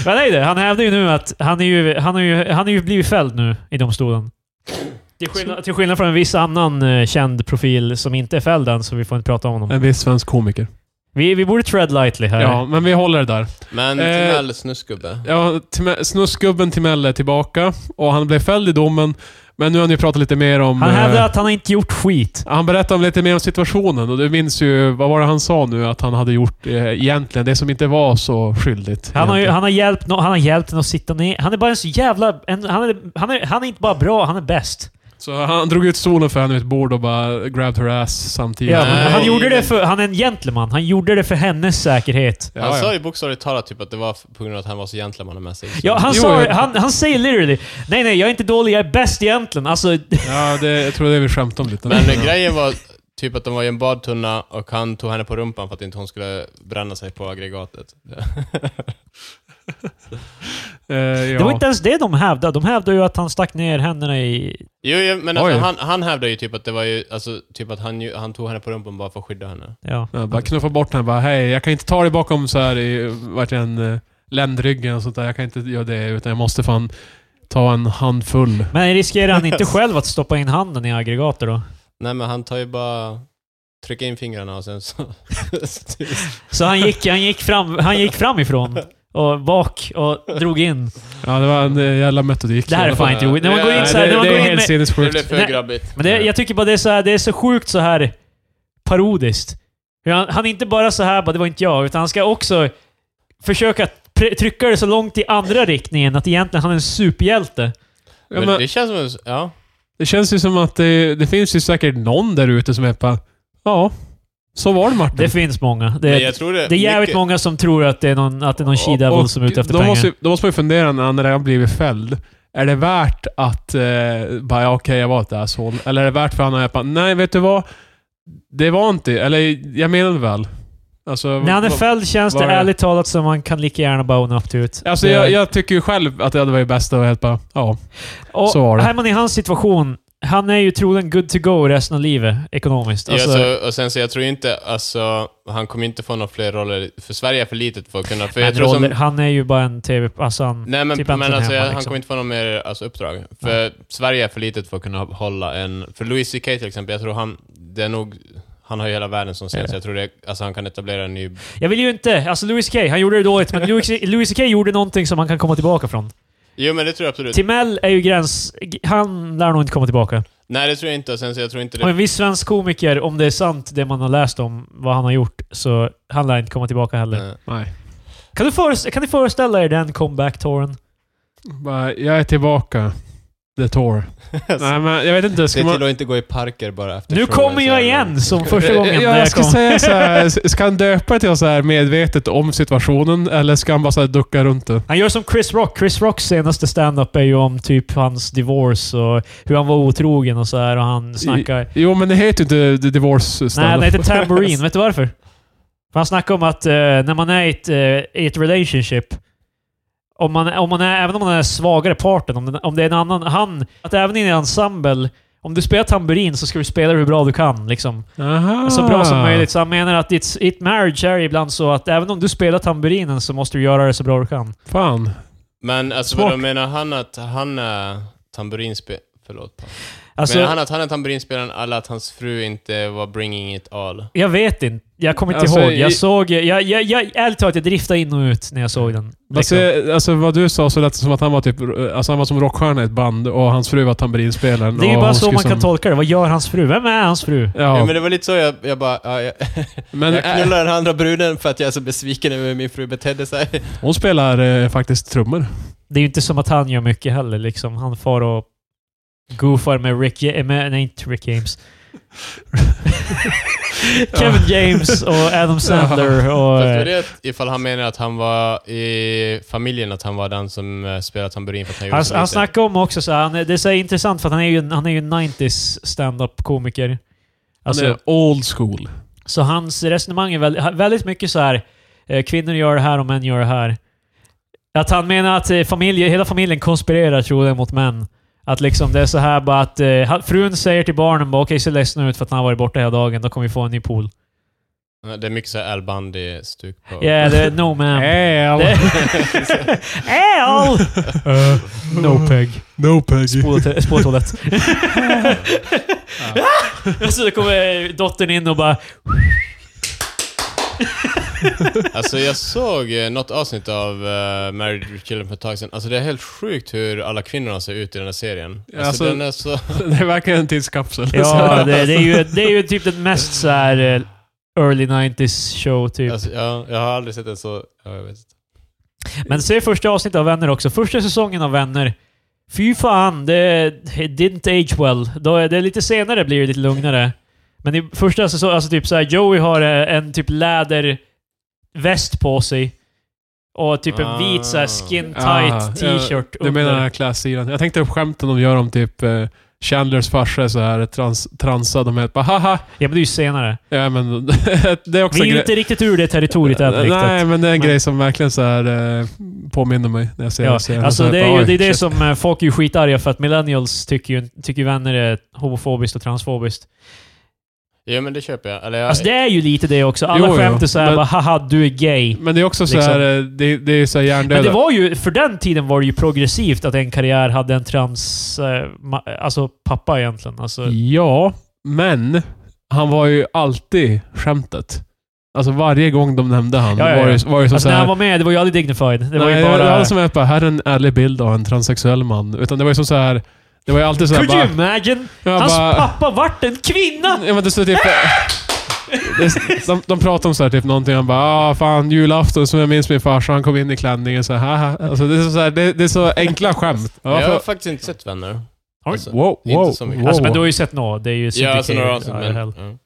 Speaker 2: Men nej, det, han hävdar ju nu att han är ju, han är ju, han är ju blivit fälld nu i domstolen. Till skillnad, till skillnad från en viss annan eh, känd profil som inte är fälld än, så vi får inte prata om honom.
Speaker 1: En viss svensk komiker.
Speaker 2: Vi, vi borde tread lightly här.
Speaker 1: Eh. Ja, men vi håller det där.
Speaker 3: Men
Speaker 1: Eh,
Speaker 3: Timell, snuskgubbe.
Speaker 1: Ja, Tim- snusgubben Timell är tillbaka och han blev fälld i domen. Men nu har ni pratat lite mer om...
Speaker 2: Han hävdar
Speaker 1: eh,
Speaker 2: att han har inte gjort skit.
Speaker 1: han berättade om lite mer om situationen och du minns ju, vad var det han sa nu att han hade gjort eh, egentligen? Det som inte var så skyldigt.
Speaker 2: Han har, ju,
Speaker 1: egentligen.
Speaker 2: han har hjälpt no, han har hjälpt henne att sitta ner. Han är bara en så jävla... En, han, är, han, är, han är inte bara bra, han är bäst.
Speaker 1: Så han drog ut stolen för henne ur ett bord och bara grabbed her ass samtidigt.
Speaker 2: Ja, men Eh, han
Speaker 3: Nej.
Speaker 2: gjorde det för... Han är en gentleman. Han gjorde det för hennes säkerhet.
Speaker 1: Ja,
Speaker 3: han
Speaker 1: ja.
Speaker 3: sa ju bokstavligt talat typ att det var f- på grund av att han var så gentlemannamässig.
Speaker 2: Ja, han,
Speaker 1: Jo,
Speaker 2: sa,
Speaker 1: jag-
Speaker 2: han, han säger literally Nej, nej, jag är inte dålig. Jag är bäst egentligen. Alltså,
Speaker 1: Ja, det, jag tror det vi skämtade om lite.
Speaker 3: Men eh,
Speaker 1: Ja.
Speaker 3: grejen var typ att de var i en badtunna och han tog henne på rumpan för att inte hon skulle bränna sig på aggregatet.
Speaker 1: Eh, ja.
Speaker 2: Det var inte ens det de hävdade. De hävdade ju att han stack ner händerna i...
Speaker 3: jo, jo, men alltså,
Speaker 1: Oj.
Speaker 3: han, han hävdade ju typ att det var ju, alltså, typ att han, ju, han tog henne på rumpan bara för att skydda henne.
Speaker 2: Ja.
Speaker 1: Ja, bara knuffa bort henne. Bara, hej, jag kan inte ta dig bakom så här i verkligen eh, ländryggen och sånt där. Jag kan inte göra det, utan jag måste fan ta en handfull.
Speaker 2: Men riskerar han inte själv att stoppa in handen i aggregatet då?
Speaker 3: Nej, men han tar ju bara... Trycka in fingrarna och sen så...
Speaker 2: Så han gick, han gick, fram, han gick framifrån och bak och drog in.
Speaker 1: Ja, det var en eh, jävla metodik.
Speaker 2: Det här är fan inte roligt. När man går in
Speaker 1: Nej,
Speaker 2: så här,
Speaker 1: det,
Speaker 2: när man
Speaker 1: det
Speaker 2: går
Speaker 1: är
Speaker 2: in
Speaker 1: helt
Speaker 2: med,
Speaker 3: det
Speaker 1: sinnessjukt.
Speaker 3: blev för
Speaker 2: Nej,
Speaker 3: grabbigt.
Speaker 2: Men det, jag tycker bara det är så, här, det är så sjukt så här parodiskt. Hur Han, han är inte bara så här, bara, det var inte jag, utan han ska också försöka pre- trycka det så långt i andra riktningen att egentligen han är en superhjälte.
Speaker 1: Ja,
Speaker 3: men
Speaker 1: men
Speaker 3: det känns som en... Ja.
Speaker 1: det känns ju som att det, det finns ju säkert någon där ute som är på... Ja, så var det Martin.
Speaker 2: Det finns många. Det,
Speaker 3: Men
Speaker 2: är-
Speaker 3: jag tror det,
Speaker 2: det är jävligt
Speaker 3: mycket-
Speaker 2: många som tror att det är någon, att det är någon
Speaker 1: Och-
Speaker 2: she-devil som är ute efter
Speaker 1: då
Speaker 2: pengar.
Speaker 1: Måste, ju- då måste man ju fundera när han redan blivit fälld. Är det värt att... Eh, bara, ja, okej, jag var ett asshole. Eller är det värt för honom att... bara, Nej, vet du vad? Det var inte... Eller, jag menade väl. Alltså,
Speaker 2: När han är
Speaker 1: vad-
Speaker 2: fälld känns
Speaker 1: vad
Speaker 2: det
Speaker 1: är-
Speaker 2: ärligt talat som man kan lika gärna bara own up to it.
Speaker 1: Alltså,
Speaker 2: Det-
Speaker 1: jag, jag tycker ju själv att det hade varit bäst att vara helt bara... Ja.
Speaker 2: och
Speaker 1: så var det.
Speaker 2: Här är man i hans situation. Han är ju troligen good to go resten av livet ekonomiskt.
Speaker 3: Ja,
Speaker 2: Alltså,
Speaker 3: alltså, och sen så jag tror inte, alltså, han kommer inte få några fler roller, för Sverige är för litet för att kunna... För jag
Speaker 2: men
Speaker 3: tror som,
Speaker 2: roller, Han är ju bara en tv... Alltså han,
Speaker 3: nej men,
Speaker 2: typ
Speaker 3: men
Speaker 2: Anton
Speaker 3: alltså,
Speaker 2: Hemman,
Speaker 3: jag, han
Speaker 2: liksom.
Speaker 3: kommer inte få några mer alltså, uppdrag. För Sverige är för litet för att kunna hålla en... För Louis CK till exempel, jag tror han, det är nog, han har ju hela världen som scen,
Speaker 2: Ja.
Speaker 3: så jag tror det, alltså, han kan etablera en ny...
Speaker 2: Jag vill ju inte... Alltså Louis CK, han gjorde det dåligt, men Louis, Louis CK gjorde någonting som han kan komma tillbaka från.
Speaker 3: Jo men det tror jag absolut.
Speaker 2: Timell är ju gräns... Han lär nog inte komma tillbaka.
Speaker 3: Nej det tror jag inte, och sen så jag tror inte det...
Speaker 2: Om en viss svensk komiker, om det är sant det man har läst om vad han har gjort, så han lär inte komma tillbaka heller.
Speaker 3: Nej.
Speaker 1: Nej.
Speaker 2: Kan, du föreställa, kan ni föreställa er den comeback-touren?
Speaker 1: Bara, jag är tillbaka. The tour. Nej, men jag vet inte.
Speaker 3: Se
Speaker 1: Ska
Speaker 3: till
Speaker 1: man...
Speaker 3: att inte gå i parker bara efter
Speaker 2: Nu
Speaker 3: showen,
Speaker 2: kommer
Speaker 3: så
Speaker 2: jag
Speaker 3: är det-
Speaker 2: igen som första gången
Speaker 1: Ja,
Speaker 2: när
Speaker 1: jag
Speaker 2: jag
Speaker 1: ska
Speaker 2: kom.
Speaker 1: säga så här, ska han döpa det till så här medvetet om situationen eller ska han bara så här ducka runt det?
Speaker 2: Han gör som Chris Rock. Chris Rocks senaste stand-up är ju om typ hans divorce och hur han var otrogen och så här och han snackar...
Speaker 1: Jo, men det heter ju inte The Divorce
Speaker 2: Nej,
Speaker 1: Stand-Up.
Speaker 2: han heter Tambourine. Vet du varför? För han snackar om att eh, när man är i ett, eh, i ett relationship, om man, om man är, även om man är svagare parten, om, den, om det är en annan... Han, att även i en ensemble, om du spelar tamburin så ska du spela hur bra du kan. Liksom.
Speaker 1: Aha.
Speaker 2: Så bra
Speaker 1: Ah.
Speaker 2: som möjligt. Så han menar att it's, it marriage är ibland så att även om du spelar tamburinen så måste du göra det så bra du kan.
Speaker 1: Fan.
Speaker 3: Men alltså
Speaker 1: Smart.
Speaker 3: vadå, menar han att han är tamburinspel... Förlåt. Paul.
Speaker 2: Alltså,
Speaker 3: menar han att han är tamburinspelaren eller att hans fru inte var bringing it all?
Speaker 2: Jag vet inte. Jag kommer inte
Speaker 1: Alltså,
Speaker 2: ihåg. Jag
Speaker 1: i-
Speaker 2: såg... Jag, jag, jag, ärligt talat, jag driftade in och ut när jag såg den.
Speaker 1: Alltså,
Speaker 2: Liksom.
Speaker 1: alltså vad du sa så lät det som att han var typ... Alltså han var som rockstjärna i ett band och hans fru var tamburinspelaren.
Speaker 2: det är ju
Speaker 1: och
Speaker 2: bara
Speaker 1: hon
Speaker 2: så
Speaker 1: skulle
Speaker 2: man kan
Speaker 1: som-
Speaker 2: tolka det. Vad gör hans fru? Vem är hans fru?
Speaker 3: Ja.
Speaker 1: Ja,
Speaker 3: men det var lite så jag, jag bara... Ja, jag,
Speaker 1: men
Speaker 3: jag
Speaker 1: äh,
Speaker 3: knullar den andra bruden för att jag är så besviken över hur min fru betedde sig.
Speaker 1: hon spelar eh, faktiskt trummor.
Speaker 2: Det är ju inte som att han gör mycket heller. Liksom. Han far och goofar med Rick... Ja- eh, Med, nej, inte Rick James. Kevin James och Adam Sandler och...
Speaker 3: Fast jag
Speaker 2: eh,
Speaker 3: vet ifall han menar att han var i familjen, att han var den som eh, spelade tamburin för att han gjorde
Speaker 2: Han,
Speaker 3: så
Speaker 2: han
Speaker 3: lite.
Speaker 2: snackar om också så här, han, är- det är så här intressant för att han är ju, en- han är ju en 90s stand-up-komiker. Alltså,
Speaker 1: han är old school.
Speaker 2: Så hans resonemang är väldigt, väldigt mycket så här eh, kvinnor gör det här och män gör det här. Att han menar att eh, familje, hela familjen konspirerar troligen mot män. Att liksom det är så här bara att eh, han- frun säger till barnen bara okej, se ledsna ut för att han har varit borta hela dagen, då kommer vi få en ny pool.
Speaker 3: Det är mycket så här Al Bundy-stuk på...
Speaker 2: Ja, yeah, det är no man.
Speaker 1: Äl.
Speaker 2: Det- Äl! Eh, no peg.
Speaker 1: No Peggy.
Speaker 2: Spola to- spola toalett. Så då kommer dottern in och bara
Speaker 3: Alltså jag såg eh, något avsnitt av eh, Married with Children för ett tag sedan. Alltså det är helt sjukt hur alla kvinnorna ser ut i den här serien. Alltså,
Speaker 1: Alltså-
Speaker 3: den är så...
Speaker 2: Typ.
Speaker 1: Det är verkligen en tidskapsel.
Speaker 2: Ja, det, det, är ju, det är ju typ den mest så här eh, early 90s show typ.
Speaker 3: Alltså, jag, jag har aldrig sett en så... Ja, jag vet inte.
Speaker 2: Men se första avsnittet av Vänner också. Första säsongen av Vänner. Fy fan, det it didn't age well. Då är det lite senare blir det lite lugnare. Men i första säsongen, alltså typ så här, Joey har eh, en typ läderväst på sig. Och typ en vit så här skin
Speaker 1: Ah,
Speaker 2: tight t-shirt
Speaker 1: Ja, du menar den
Speaker 2: under.
Speaker 1: här klassilen. Jag tänkte på skämten de gör om typ eh, Chandlers farsa är så här trans, transad. De är bara haha.
Speaker 2: Ja, men det är ju senare.
Speaker 1: Ja, men, det är också
Speaker 2: Vi
Speaker 1: en
Speaker 2: är ju
Speaker 1: grej.
Speaker 2: inte riktigt ur det territoriet än riktigt.
Speaker 1: Eh, Nej, men det är en
Speaker 2: Men-
Speaker 1: grej som verkligen så här, eh, påminner mig när jag ser
Speaker 2: Ja,
Speaker 1: den serien.
Speaker 2: alltså
Speaker 1: Så
Speaker 2: det
Speaker 1: jag bara,
Speaker 2: är ju
Speaker 1: oj,
Speaker 2: det, är det
Speaker 1: shit.
Speaker 2: som eh, folk är ju skitarga för att millennials tycker ju tycker vänner är homofobiskt och transfobiskt.
Speaker 3: Ja, men det köper jag. Eller jag...
Speaker 2: Alltså det är ju lite det också. Alla
Speaker 1: Jo, jo,
Speaker 2: skämt är såhär
Speaker 1: men-
Speaker 2: bara “haha, du är gay”.
Speaker 1: Men det är också så
Speaker 2: liksom.
Speaker 1: här, eh, det, det är ju så här
Speaker 2: Men det
Speaker 1: hjärndöda.
Speaker 2: var ju, för den tiden var det ju progressivt att en karriär hade en trans... Eh, ma- alltså pappa egentligen. Alltså,
Speaker 1: Ja, men han var ju alltid skämtet. Alltså varje gång de nämnde han
Speaker 2: Ja, ja, ja.
Speaker 1: var det var ju som
Speaker 2: alltså
Speaker 1: så
Speaker 2: när
Speaker 1: här,
Speaker 2: han var med, det var ju aldrig dignified. Det var
Speaker 1: Nej,
Speaker 2: ju bara...
Speaker 1: det var aldrig som är på här är en ärlig bild av en transsexuell man. Utan det var ju som så här. Det var ju alltid så här
Speaker 2: Could you
Speaker 1: bara...
Speaker 2: imagine?
Speaker 1: Jag
Speaker 2: Hans
Speaker 1: bara
Speaker 2: pappa vart en kvinna!
Speaker 1: ja, men det stod typ... det- de, de pratar om så här, typ någonting. Han bara ah, fan julafton som jag minns min farsa. Han kom in i klänningen så här. "Haha." Alltså, det, är så här det, det är så enkla skämt. Ja,
Speaker 3: jag har
Speaker 1: för,
Speaker 3: faktiskt inte sett Vänner.
Speaker 2: Har du-
Speaker 3: Alltså,
Speaker 1: wow,
Speaker 3: inte
Speaker 1: wow,
Speaker 3: så mycket.
Speaker 1: wow.
Speaker 2: Alltså, men du har ju sett några. Det är ju
Speaker 3: ja, alltså några
Speaker 2: Syndicate,
Speaker 3: avsnitt,
Speaker 2: ja, hell.
Speaker 3: men... Ja.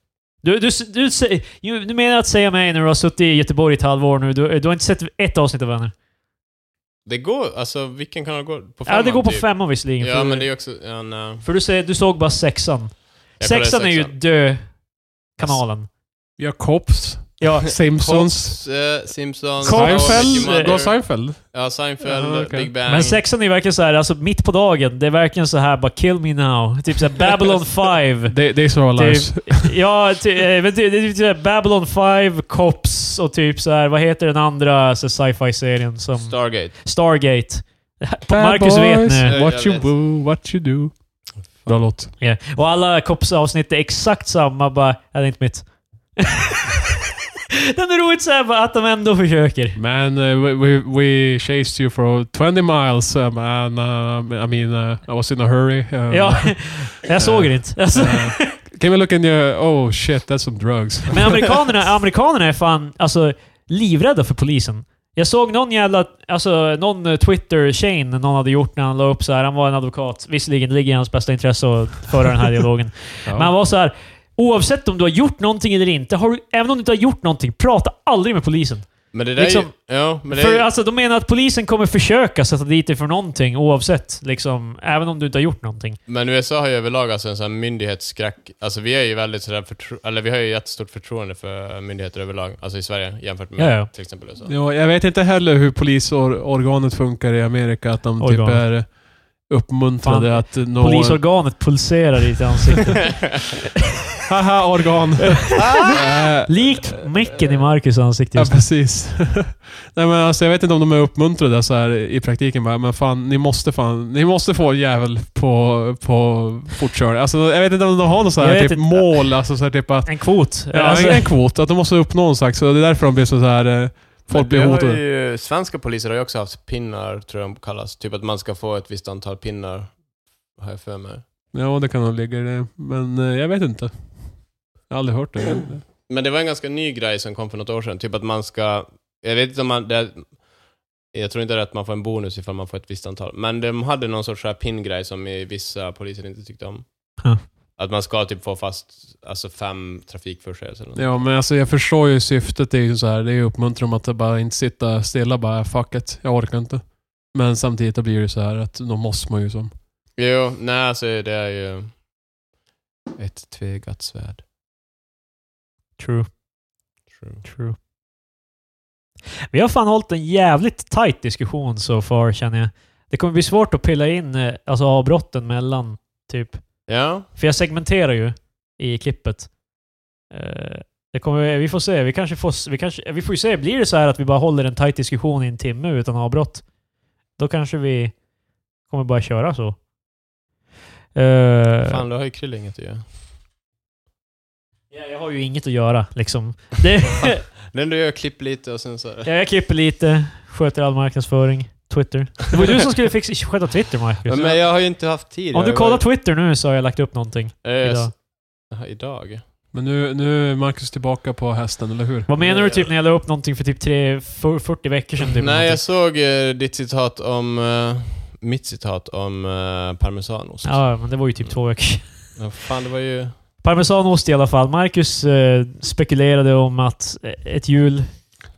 Speaker 2: Du, du, du, sä- ju- du menar att säga mig när du har suttit i Göteborg i ett halvår nu, du, du har inte sett ett avsnitt av Vänner?
Speaker 3: Det går, alltså vilken kanal går på
Speaker 2: Ja, det går på
Speaker 3: typ.
Speaker 2: femman visserligen.
Speaker 3: Ja,
Speaker 2: för,
Speaker 3: men det är också... Ja, nej.
Speaker 2: för du, säger, du såg bara sexan.
Speaker 3: Jag kollade
Speaker 2: Sexan är ju
Speaker 3: sexan.
Speaker 2: dö-kanalen.
Speaker 1: Vi har Cops,
Speaker 2: Ja,
Speaker 1: Simpsons,
Speaker 3: Hobbs, eh, Simpsons...
Speaker 2: Seinfeld,
Speaker 3: How I Met Your
Speaker 1: Seinfeld. Då Seinfeld.
Speaker 2: eh,
Speaker 3: Mother. Ja, Seinfeld,
Speaker 1: Ja, okej.
Speaker 3: Big Bang.
Speaker 2: men sexan är ju verkligen så här, alltså mitt på dagen, det är verkligen så här bara kill me now. Typ såhär Babylon 5.
Speaker 1: They, these are our
Speaker 2: Typ,
Speaker 1: lives.
Speaker 2: ja, ty, eh, men ty, det är typ såhär Babylon 5, Cops och typ så här vad heter den andra så sci-fi-serien som...
Speaker 3: Stargate.
Speaker 2: Stargate.
Speaker 1: Bad
Speaker 2: Marcus vet
Speaker 1: boys,
Speaker 2: nu.
Speaker 1: What
Speaker 3: Jag
Speaker 1: you
Speaker 3: vet.
Speaker 1: do, what you do. Bra låt.
Speaker 2: Ja. Och alla Cops-avsnitt är exakt samma, bara... Ja, det är inte mitt. Den är roligt såhär bara att de ändå försöker.
Speaker 1: Man, uh, we, we, we chased you for 20 miles, um, and uh, I mean, uh, I was in a hurry. Um,
Speaker 3: Mm.
Speaker 2: Ja, jag såg det inte. Alltså,
Speaker 1: uh, can we look in your... Oh shit, that's some drugs.
Speaker 2: men amerikanerna, amerikanerna är fan alltså, livrädda för polisen. Jag såg någon jävla... Alltså, någon eh, Twitter-chain någon hade gjort när han la upp så här. Han var en advokat. Visserligen, det ligger i hans bästa intresse att föra den här dialogen.
Speaker 1: Ja.
Speaker 2: Men han var så här. Oavsett om du har gjort någonting eller inte, har du, även om du inte har gjort någonting, prata aldrig med polisen.
Speaker 3: Men det där
Speaker 2: Liksom-
Speaker 3: är ju, Ja, men det är
Speaker 2: För
Speaker 3: ju...
Speaker 2: alltså, de menar att polisen kommer försöka sätta dit dig för någonting oavsett. Liksom, även om du inte har gjort någonting.
Speaker 3: Men USA har ju överlag alltså en sån här myndighetsskräck. Alltså vi är ju väldigt sådär förtro... Eller vi har ju jättestort förtroende för myndigheter överlag. Alltså i Sverige jämfört med
Speaker 2: Ja, ja.
Speaker 3: till exempel USA.
Speaker 1: Ja, jag vet inte heller hur polisorganet funkar i Amerika, att de typ
Speaker 2: Organ.
Speaker 1: är uppmuntrade
Speaker 2: Fan,
Speaker 1: att nå...
Speaker 2: Polisorganet pulserar i ditt ansikte.
Speaker 1: Haha, organ!
Speaker 3: Ah!
Speaker 1: Eh,
Speaker 2: Likt micken i Marcus ansikte
Speaker 1: Ja,
Speaker 2: just nu.
Speaker 1: precis. Nej, men alltså, jag vet inte om de är uppmuntrade så här, i praktiken. Bara, men fan, ni måste, fan, ni måste få en jävel på, på fortkörning. Alltså, jag vet inte om de har något så
Speaker 2: Jag
Speaker 1: här,
Speaker 2: vet
Speaker 1: typ,
Speaker 2: inte.
Speaker 1: mål. Alltså, så här, typ att,
Speaker 2: En kvot.
Speaker 1: ja,
Speaker 2: alltså,
Speaker 1: en kvot. Att de måste uppnå någon slags... Så det är därför de blir så här... eh, Folk blir hotade.
Speaker 3: Ju, svenska poliser har ju också haft pinnar, tror jag de kallas. Typ att man ska få ett visst antal pinnar, har jag för mig.
Speaker 1: Ja, det kan nog ligga i det. Men eh, jag vet inte. Jag har aldrig hört det.
Speaker 3: Men det var en ganska ny grej som kom för något år sedan. Typ att man ska... Jag vet inte om man... Det, jag tror inte det är att man får en bonus ifall man får ett visst antal. Men de hade någon sorts så här pinngrej som i vissa poliser inte tyckte om.
Speaker 2: Huh.
Speaker 3: Att man ska typ få fast alltså fem trafikförseelser. eller något.
Speaker 1: Ja, men alltså, jag förstår ju syftet. Det är ju så här, det är ju uppmuntran om att bara inte sitta stilla bara fuck it, jag orkar inte. Men samtidigt då blir det så här att då måste man ju som...
Speaker 3: Jo, nej alltså det är ju... Ett tvegat svärd.
Speaker 2: True,
Speaker 3: True.
Speaker 2: true. Vi har fan hållit en jävligt tight diskussion så so far känner jag. Det kommer bli svårt att pilla in eh, alltså, avbrotten mellan, typ.
Speaker 3: Ja,
Speaker 2: För jag segmenterar ju i klippet. Eh, Det kommer, vi får se. Vi, kanske får, s- vi, kanske, vi får ju se. Blir det så här att vi bara håller en tight diskussion i en timme utan avbrott, då kanske vi kommer bara köra så. Eh,
Speaker 3: fan du har ju krill inget att göra.
Speaker 2: ja, jag har ju inget att göra liksom. Det,
Speaker 3: Den du gör klipp lite och sen så...
Speaker 2: Ja, jag klipper lite, sköter all marknadsföring, Twitter. Det var du som skulle fixa, sköta Twitter, Marcus.
Speaker 3: Men jag har ju inte haft tid.
Speaker 2: Om du
Speaker 3: Jag
Speaker 2: kollar
Speaker 3: har-
Speaker 2: Twitter nu så har jag lagt upp någonting.
Speaker 3: Eh,
Speaker 2: idag.
Speaker 3: s- Idag?
Speaker 1: Men nu, nu är Marcus tillbaka på hästen, eller hur?
Speaker 2: Vad menar du typ när jag la upp någonting för typ tre, för- 40 veckor sedan? Typ,
Speaker 3: Nej, jag
Speaker 2: någonting?
Speaker 3: såg eh, ditt citat om... Eh, mitt citat om eh, parmesanost.
Speaker 2: Ja, men det var ju typ två veckor sedan.
Speaker 3: Ja, Fan, det var ju...
Speaker 2: Parmesanost i alla fall. Marcus eh, spekulerade om att eh, ett hjul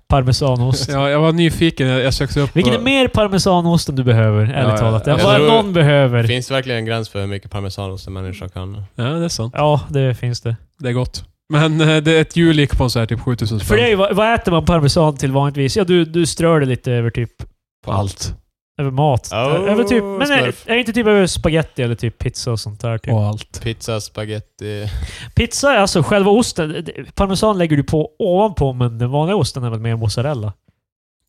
Speaker 2: parmesanost.
Speaker 1: Ja, jag var nyfiken. Jag, jag sökte upp...
Speaker 2: Vilken är mer parmesanost än du behöver, ärligt
Speaker 1: ja,
Speaker 2: talat?
Speaker 1: ja.
Speaker 2: Ja, Vad
Speaker 3: Jag tror-
Speaker 2: någon behöver.
Speaker 3: Finns det verkligen en gräns för hur mycket parmesanost en människa kan...
Speaker 1: Ja, det är sant.
Speaker 2: Ja, det finns det.
Speaker 1: Det är gott. Men eh, det, ett hjul gick på en så här typ 7000
Speaker 2: För
Speaker 1: spänn.
Speaker 2: det är ju, vad, vad äter man parmesan till vanligtvis? Ja, du, du strör det lite över typ
Speaker 1: På allt.
Speaker 2: Över mat?
Speaker 3: Oh,
Speaker 2: över typ, men är,
Speaker 3: smurf.
Speaker 2: är det inte typ över spaghetti eller typ pizza och sånt där? Typ.
Speaker 1: På allt.
Speaker 3: Pizza, spaghetti...
Speaker 2: Pizza, är alltså själva osten. det- Parmesan lägger du på ovanpå, men den vanliga osten är väl mer mozzarella?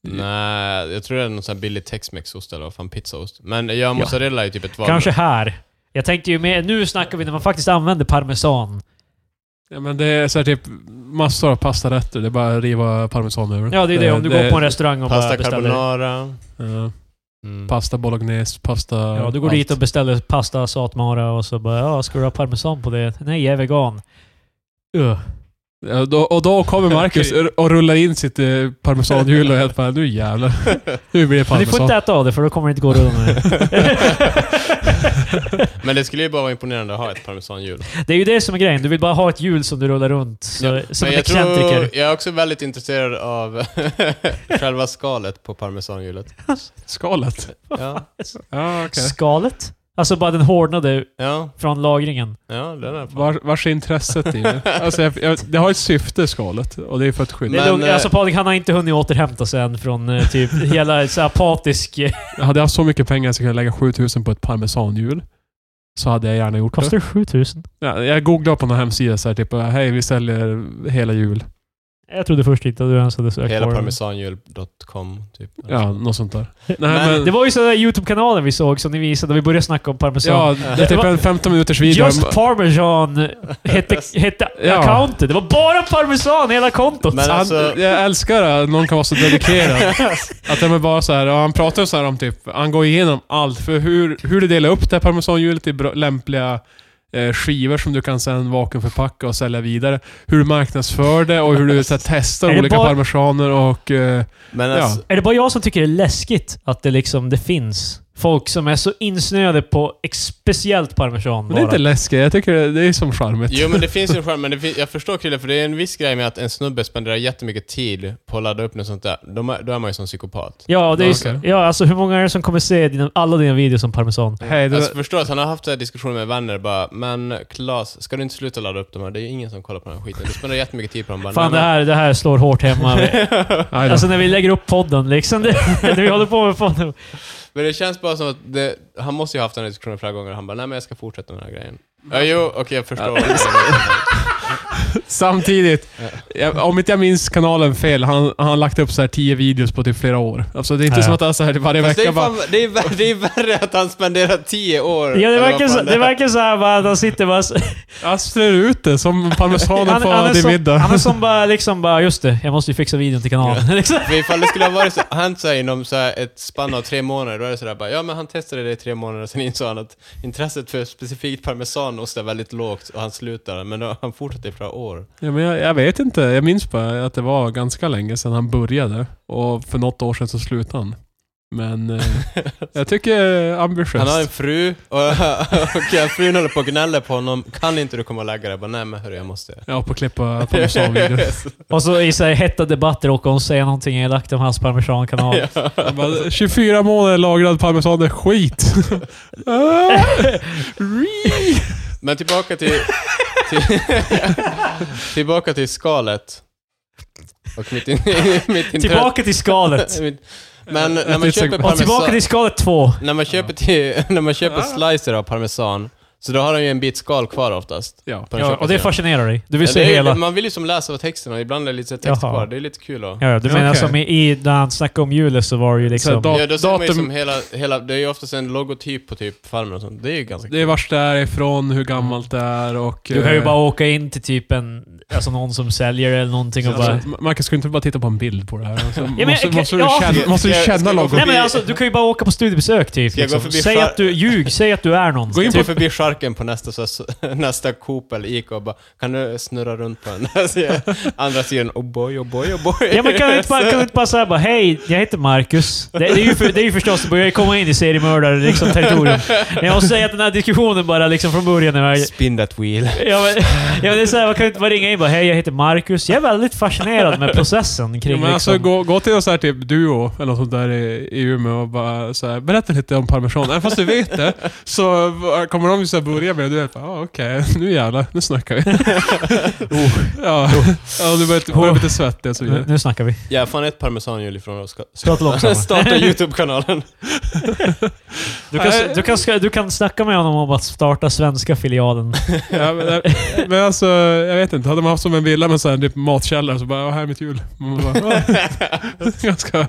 Speaker 2: Mm.
Speaker 3: Nej, jag tror det är någon sån här billig texmexost eller vad fan, pizzaost. Men jag mozzarella är ju typ ett val.
Speaker 2: Kanske här. Jag tänkte ju mer... Nu snackar vi när man faktiskt använder parmesan.
Speaker 1: Ja, men det är så här typ massor av pastarätter. Det är bara att riva parmesan över. Eh,
Speaker 2: Ja, det är det. Om du går på en restaurang och bara
Speaker 3: Pasta
Speaker 2: beställer...
Speaker 3: carbonara.
Speaker 1: Ja,
Speaker 3: Mm.
Speaker 1: pasta bolognese, pasta...
Speaker 2: Ja, du går
Speaker 1: allt.
Speaker 2: dit och beställer pasta, satmara och så bara ja, ska du ha parmesan på det? Nej, jag är vegan. Ugh.
Speaker 1: Ja, då- Och då kommer Marcus och rullar in sitt eh, parmesanhjul och jag bara, nu jävlar. Nu blir det
Speaker 2: Men ni får
Speaker 1: parmesan.
Speaker 2: inte äta av det, för då kommer det inte gå runt med det.
Speaker 3: Men det skulle ju bara vara imponerande att ha ett parmesanhjul.
Speaker 2: Det är ju det som är grejen. Du vill bara ha ett hjul som du rullar runt. Så, som en
Speaker 3: Men jag, tror,
Speaker 2: excentriker.
Speaker 3: jag är också väldigt intresserad av själva skalet på parmesanhjulet.
Speaker 1: Skalet.
Speaker 3: Ja,
Speaker 1: Ja, okej.
Speaker 2: Skalet? Alltså bara den hårdnade
Speaker 3: ja,
Speaker 2: från lagringen.
Speaker 3: ja den är fan.
Speaker 1: Var, vars är intresset i det? Alltså, jag, jag, det har ett syfte, skalet. Och det är för att
Speaker 2: Det
Speaker 1: skydda.
Speaker 2: är
Speaker 3: Men,
Speaker 2: lugnt.
Speaker 3: eh,
Speaker 2: alltså Patrik, han har inte hunnit återhämta sig än från eh, typ hela så här apatisk...
Speaker 1: Hade jag haft så mycket pengar så jag kunde lägga 7000 på ett parmesanhjul. Så hade jag gärna gjort det.
Speaker 2: Kostar det 7000?
Speaker 1: Ja, jag googlade på någon hemsida så här, typ hej vi säljer hela jul.
Speaker 2: Jag trodde först inte att du ens hade sökt
Speaker 3: Hela
Speaker 2: på det.
Speaker 3: parmesanhjul.com, typ.
Speaker 1: Ja, något sånt där. Nej,
Speaker 3: Men
Speaker 1: men,
Speaker 2: Det var ju sådär YouTube-kanalen vi såg som ni visade och vi började snacka om parmesan.
Speaker 1: ja, det är typ en 15 minuters video.
Speaker 2: Just Parmesan hette, hette
Speaker 1: Ja.
Speaker 2: accountet. Det var bara parmesan i hela kontot.
Speaker 3: Men
Speaker 1: Han,
Speaker 3: alltså,
Speaker 1: jag älskar att någon kan vara så dedikerad. Att de är bara så här, och han pratar så här om typ, han går igenom allt. För hur, hur du delar upp det här parmesanhjulet i bra, lämpliga eh, skivor som du kan sen vakuumförpacka och sälja vidare. Hur du marknadsför det och hur du så här,
Speaker 2: Är
Speaker 1: testar
Speaker 2: det
Speaker 1: olika
Speaker 2: bara-
Speaker 1: parmesaner och... Eh,
Speaker 3: men
Speaker 1: Ja.
Speaker 3: alltså,
Speaker 2: Är det bara jag som tycker det är läskigt att det liksom det finns folk som är så insnöade på ex- speciellt parmesan
Speaker 1: men det är
Speaker 2: bara?
Speaker 1: inte läskigt, jag tycker det, det är som charmigt.
Speaker 3: Jo men det finns ju en charm, men det fin- jag förstår Krille, för det är en viss grej med att en snubbe spenderar jättemycket tid på att ladda upp något sånt där. Då, ma- då är man ju som psykopat.
Speaker 2: Ja, det är, ju så-
Speaker 1: Okej.
Speaker 2: ja, alltså hur många är det som kommer se dina, alla dina videos om parmesan?
Speaker 1: Hej, det,
Speaker 3: Alltså förstå att han har haft så här diskussioner med vänner bara, men Klas, ska du inte sluta ladda upp de här? Det är ju ingen som kollar på den här skiten. Du spenderar jättemycket tid på dem. Bara,
Speaker 2: Fan, det
Speaker 3: "Nej,
Speaker 2: här, det här slår hårt hemma.
Speaker 1: aj då.
Speaker 2: alltså när vi lägger upp podden liksom. Det, när vi håller på med podden.
Speaker 3: men- Men det känns bara som att det, han måste ju ha haft den här diskussionen flera gånger. Han bara, nej men jag ska fortsätta med den här grejen. Ja, jo, okej jag förstår.
Speaker 1: Samtidigt, jag, om inte jag minns kanalen fel, han han har lagt upp så här 10 videos på typ flera år. Alltså det är inte
Speaker 2: Ja.
Speaker 1: som att han så här varje
Speaker 3: Fast det, är
Speaker 1: vecka bara...
Speaker 3: fan, det, är, vär- det är värre att han spenderar tio år.
Speaker 2: Ja, det
Speaker 3: eller vad
Speaker 2: verkar,
Speaker 3: fan
Speaker 2: så,
Speaker 3: är.
Speaker 2: det verkar så här bara att han sitter bara... så-
Speaker 1: Jag strör ut det som parmesanen på
Speaker 2: är
Speaker 1: din
Speaker 2: som,
Speaker 1: middag.
Speaker 2: han är som bara liksom bara, just det, jag måste ju fixa videon till kanalen. liksom.
Speaker 3: För ifall det skulle ha varit så, hänt såhär inom så här ett spann av tre månader, då är det sådär bara, ja men han testade det i tre månader och sen insåg han att intresset för specifikt parmesanost är väldigt lågt och han slutar, men då, han fortsätter i flera år.
Speaker 1: Ja, men jag, jag vet inte. Jag minns bara att det var ganska länge sedan han började. Och för något år sedan så slutade han. Men eh, jag tycker eh, ambitiöst.
Speaker 3: Han har en fru, och, och frun håller på och gnäller på honom, kan inte du komma och lägga dig? Jag bara, nej men hörru, jag måste.
Speaker 1: Ja, på att klippa parmesanvideor.
Speaker 2: Och så i så här hetta debatter och hon säger någonting elakt om hans parmesankanal.
Speaker 1: Jag bara, 24 månader lagrad parmesan är skit. Ah, re-
Speaker 3: Men tillbaka till, till tillbaka till skalet. Och mitt, in, mitt intresse.
Speaker 2: Tillbaka till skalet.
Speaker 3: Mitt- Men när
Speaker 1: Ett
Speaker 3: man
Speaker 1: nytt
Speaker 3: köper
Speaker 1: segment.
Speaker 2: Och tillbaka
Speaker 3: parmesan...
Speaker 2: till skalet två.
Speaker 3: När man köper, till, när man köper slicer av parmesan, så då har de ju en bit skal kvar oftast.
Speaker 1: ja.
Speaker 3: På den
Speaker 2: Ja,
Speaker 3: köpta
Speaker 2: och det
Speaker 3: sidan.
Speaker 2: fascinerar dig. Du vill
Speaker 3: Ja,
Speaker 2: se
Speaker 3: det är,
Speaker 2: hela.
Speaker 3: Man vill ju som läsa av texten och ibland är det lite så här text
Speaker 2: Jaha.
Speaker 3: kvar. Det är lite kul att...
Speaker 2: Ja, ja, du
Speaker 1: Ja,
Speaker 2: menar
Speaker 1: okej.
Speaker 2: som i, i, när han snackade om hjulet så var det ju
Speaker 1: Så här,
Speaker 2: liksom...
Speaker 1: då-
Speaker 3: Ja, då ser man ju
Speaker 1: datum-
Speaker 3: som hela, hela... Det är ju oftast en logotyp på typ Farmen och sånt. Det är ju ganska
Speaker 1: Det är vart det är ifrån, hur gammalt det är och...
Speaker 2: Du kan ju
Speaker 1: eh,
Speaker 2: bara åka in till typ en... Alltså någon som säljer eller någonting och bara...
Speaker 1: Alltså, Marcus, ska du inte bara titta på en bild på det här? Alltså,
Speaker 2: men
Speaker 1: måste,
Speaker 2: jag-
Speaker 1: måste, du
Speaker 2: ja.
Speaker 1: känna, måste du
Speaker 3: Ska jag- ska
Speaker 1: känna
Speaker 3: jag gå
Speaker 1: logon?
Speaker 2: Nej men alltså, du kan ju bara åka på studiebesök typ.
Speaker 3: Ska jag gå
Speaker 2: Liksom.
Speaker 3: förbi
Speaker 2: Säg
Speaker 3: far-
Speaker 2: att du... Ljug! Säg att du är någon.
Speaker 1: Gå in
Speaker 3: Gå
Speaker 2: typ.
Speaker 3: förbi charken på nästa, så, så- nästa Coop eller Ica och bara Kan du snurra runt på den här sidan? Andra sidan, oh boy, oh boy, oh boy.
Speaker 2: Ja men kan du inte bara, kan du inte bara säga bara hej, jag heter Marcus. Det, det, är, ju för, det är ju förstås, du börjar ju komma in i seriemördare liksom territorium. Men jag måste säga att den här diskussionen bara liksom från början är...
Speaker 3: Spin that wheel.
Speaker 2: Ja men, ja, men det är såhär, man kan ju inte bara ringa in och bara hej, jag heter Marcus. Jag är väldigt fascinerad med processen kring
Speaker 1: Ja, men
Speaker 2: liksom...
Speaker 1: alltså, gå, gå till en sån här typ duo eller något sånt där i, i Umeå och bara så här, berätta lite om parmesan. Även fast du vet det, så kommer de ju så här börja med det. Du vet bara, ah, okej, nu jävlar, nu snackar vi.
Speaker 2: Oh.
Speaker 1: ja, ja, du börjar börjar bli lite svettig och så
Speaker 2: nu,
Speaker 1: vidare.
Speaker 2: nu snackar vi.
Speaker 3: Jag är fan ett parmesanhjul ifrån att ska-
Speaker 2: Prata långsammare.
Speaker 3: starta YouTube-kanalen.
Speaker 2: Du kan, du, kan, ska- du kan snacka med honom om att starta svenska filialen.
Speaker 1: Ja, men, men alltså, jag vet inte. Hade man haft som en villa med så här, typ matkällare så bara, ah, här är mitt hjul. Man bara, ah. Ganska...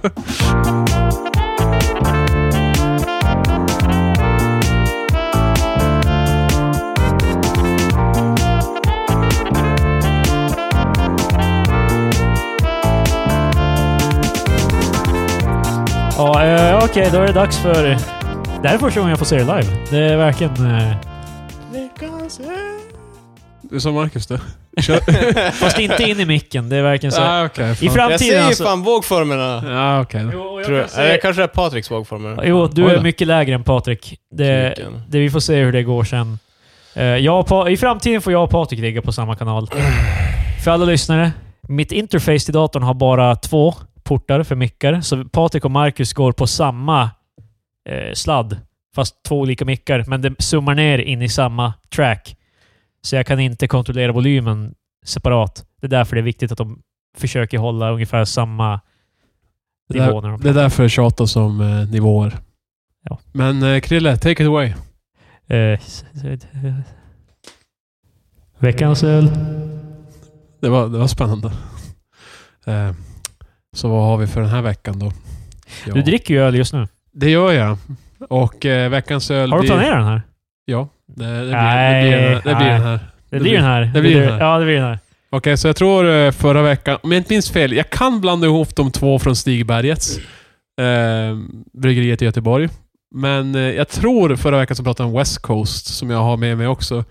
Speaker 2: Ja, eh, okej, då är det dags för... Det här är första gången jag får se det live. Det är verkligen... eh,
Speaker 1: Du sa Marcus det?
Speaker 2: Fast inte in i micken. Det är verkligen så.
Speaker 1: ah, okej. fan.
Speaker 2: I
Speaker 3: Jag ser ju
Speaker 2: framtiden alltså.
Speaker 3: fan vågformerna.
Speaker 1: Ja, okej då.
Speaker 2: Jo, och jag
Speaker 3: Tror
Speaker 2: kan
Speaker 3: jag.
Speaker 2: säga-
Speaker 3: Eller kanske det är Patriks vågformer.
Speaker 2: Jo, du
Speaker 1: Oj
Speaker 2: är
Speaker 1: då.
Speaker 2: mycket lägre än Patrik. Det,
Speaker 3: Kuken.
Speaker 2: det, vi får se hur det går sen. Eh, Jag och pa- I framtiden får jag och Patrik ligga på samma kanal. För alla lyssnare, mitt interface till datorn har bara två portar för mickar. Så Patrik och Marcus går på samma eh, sladd, fast två olika mickar. Men det summar ner in i samma track. Så jag kan inte kontrollera volymen separat. Det är därför det är viktigt att de försöker hålla ungefär samma
Speaker 1: Det,
Speaker 2: nivå.
Speaker 1: där,
Speaker 2: När de
Speaker 1: det är därför det tjatas om eh, nivåer.
Speaker 2: Ja.
Speaker 1: Men eh, Krille, take it away.
Speaker 2: Eh, s- s- eh. Veckans öl.
Speaker 1: Det var, det var spännande. Eh, så vad har vi för den här veckan då? Ja.
Speaker 2: Du dricker ju öl just nu.
Speaker 1: Det gör jag. Och eh, veckans öl...
Speaker 2: Har du
Speaker 1: blir-
Speaker 2: planerat den här?
Speaker 1: Ja, det, det, blir,
Speaker 2: Nej,
Speaker 1: det, blir, den här- det blir den här.
Speaker 2: Det, blir den här.
Speaker 1: det blir den här.
Speaker 2: Ja, det blir den här.
Speaker 1: Okej, så jag tror eh, förra veckan, om jag inte minns fel, jag kan blanda ihop de två från Stigbergets eh, bryggeriet i Göteborg. Men eh, jag tror förra veckan så pratade jag om West Coast, som jag har med mig också.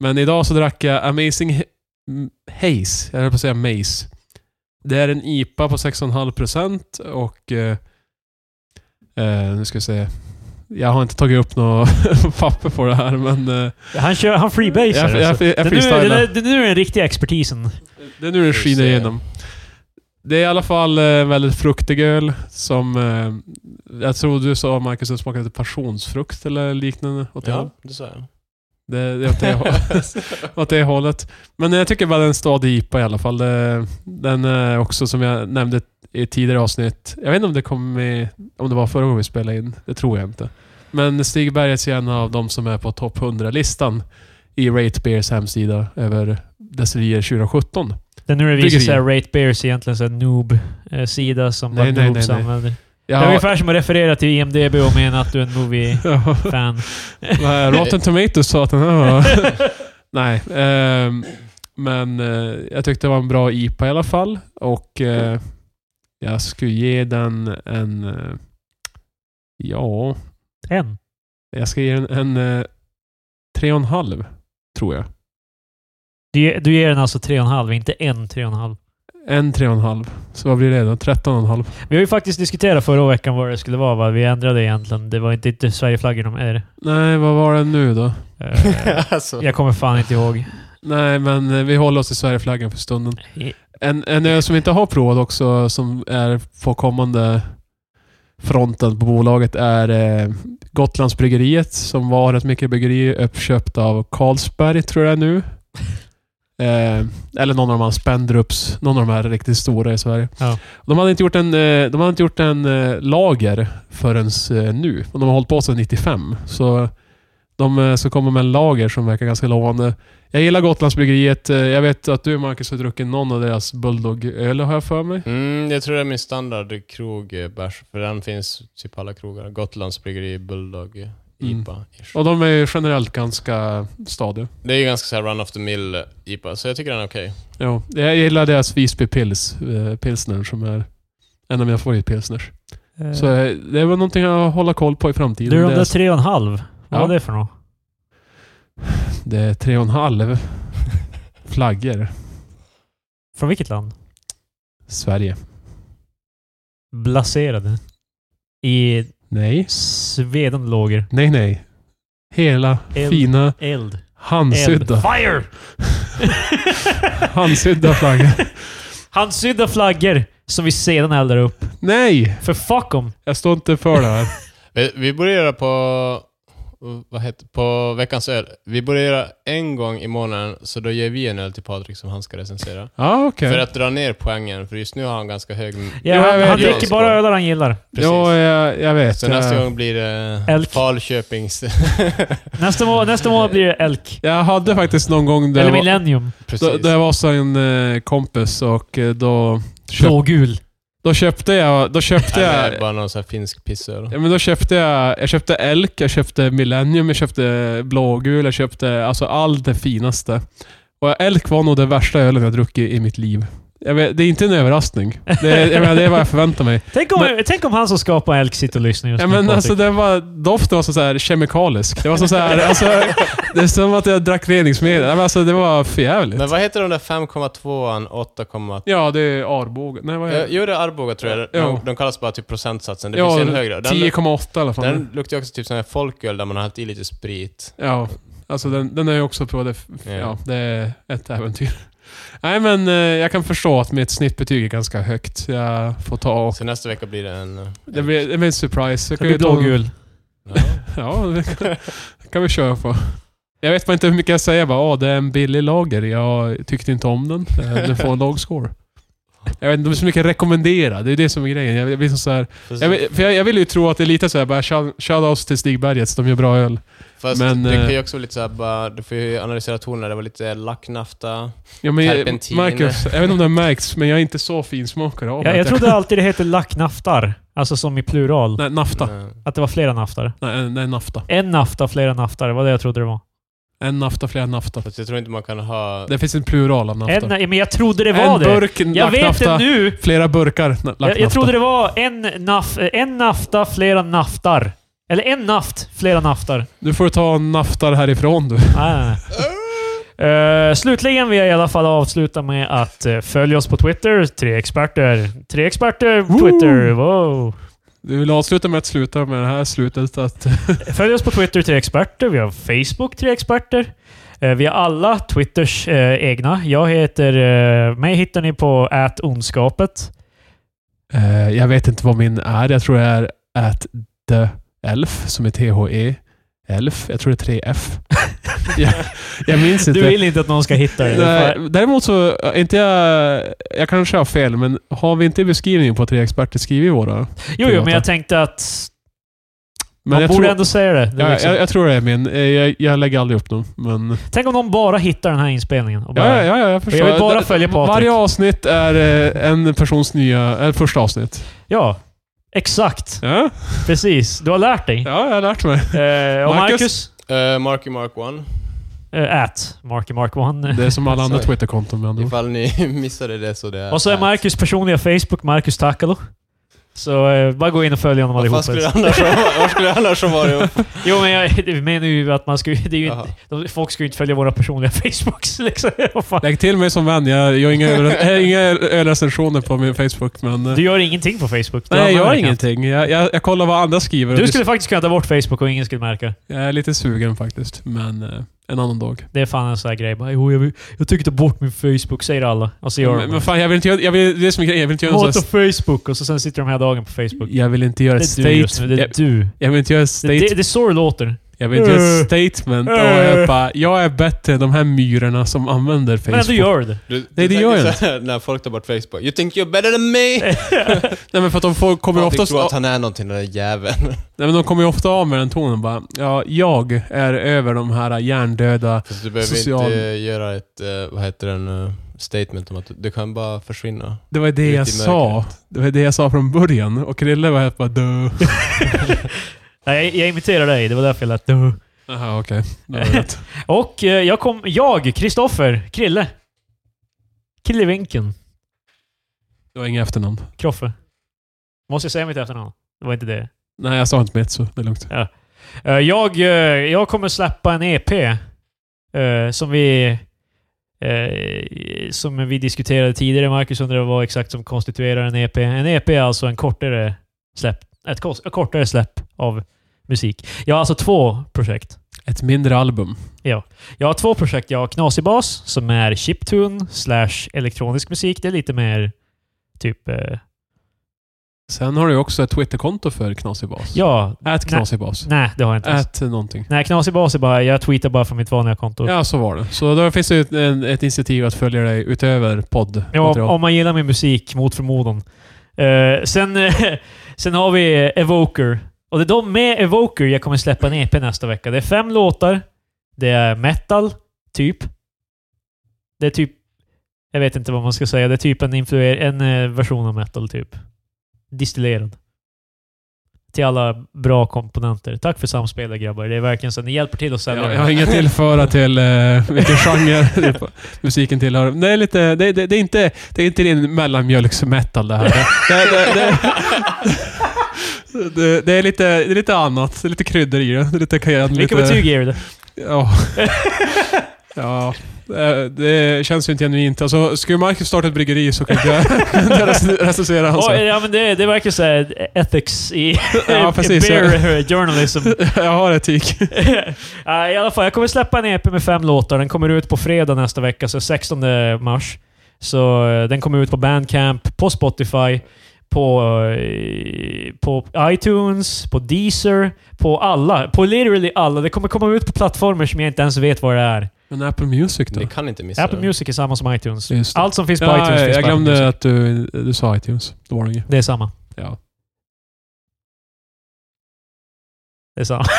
Speaker 1: Men idag så drack jag Amazing H- M- Haze, jag höll på att säga Maze. Det är en IPA på 6,5% och... Eh, eh, nu ska jag se. Jag har inte tagit upp något papper på det här, men... Eh,
Speaker 2: Han, kör, han freebasar.
Speaker 1: jag, jag, jag,
Speaker 2: alltså.
Speaker 1: jag,
Speaker 2: Det är nu-
Speaker 1: freestylar.
Speaker 2: det är- det är nu den riktiga expertisen.
Speaker 1: Det är nu det
Speaker 3: Får vi
Speaker 1: skiner
Speaker 3: se.
Speaker 1: igenom. Det är i alla fall eh, en väldigt fruktig öl som... Eh, jag tror du sa Marcus att det smakade lite passionsfrukt eller liknande. Åt det,
Speaker 3: Ja,
Speaker 1: hållet.
Speaker 3: det sa jag.
Speaker 1: det, det, är åt, det hållet. åt det hållet. Men jag tycker bara den är en stadig IPA i alla fall. Det, den är också som jag nämnde i tidigare avsnitt. Jag vet inte om det kom i, Om det var förra gången vi spelade in. Det tror jag inte. Men Stig Bergets är en av de som är på topp 100-listan i Rate Beers hemsida över destillerier 2017.
Speaker 2: Det är nu det visar sig att
Speaker 1: Bryggeri.
Speaker 2: Rate Bears är egentligen är en noob-sida eh, som
Speaker 1: Nej,
Speaker 2: bara
Speaker 1: nej,
Speaker 2: noobs
Speaker 1: nej, nej.
Speaker 2: använder.
Speaker 1: Jag
Speaker 2: Det
Speaker 1: har-
Speaker 2: är ungefär som att referera till IMDB och mena att du är en movie-fan.
Speaker 1: Ja. Nej, Rotten Tomatoes sa att den här var... Nej. ehm, men eh, jag tyckte det var en bra IPA i alla fall. Och eh, jag skulle ge den en... eh, ja,
Speaker 2: en.
Speaker 1: jag ska ge den en eh, tre och en halv, tror jag.
Speaker 2: Du, ge- du ger den alltså 3,5, inte en 3,5.
Speaker 1: En tre och en halv. Så vad blir det då? Tretton och en halv?
Speaker 2: Vi har ju faktiskt diskuterat förra veckan vad det skulle vara. Va? Vi ändrade egentligen. Det var inte, inte Sverigeflaggor de är.
Speaker 1: Nej, vad var den nu då?
Speaker 2: Eh,
Speaker 3: alltså.
Speaker 2: Jag kommer fan inte ihåg.
Speaker 1: Nej, men eh, vi håller oss till Sverigeflaggan för stunden.
Speaker 2: I-
Speaker 1: En, en öl som vi inte har provat också, som är på kommande fronten på bolaget, är eh, Gotlandsbryggeriet som var ett mikrobryggeri uppköpt av Carlsberg, tror jag nu. Eh, eller någon av de här Spendrups, någon av de här riktigt stora i Sverige.
Speaker 2: Ja.
Speaker 1: De hade inte gjort en, eh, de hade inte gjort en eh, lager förrän eh, nu. Och de har hållit på sedan 95. Så de eh, ska komma med en lager som verkar ganska lovande. Jag gillar Gotlandsbryggeriet. Eh, Jag vet att du Marcus har druckit någon av deras Bulldog-öl har jag för mig.
Speaker 3: Mm, jag tror det är min standard krogbärs, för den finns typ på alla krogar. Gotlands bryggeri, Bulldog, eh, IPA. ish.
Speaker 1: Och de är ju generellt ganska stadiga.
Speaker 3: Det är ju ganska så här run of the mill eh, IPA, så jag tycker den är okej.
Speaker 1: Jo, jag gillar deras Visby Pils, eh, pilsner som är en av mina favoritpilsners.
Speaker 2: Eh,
Speaker 1: Så eh, det var någonting att hålla koll på i framtiden.
Speaker 2: Du, de
Speaker 1: det,
Speaker 2: där
Speaker 1: är,
Speaker 2: tre och en halv. Vad
Speaker 1: Ja.
Speaker 2: var det för något?
Speaker 1: det är tre och en halv flaggor.
Speaker 2: Från vilket land?
Speaker 1: Sverige.
Speaker 2: Blaserade. I
Speaker 1: Nej.
Speaker 2: Sveden låger.
Speaker 1: Nej, nej. Hela
Speaker 2: Eld.
Speaker 1: fina
Speaker 2: Eld. Eld.
Speaker 1: handsydda,
Speaker 2: Fire!
Speaker 1: handsydda flaggor.
Speaker 2: Handsydda flaggor som vi sedan eldar upp.
Speaker 1: Nej!
Speaker 2: För fuck dem.
Speaker 1: Jag står inte för det här.
Speaker 3: Vi, Eh, vi borde göra på... Vad heter På veckans öl. Vi borde göra en gång i månaden, så då ger vi en öl till Patrik som han ska recensera.
Speaker 1: Ja, okej.
Speaker 3: För att dra ner poängen, för just nu har han ganska hög...
Speaker 2: Ja,
Speaker 1: Jo, jag
Speaker 2: han
Speaker 1: vet.
Speaker 2: han
Speaker 1: Jag
Speaker 2: dricker
Speaker 3: skojar.
Speaker 2: bara ölar han gillar.
Speaker 3: Precis.
Speaker 1: Ja, jag, jag vet. eh,
Speaker 3: så nästa
Speaker 1: jag,
Speaker 3: gång blir det
Speaker 2: Elk.
Speaker 3: Falköpings...
Speaker 2: Nästa månad, nästa månad blir det elk.
Speaker 1: jag hade faktiskt någon gång där
Speaker 2: Eller
Speaker 1: jag var,
Speaker 2: millennium.
Speaker 1: då,
Speaker 3: Precis.
Speaker 1: då jag var hos en eh, kompis och eh, då, köp,
Speaker 2: Blågul.
Speaker 1: då köpte jag... Då köpte
Speaker 3: Eller
Speaker 1: jag...
Speaker 3: bara någon sån här finsk pissöl.
Speaker 1: Ja, men då köpte jag, jag köpte Elk, jag köpte Millennium, jag köpte blågul, jag köpte alltså allt det finaste. Och Elk var nog den värsta ölen jag druckit i mitt liv. Jag vet, det är inte en överraskning. Det är, jag menar, det är vad jag förväntar mig.
Speaker 2: Tänk om, tänk om han som skapar Elk sitter och lyssnar just
Speaker 1: Ja,
Speaker 2: nu.
Speaker 1: men
Speaker 2: Patrik.
Speaker 1: alltså, den var, doften var så, så här kemikalisk. Det var som så här, alltså, det är som att jag drack reningsmedel. Ja, men Alltså, det var förjävligt.
Speaker 3: Men vad heter de där 5,2an, 8,2?
Speaker 1: Ja, det är Arboga. Nej, vad är
Speaker 3: Ja.
Speaker 1: det?
Speaker 3: Eh, Jo, det är Arboga tror jag.
Speaker 1: Ja.
Speaker 3: De, de kallas bara typ procentsatsen. Det
Speaker 1: Ja,
Speaker 3: finns en högre. Den,
Speaker 1: 10,8 i alla fall.
Speaker 3: den luktar ju också typ sån här folköl där man har hällt i lite sprit.
Speaker 1: Ja, alltså den, den har jag också provat. Det-
Speaker 3: Ja.
Speaker 1: Ja, det är ett äventyr. Nej, men eh, jag kan förstå att mitt snittbetyg är ganska högt. Jag får ta...
Speaker 3: Så nästa vecka blir det en... eh, en
Speaker 1: Det blir, det blir en surprise. Jag
Speaker 2: Det
Speaker 1: kan
Speaker 2: blir
Speaker 1: ju ta-
Speaker 2: blågul.
Speaker 3: Ja.
Speaker 1: Ja, det kan, kan vi köra på. Jag vet bara inte hur mycket jag säger. Jag bara, "Ah, det är en billig lager. Jag tyckte inte om den. Eh, Den får en låg score. Jag vet inte om det är så mycket rekommendera. Det är det som är grejen. Jag, jag blir som så här,
Speaker 3: Fast,
Speaker 1: jag, vill- för jag, jag vill ju tro att det är lite så här, bara shout- shoutouts till Stigbergets. De gör bra öl.
Speaker 3: fast
Speaker 1: men,
Speaker 3: det
Speaker 1: eh,
Speaker 3: kan ju också vara lite såhär bara... Du får ju analysera tonerna. Det var lite lacknafta.
Speaker 1: Ja, men jag-
Speaker 3: Terpentin.
Speaker 1: Marcus, jag vet inte om det har märkts, men jag är inte så finsmakare av
Speaker 2: Ja,
Speaker 1: att
Speaker 2: jag trodde alltid det hette lacknaftar. Alltså som i plural.
Speaker 1: Nej, nafta.
Speaker 3: Eh,
Speaker 2: Att det var flera naftar.
Speaker 1: Nej, nej, nafta.
Speaker 2: En nafta, flera naftar. Det var det jag trodde det var.
Speaker 1: En nafta, flera nafta.
Speaker 3: Fast jag tror inte man kan ha...
Speaker 1: Det finns en plural av nafta.
Speaker 2: En, nej, men jag trodde det var
Speaker 1: en
Speaker 2: det.
Speaker 1: burk
Speaker 2: Jag vet
Speaker 1: lacknafta,
Speaker 2: det nu.
Speaker 1: flera burkar na- lacknafta.
Speaker 2: Jag, jag trodde det var en, naf, en nafta, flera naftar. Eller en naft, flera naftar.
Speaker 1: Nu får du ta en naftar härifrån du.
Speaker 2: Nej, nej, nej. Eh, slutligen vill jag i alla fall avsluta med att eh, följ oss på Twitter. Tre experter. Tre experter på
Speaker 1: Woo!
Speaker 2: Twitter. Wow.
Speaker 1: Du vill avsluta med att sluta med det här slutet att...
Speaker 2: Följ oss på Twitter, tre experter. Vi har Facebook, tre experter. Eh, Vi har alla Twitters eh, egna. Jag heter... Eh, mig hittar ni på ondskapet.
Speaker 1: Eh, jag vet inte vad min är. Jag tror det är at the elf, som är THE. Elf. Jag tror det är tre f jag, jag minns inte.
Speaker 2: Du vill inte att någon ska hitta dig.
Speaker 1: Nej, däremot så, är inte jag, jag kanske har fel, men har vi inte i beskrivningen på att tre experter skriver våra?
Speaker 2: Jo, jo, men jag tänkte att...
Speaker 1: Men
Speaker 2: Man
Speaker 1: jag
Speaker 2: borde
Speaker 1: tror,
Speaker 2: ändå säga det. det är
Speaker 1: ja,
Speaker 2: liksom,
Speaker 1: jag, jag tror det är min. Eh, Jag, jag lägger aldrig upp dem, men...
Speaker 2: Tänk om någon bara hittar den här inspelningen. Och bara,
Speaker 1: Ja, ja, ja, jag förstår.
Speaker 2: Jag vill bara följa Patrik.
Speaker 1: Varje avsnitt är eh, en persons nya... Eller första avsnitt.
Speaker 2: Ja, exakt.
Speaker 1: Ja,
Speaker 2: Precis. Du har lärt dig.
Speaker 1: ja jag har lärt mig.
Speaker 2: Eh, och
Speaker 1: Marcus?
Speaker 2: Marcus?
Speaker 3: Uh, Marky Mark One.
Speaker 2: eh, At Marky Mark One.
Speaker 1: Det är som alla andra
Speaker 3: Sorry.
Speaker 1: Twitterkonton med andra ord.
Speaker 3: Ifall ni missade det så det är...
Speaker 2: Och så är Marcus personliga Facebook, Marcus Takalo. Så eh, bara gå in och följ honom
Speaker 3: Vad fan
Speaker 2: allihopa.
Speaker 3: skulle det annars vara? Vad skulle det annars ha varit?
Speaker 2: Jo, men jag det menar ju att man skulle... Det är ju
Speaker 3: Jaha.
Speaker 2: inte, de, folk skulle ju inte följa våra personliga Facebooks liksom. Vad fan?
Speaker 1: Lägg till mig som vän. Jag gör inga, öl- jag har inga ölrecensioner på min Facebook, men... eh,
Speaker 2: Du gör ingenting på Facebook. Det
Speaker 1: Nej, jag
Speaker 2: har
Speaker 1: gör
Speaker 2: man märkt.
Speaker 1: ingenting. Jag, jag, jag kollar vad andra skriver. och
Speaker 2: Du
Speaker 1: det-
Speaker 2: skulle faktiskt kunna ta bort Facebook och ingen skulle märka.
Speaker 1: Jag är lite sugen faktiskt, men eh, en annan dag.
Speaker 2: Det är fan en sån här grej. Bara, jo, jag, vill, jag tycker ta bort min Facebook, säger alla. Och så gör
Speaker 1: Men,
Speaker 2: de
Speaker 1: men
Speaker 2: det.
Speaker 1: fan, jag vill inte göra... Jag vill, det är som en grej, jag vill inte göra en
Speaker 2: Hata
Speaker 1: sån här,
Speaker 2: Facebook och så sen sitter de hela dagen på Facebook.
Speaker 1: Jag vill inte göra ett
Speaker 2: Det är du just
Speaker 1: state...
Speaker 2: nu. Det
Speaker 1: jag,
Speaker 2: är du.
Speaker 1: jag vill inte göra ett
Speaker 2: Det,
Speaker 1: state...
Speaker 2: det, det är så det låter.
Speaker 1: jag vill inte göra
Speaker 2: Eh.
Speaker 1: ett statement.
Speaker 2: Eh.
Speaker 1: Och jag bara, jag är bättre än de här myrorna som använder Facebook.
Speaker 2: Men ändå gör det.
Speaker 3: Du,
Speaker 1: Nej, det
Speaker 3: tänker
Speaker 1: gör jag
Speaker 3: så här När folk tar bort Facebook. You think you're better than me?
Speaker 1: Nej men för att de får, kommer ju
Speaker 3: Patrik
Speaker 1: oftast...
Speaker 3: tror att
Speaker 1: nej,
Speaker 3: han är någonting, den där jäveln.
Speaker 1: men de kommer ju ofta av med den tonen bara. Ja, jag är över de här hjärndöda...
Speaker 3: Fast du behöver
Speaker 1: Social-
Speaker 3: inte göra ett, eh, vad heter den, eh, statement om att du kan bara försvinna.
Speaker 1: Det var det
Speaker 3: Ut i
Speaker 1: jag sa. Det var det jag sa från början. Och Krille var helt bara dö.
Speaker 2: Nej, jag, jag imiterar dig. Det var därför jag lät du.
Speaker 1: Jaha, okej. Det var rätt.
Speaker 2: Och eh, jag kom... Jag, Kristoffer, Krille. Killevinken.
Speaker 1: Det var inga efternamn.
Speaker 2: Kroffe. Måste jag säga mitt efternamn? Det var inte det.
Speaker 1: Nej, jag sa inte mitt så det är lugnt.
Speaker 2: Eh, Jag, eh, jag kommer släppa en EP eh, som vi eh, som vi diskuterade tidigare. Marcus undrade vad exakt som konstituerar en EP. En EP är alltså en kortare släpp, ett, kos- ett kortare släpp av musik. Jag har alltså två projekt.
Speaker 1: Ett mindre album.
Speaker 2: Jag har två projekt. Jag har Knasig Bas som är chiptune slash elektronisk musik. Det är lite mer typ... eh,
Speaker 1: Sen har du ju också ett Twitterkonto för Knasig Bas.
Speaker 2: Ja.
Speaker 1: Ät
Speaker 2: Nej.
Speaker 1: Knasig Bas.
Speaker 2: Nej, det har jag inte. ens.
Speaker 1: Ät någonting.
Speaker 2: Nej, Knasig Bas är bara... Jag tweetar bara från mitt vanliga konto.
Speaker 1: Ja, så var det. Så då finns det ju ett, en, ett initiativ att följa dig utöver podd.
Speaker 2: Ja, om- om man gillar min musik, mot förmodan. Eh, sen, eh, sen har vi eh, Evoker. Och det är de med Evoker jag kommer släppa en EP nästa vecka. Det är fem låtar. Det är metal, typ. Det är typ... Jag vet inte vad man ska säga. Det är typ en, influer- en eh, version av metal, typ. Distillerad. till alla bra komponenter. Tack för samspelet grabbar. Det är verkligen så. Ni hjälper till att sälja
Speaker 1: Jag,
Speaker 2: det.
Speaker 1: jag har inget att tillföra till eh, vilken genre det på- musiken tillhör. Det är, lite, det, det, det är inte, det är inte din mellanmjölksmetal det här. Det, det, det, det, det, det, är lite, det är lite annat. Det är lite kryddor i det. det är lite cayenne.
Speaker 2: Vilka
Speaker 1: lite-
Speaker 2: betyg ger du det?
Speaker 1: Ja. ja. Eh, Det känns ju inte genuint. Alltså, skulle Marcus starta ett bryggeri så kan jag inte recensera hans...
Speaker 2: Oj, ja, men det, det verkar så här ethics i,
Speaker 1: Ja,
Speaker 2: i
Speaker 1: precis.
Speaker 2: beer journalism.
Speaker 1: Jag har etik.
Speaker 2: Ja, I alla fall, jag kommer släppa en EP med fem låtar. Den kommer ut på fredag nästa vecka, så 16 mars. Så eh, den kommer ut på Bandcamp, på Spotify, på, eh, på iTunes, på Deezer, på alla. På literally alla. Det kommer komma ut på plattformer som jag inte ens vet vad det är.
Speaker 1: Men Apple Music då?
Speaker 3: Ni kan inte missa
Speaker 2: Apple
Speaker 3: det.
Speaker 2: Music är samma som iTunes.
Speaker 1: Just det.
Speaker 2: Allt som finns på
Speaker 1: Ja,
Speaker 2: iTunes finns
Speaker 1: jag
Speaker 2: på Apple Music.
Speaker 1: glömde att du, du sa iTunes. Då var det inget.
Speaker 2: Det är samma.
Speaker 1: Ja.
Speaker 2: Det är sant.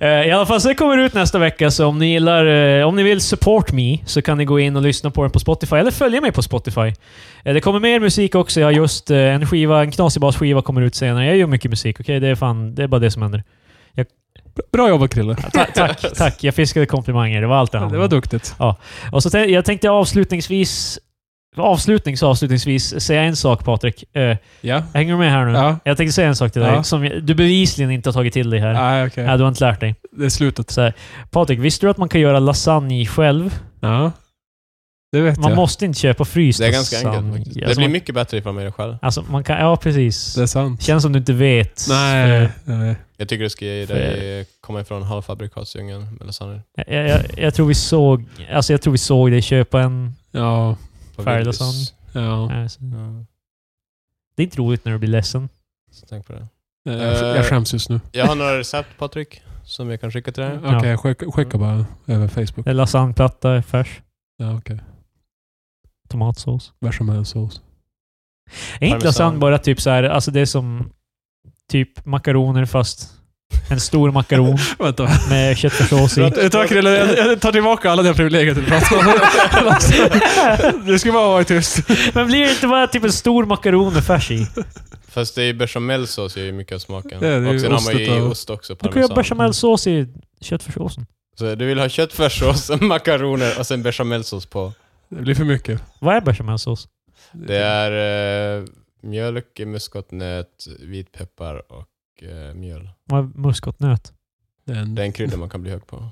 Speaker 2: Eh, I alla fall, så det kommer ut nästa vecka, så om ni gillar, eh, om ni vill support me, så kan ni gå in och lyssna på den på Spotify, eller följa mig på Spotify. Eh, Det kommer mer musik också. Jag har just eh, en skiva, en knasig basskiva kommer ut senare. Jag gör mycket musik, okej? Det är fan, det är bara det som händer.
Speaker 1: Bra jobbat Krille.
Speaker 2: Ta tack, tack. Jag fiskade komplimanger. Det var allt det
Speaker 1: Ja,
Speaker 2: handlade
Speaker 1: det
Speaker 2: om.
Speaker 1: var duktigt.
Speaker 2: Och så tänkte, jag tänkte avslutningsvis, avslutnings avslutningsvis, säga en sak Patrik. Eh,
Speaker 1: Ja.
Speaker 2: Hänger du med här nu?
Speaker 1: Ja.
Speaker 2: Jag tänkte säga en sak till dig,
Speaker 1: Ja.
Speaker 2: som jag- du bevisligen inte har tagit till dig här.
Speaker 1: Nej, okej.
Speaker 2: Ja, du har inte lärt dig.
Speaker 1: Det är slutet.
Speaker 2: Så här, Patrik, visste du att man kan göra lasagne själv?
Speaker 1: Ja. Det vet
Speaker 2: Man
Speaker 1: jag.
Speaker 2: måste inte köpa fryst
Speaker 3: Det är ganska
Speaker 2: lasagne.
Speaker 3: enkelt faktiskt. Det
Speaker 2: Alltså,
Speaker 3: blir
Speaker 2: man,
Speaker 3: mycket bättre ifall man gör det själv.
Speaker 2: alltså, man kan, Ja, precis.
Speaker 1: Det är sant.
Speaker 2: Känns som du inte vet.
Speaker 1: Nej, nej.
Speaker 3: Jag tycker du ska ge dig komma ifrån halvfabrikatsdjungeln med lasagne.
Speaker 2: Jag, jag, jag, jag, tror vi såg, alltså, jag tror vi såg dig köpa en...
Speaker 1: Ja.
Speaker 3: På
Speaker 2: Färdig
Speaker 3: Willys.
Speaker 2: lasagne.
Speaker 1: ja.
Speaker 2: Alltså,
Speaker 3: Ja,
Speaker 2: det är inte roligt när du blir ledsen.
Speaker 3: så tänk på det.
Speaker 1: Jag, jag skäms just nu.
Speaker 3: Jag har några recept Patrik, som jag kan skicka till dig.
Speaker 1: Okej, skicka, skicka bara över Facebook.
Speaker 2: Det är lasagneplatta, färs,
Speaker 1: Ja, okej.
Speaker 2: tomatsås.
Speaker 1: Var som helst sås.
Speaker 2: Är inte
Speaker 3: Parmesan.
Speaker 2: lasagne bara typ så här, alltså det är som typ makaroner fast en stor makaron
Speaker 1: Vänta.
Speaker 2: med köttfärssås i.
Speaker 1: Tack Krille, jag, jag tar tillbaka alla dina privilegier du pratar om. Du ska bara vara tyst.
Speaker 2: Men blir det inte bara typ en stor makaron med färs i?
Speaker 3: Fast det är ju bechamelsås gör ju mycket av smaken.
Speaker 1: Det är det
Speaker 3: och
Speaker 1: ju
Speaker 3: sen har man ju
Speaker 1: ostet och-
Speaker 3: ost också,
Speaker 2: Du kan ju ha
Speaker 3: parmesan.
Speaker 2: bechamelsås i köttfärssåsen.
Speaker 3: Så du vill ha köttfärssås, makaroner och sen bechamelsås på.
Speaker 1: Det blir för mycket.
Speaker 2: Vad är bechamelsås?
Speaker 3: Det är eh, mjölk, muskotnöt, vitpeppar och eh, mjöl.
Speaker 2: Vad är muskotnöt?
Speaker 1: Det är, en,
Speaker 3: Det är en krydda man kan bli hög på.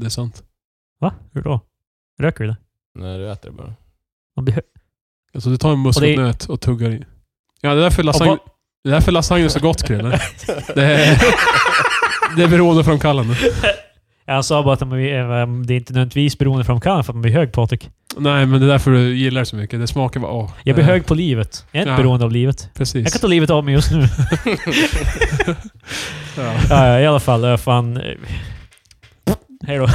Speaker 1: det är sant.
Speaker 2: Va? Hur då? Röker du det?
Speaker 3: När du äter det bara.
Speaker 2: Man blir hö-
Speaker 1: Alltså du tar en muskotnöt och tuggar i. Ja, det är därför lasagne,
Speaker 2: Och
Speaker 1: det är, därför lasagne är så gott Krille. Det är, det är beroendeframkallande.
Speaker 2: Jag sa bara att de är- eh, det är inte nödvändigtvis beroende från kan för att man blir hög Patrik.
Speaker 1: Nej, men det är därför du gillar det så mycket. Det smakar bara åh.
Speaker 2: Jag blir
Speaker 1: Eh,
Speaker 2: hög på livet. Jag är inte
Speaker 1: Ja.
Speaker 2: beroende av livet.
Speaker 1: Precis.
Speaker 2: Jag kan ta livet av mig just nu.
Speaker 1: ja.
Speaker 2: ja, ja, i alla fall. eh, Fan. eh, Hej då.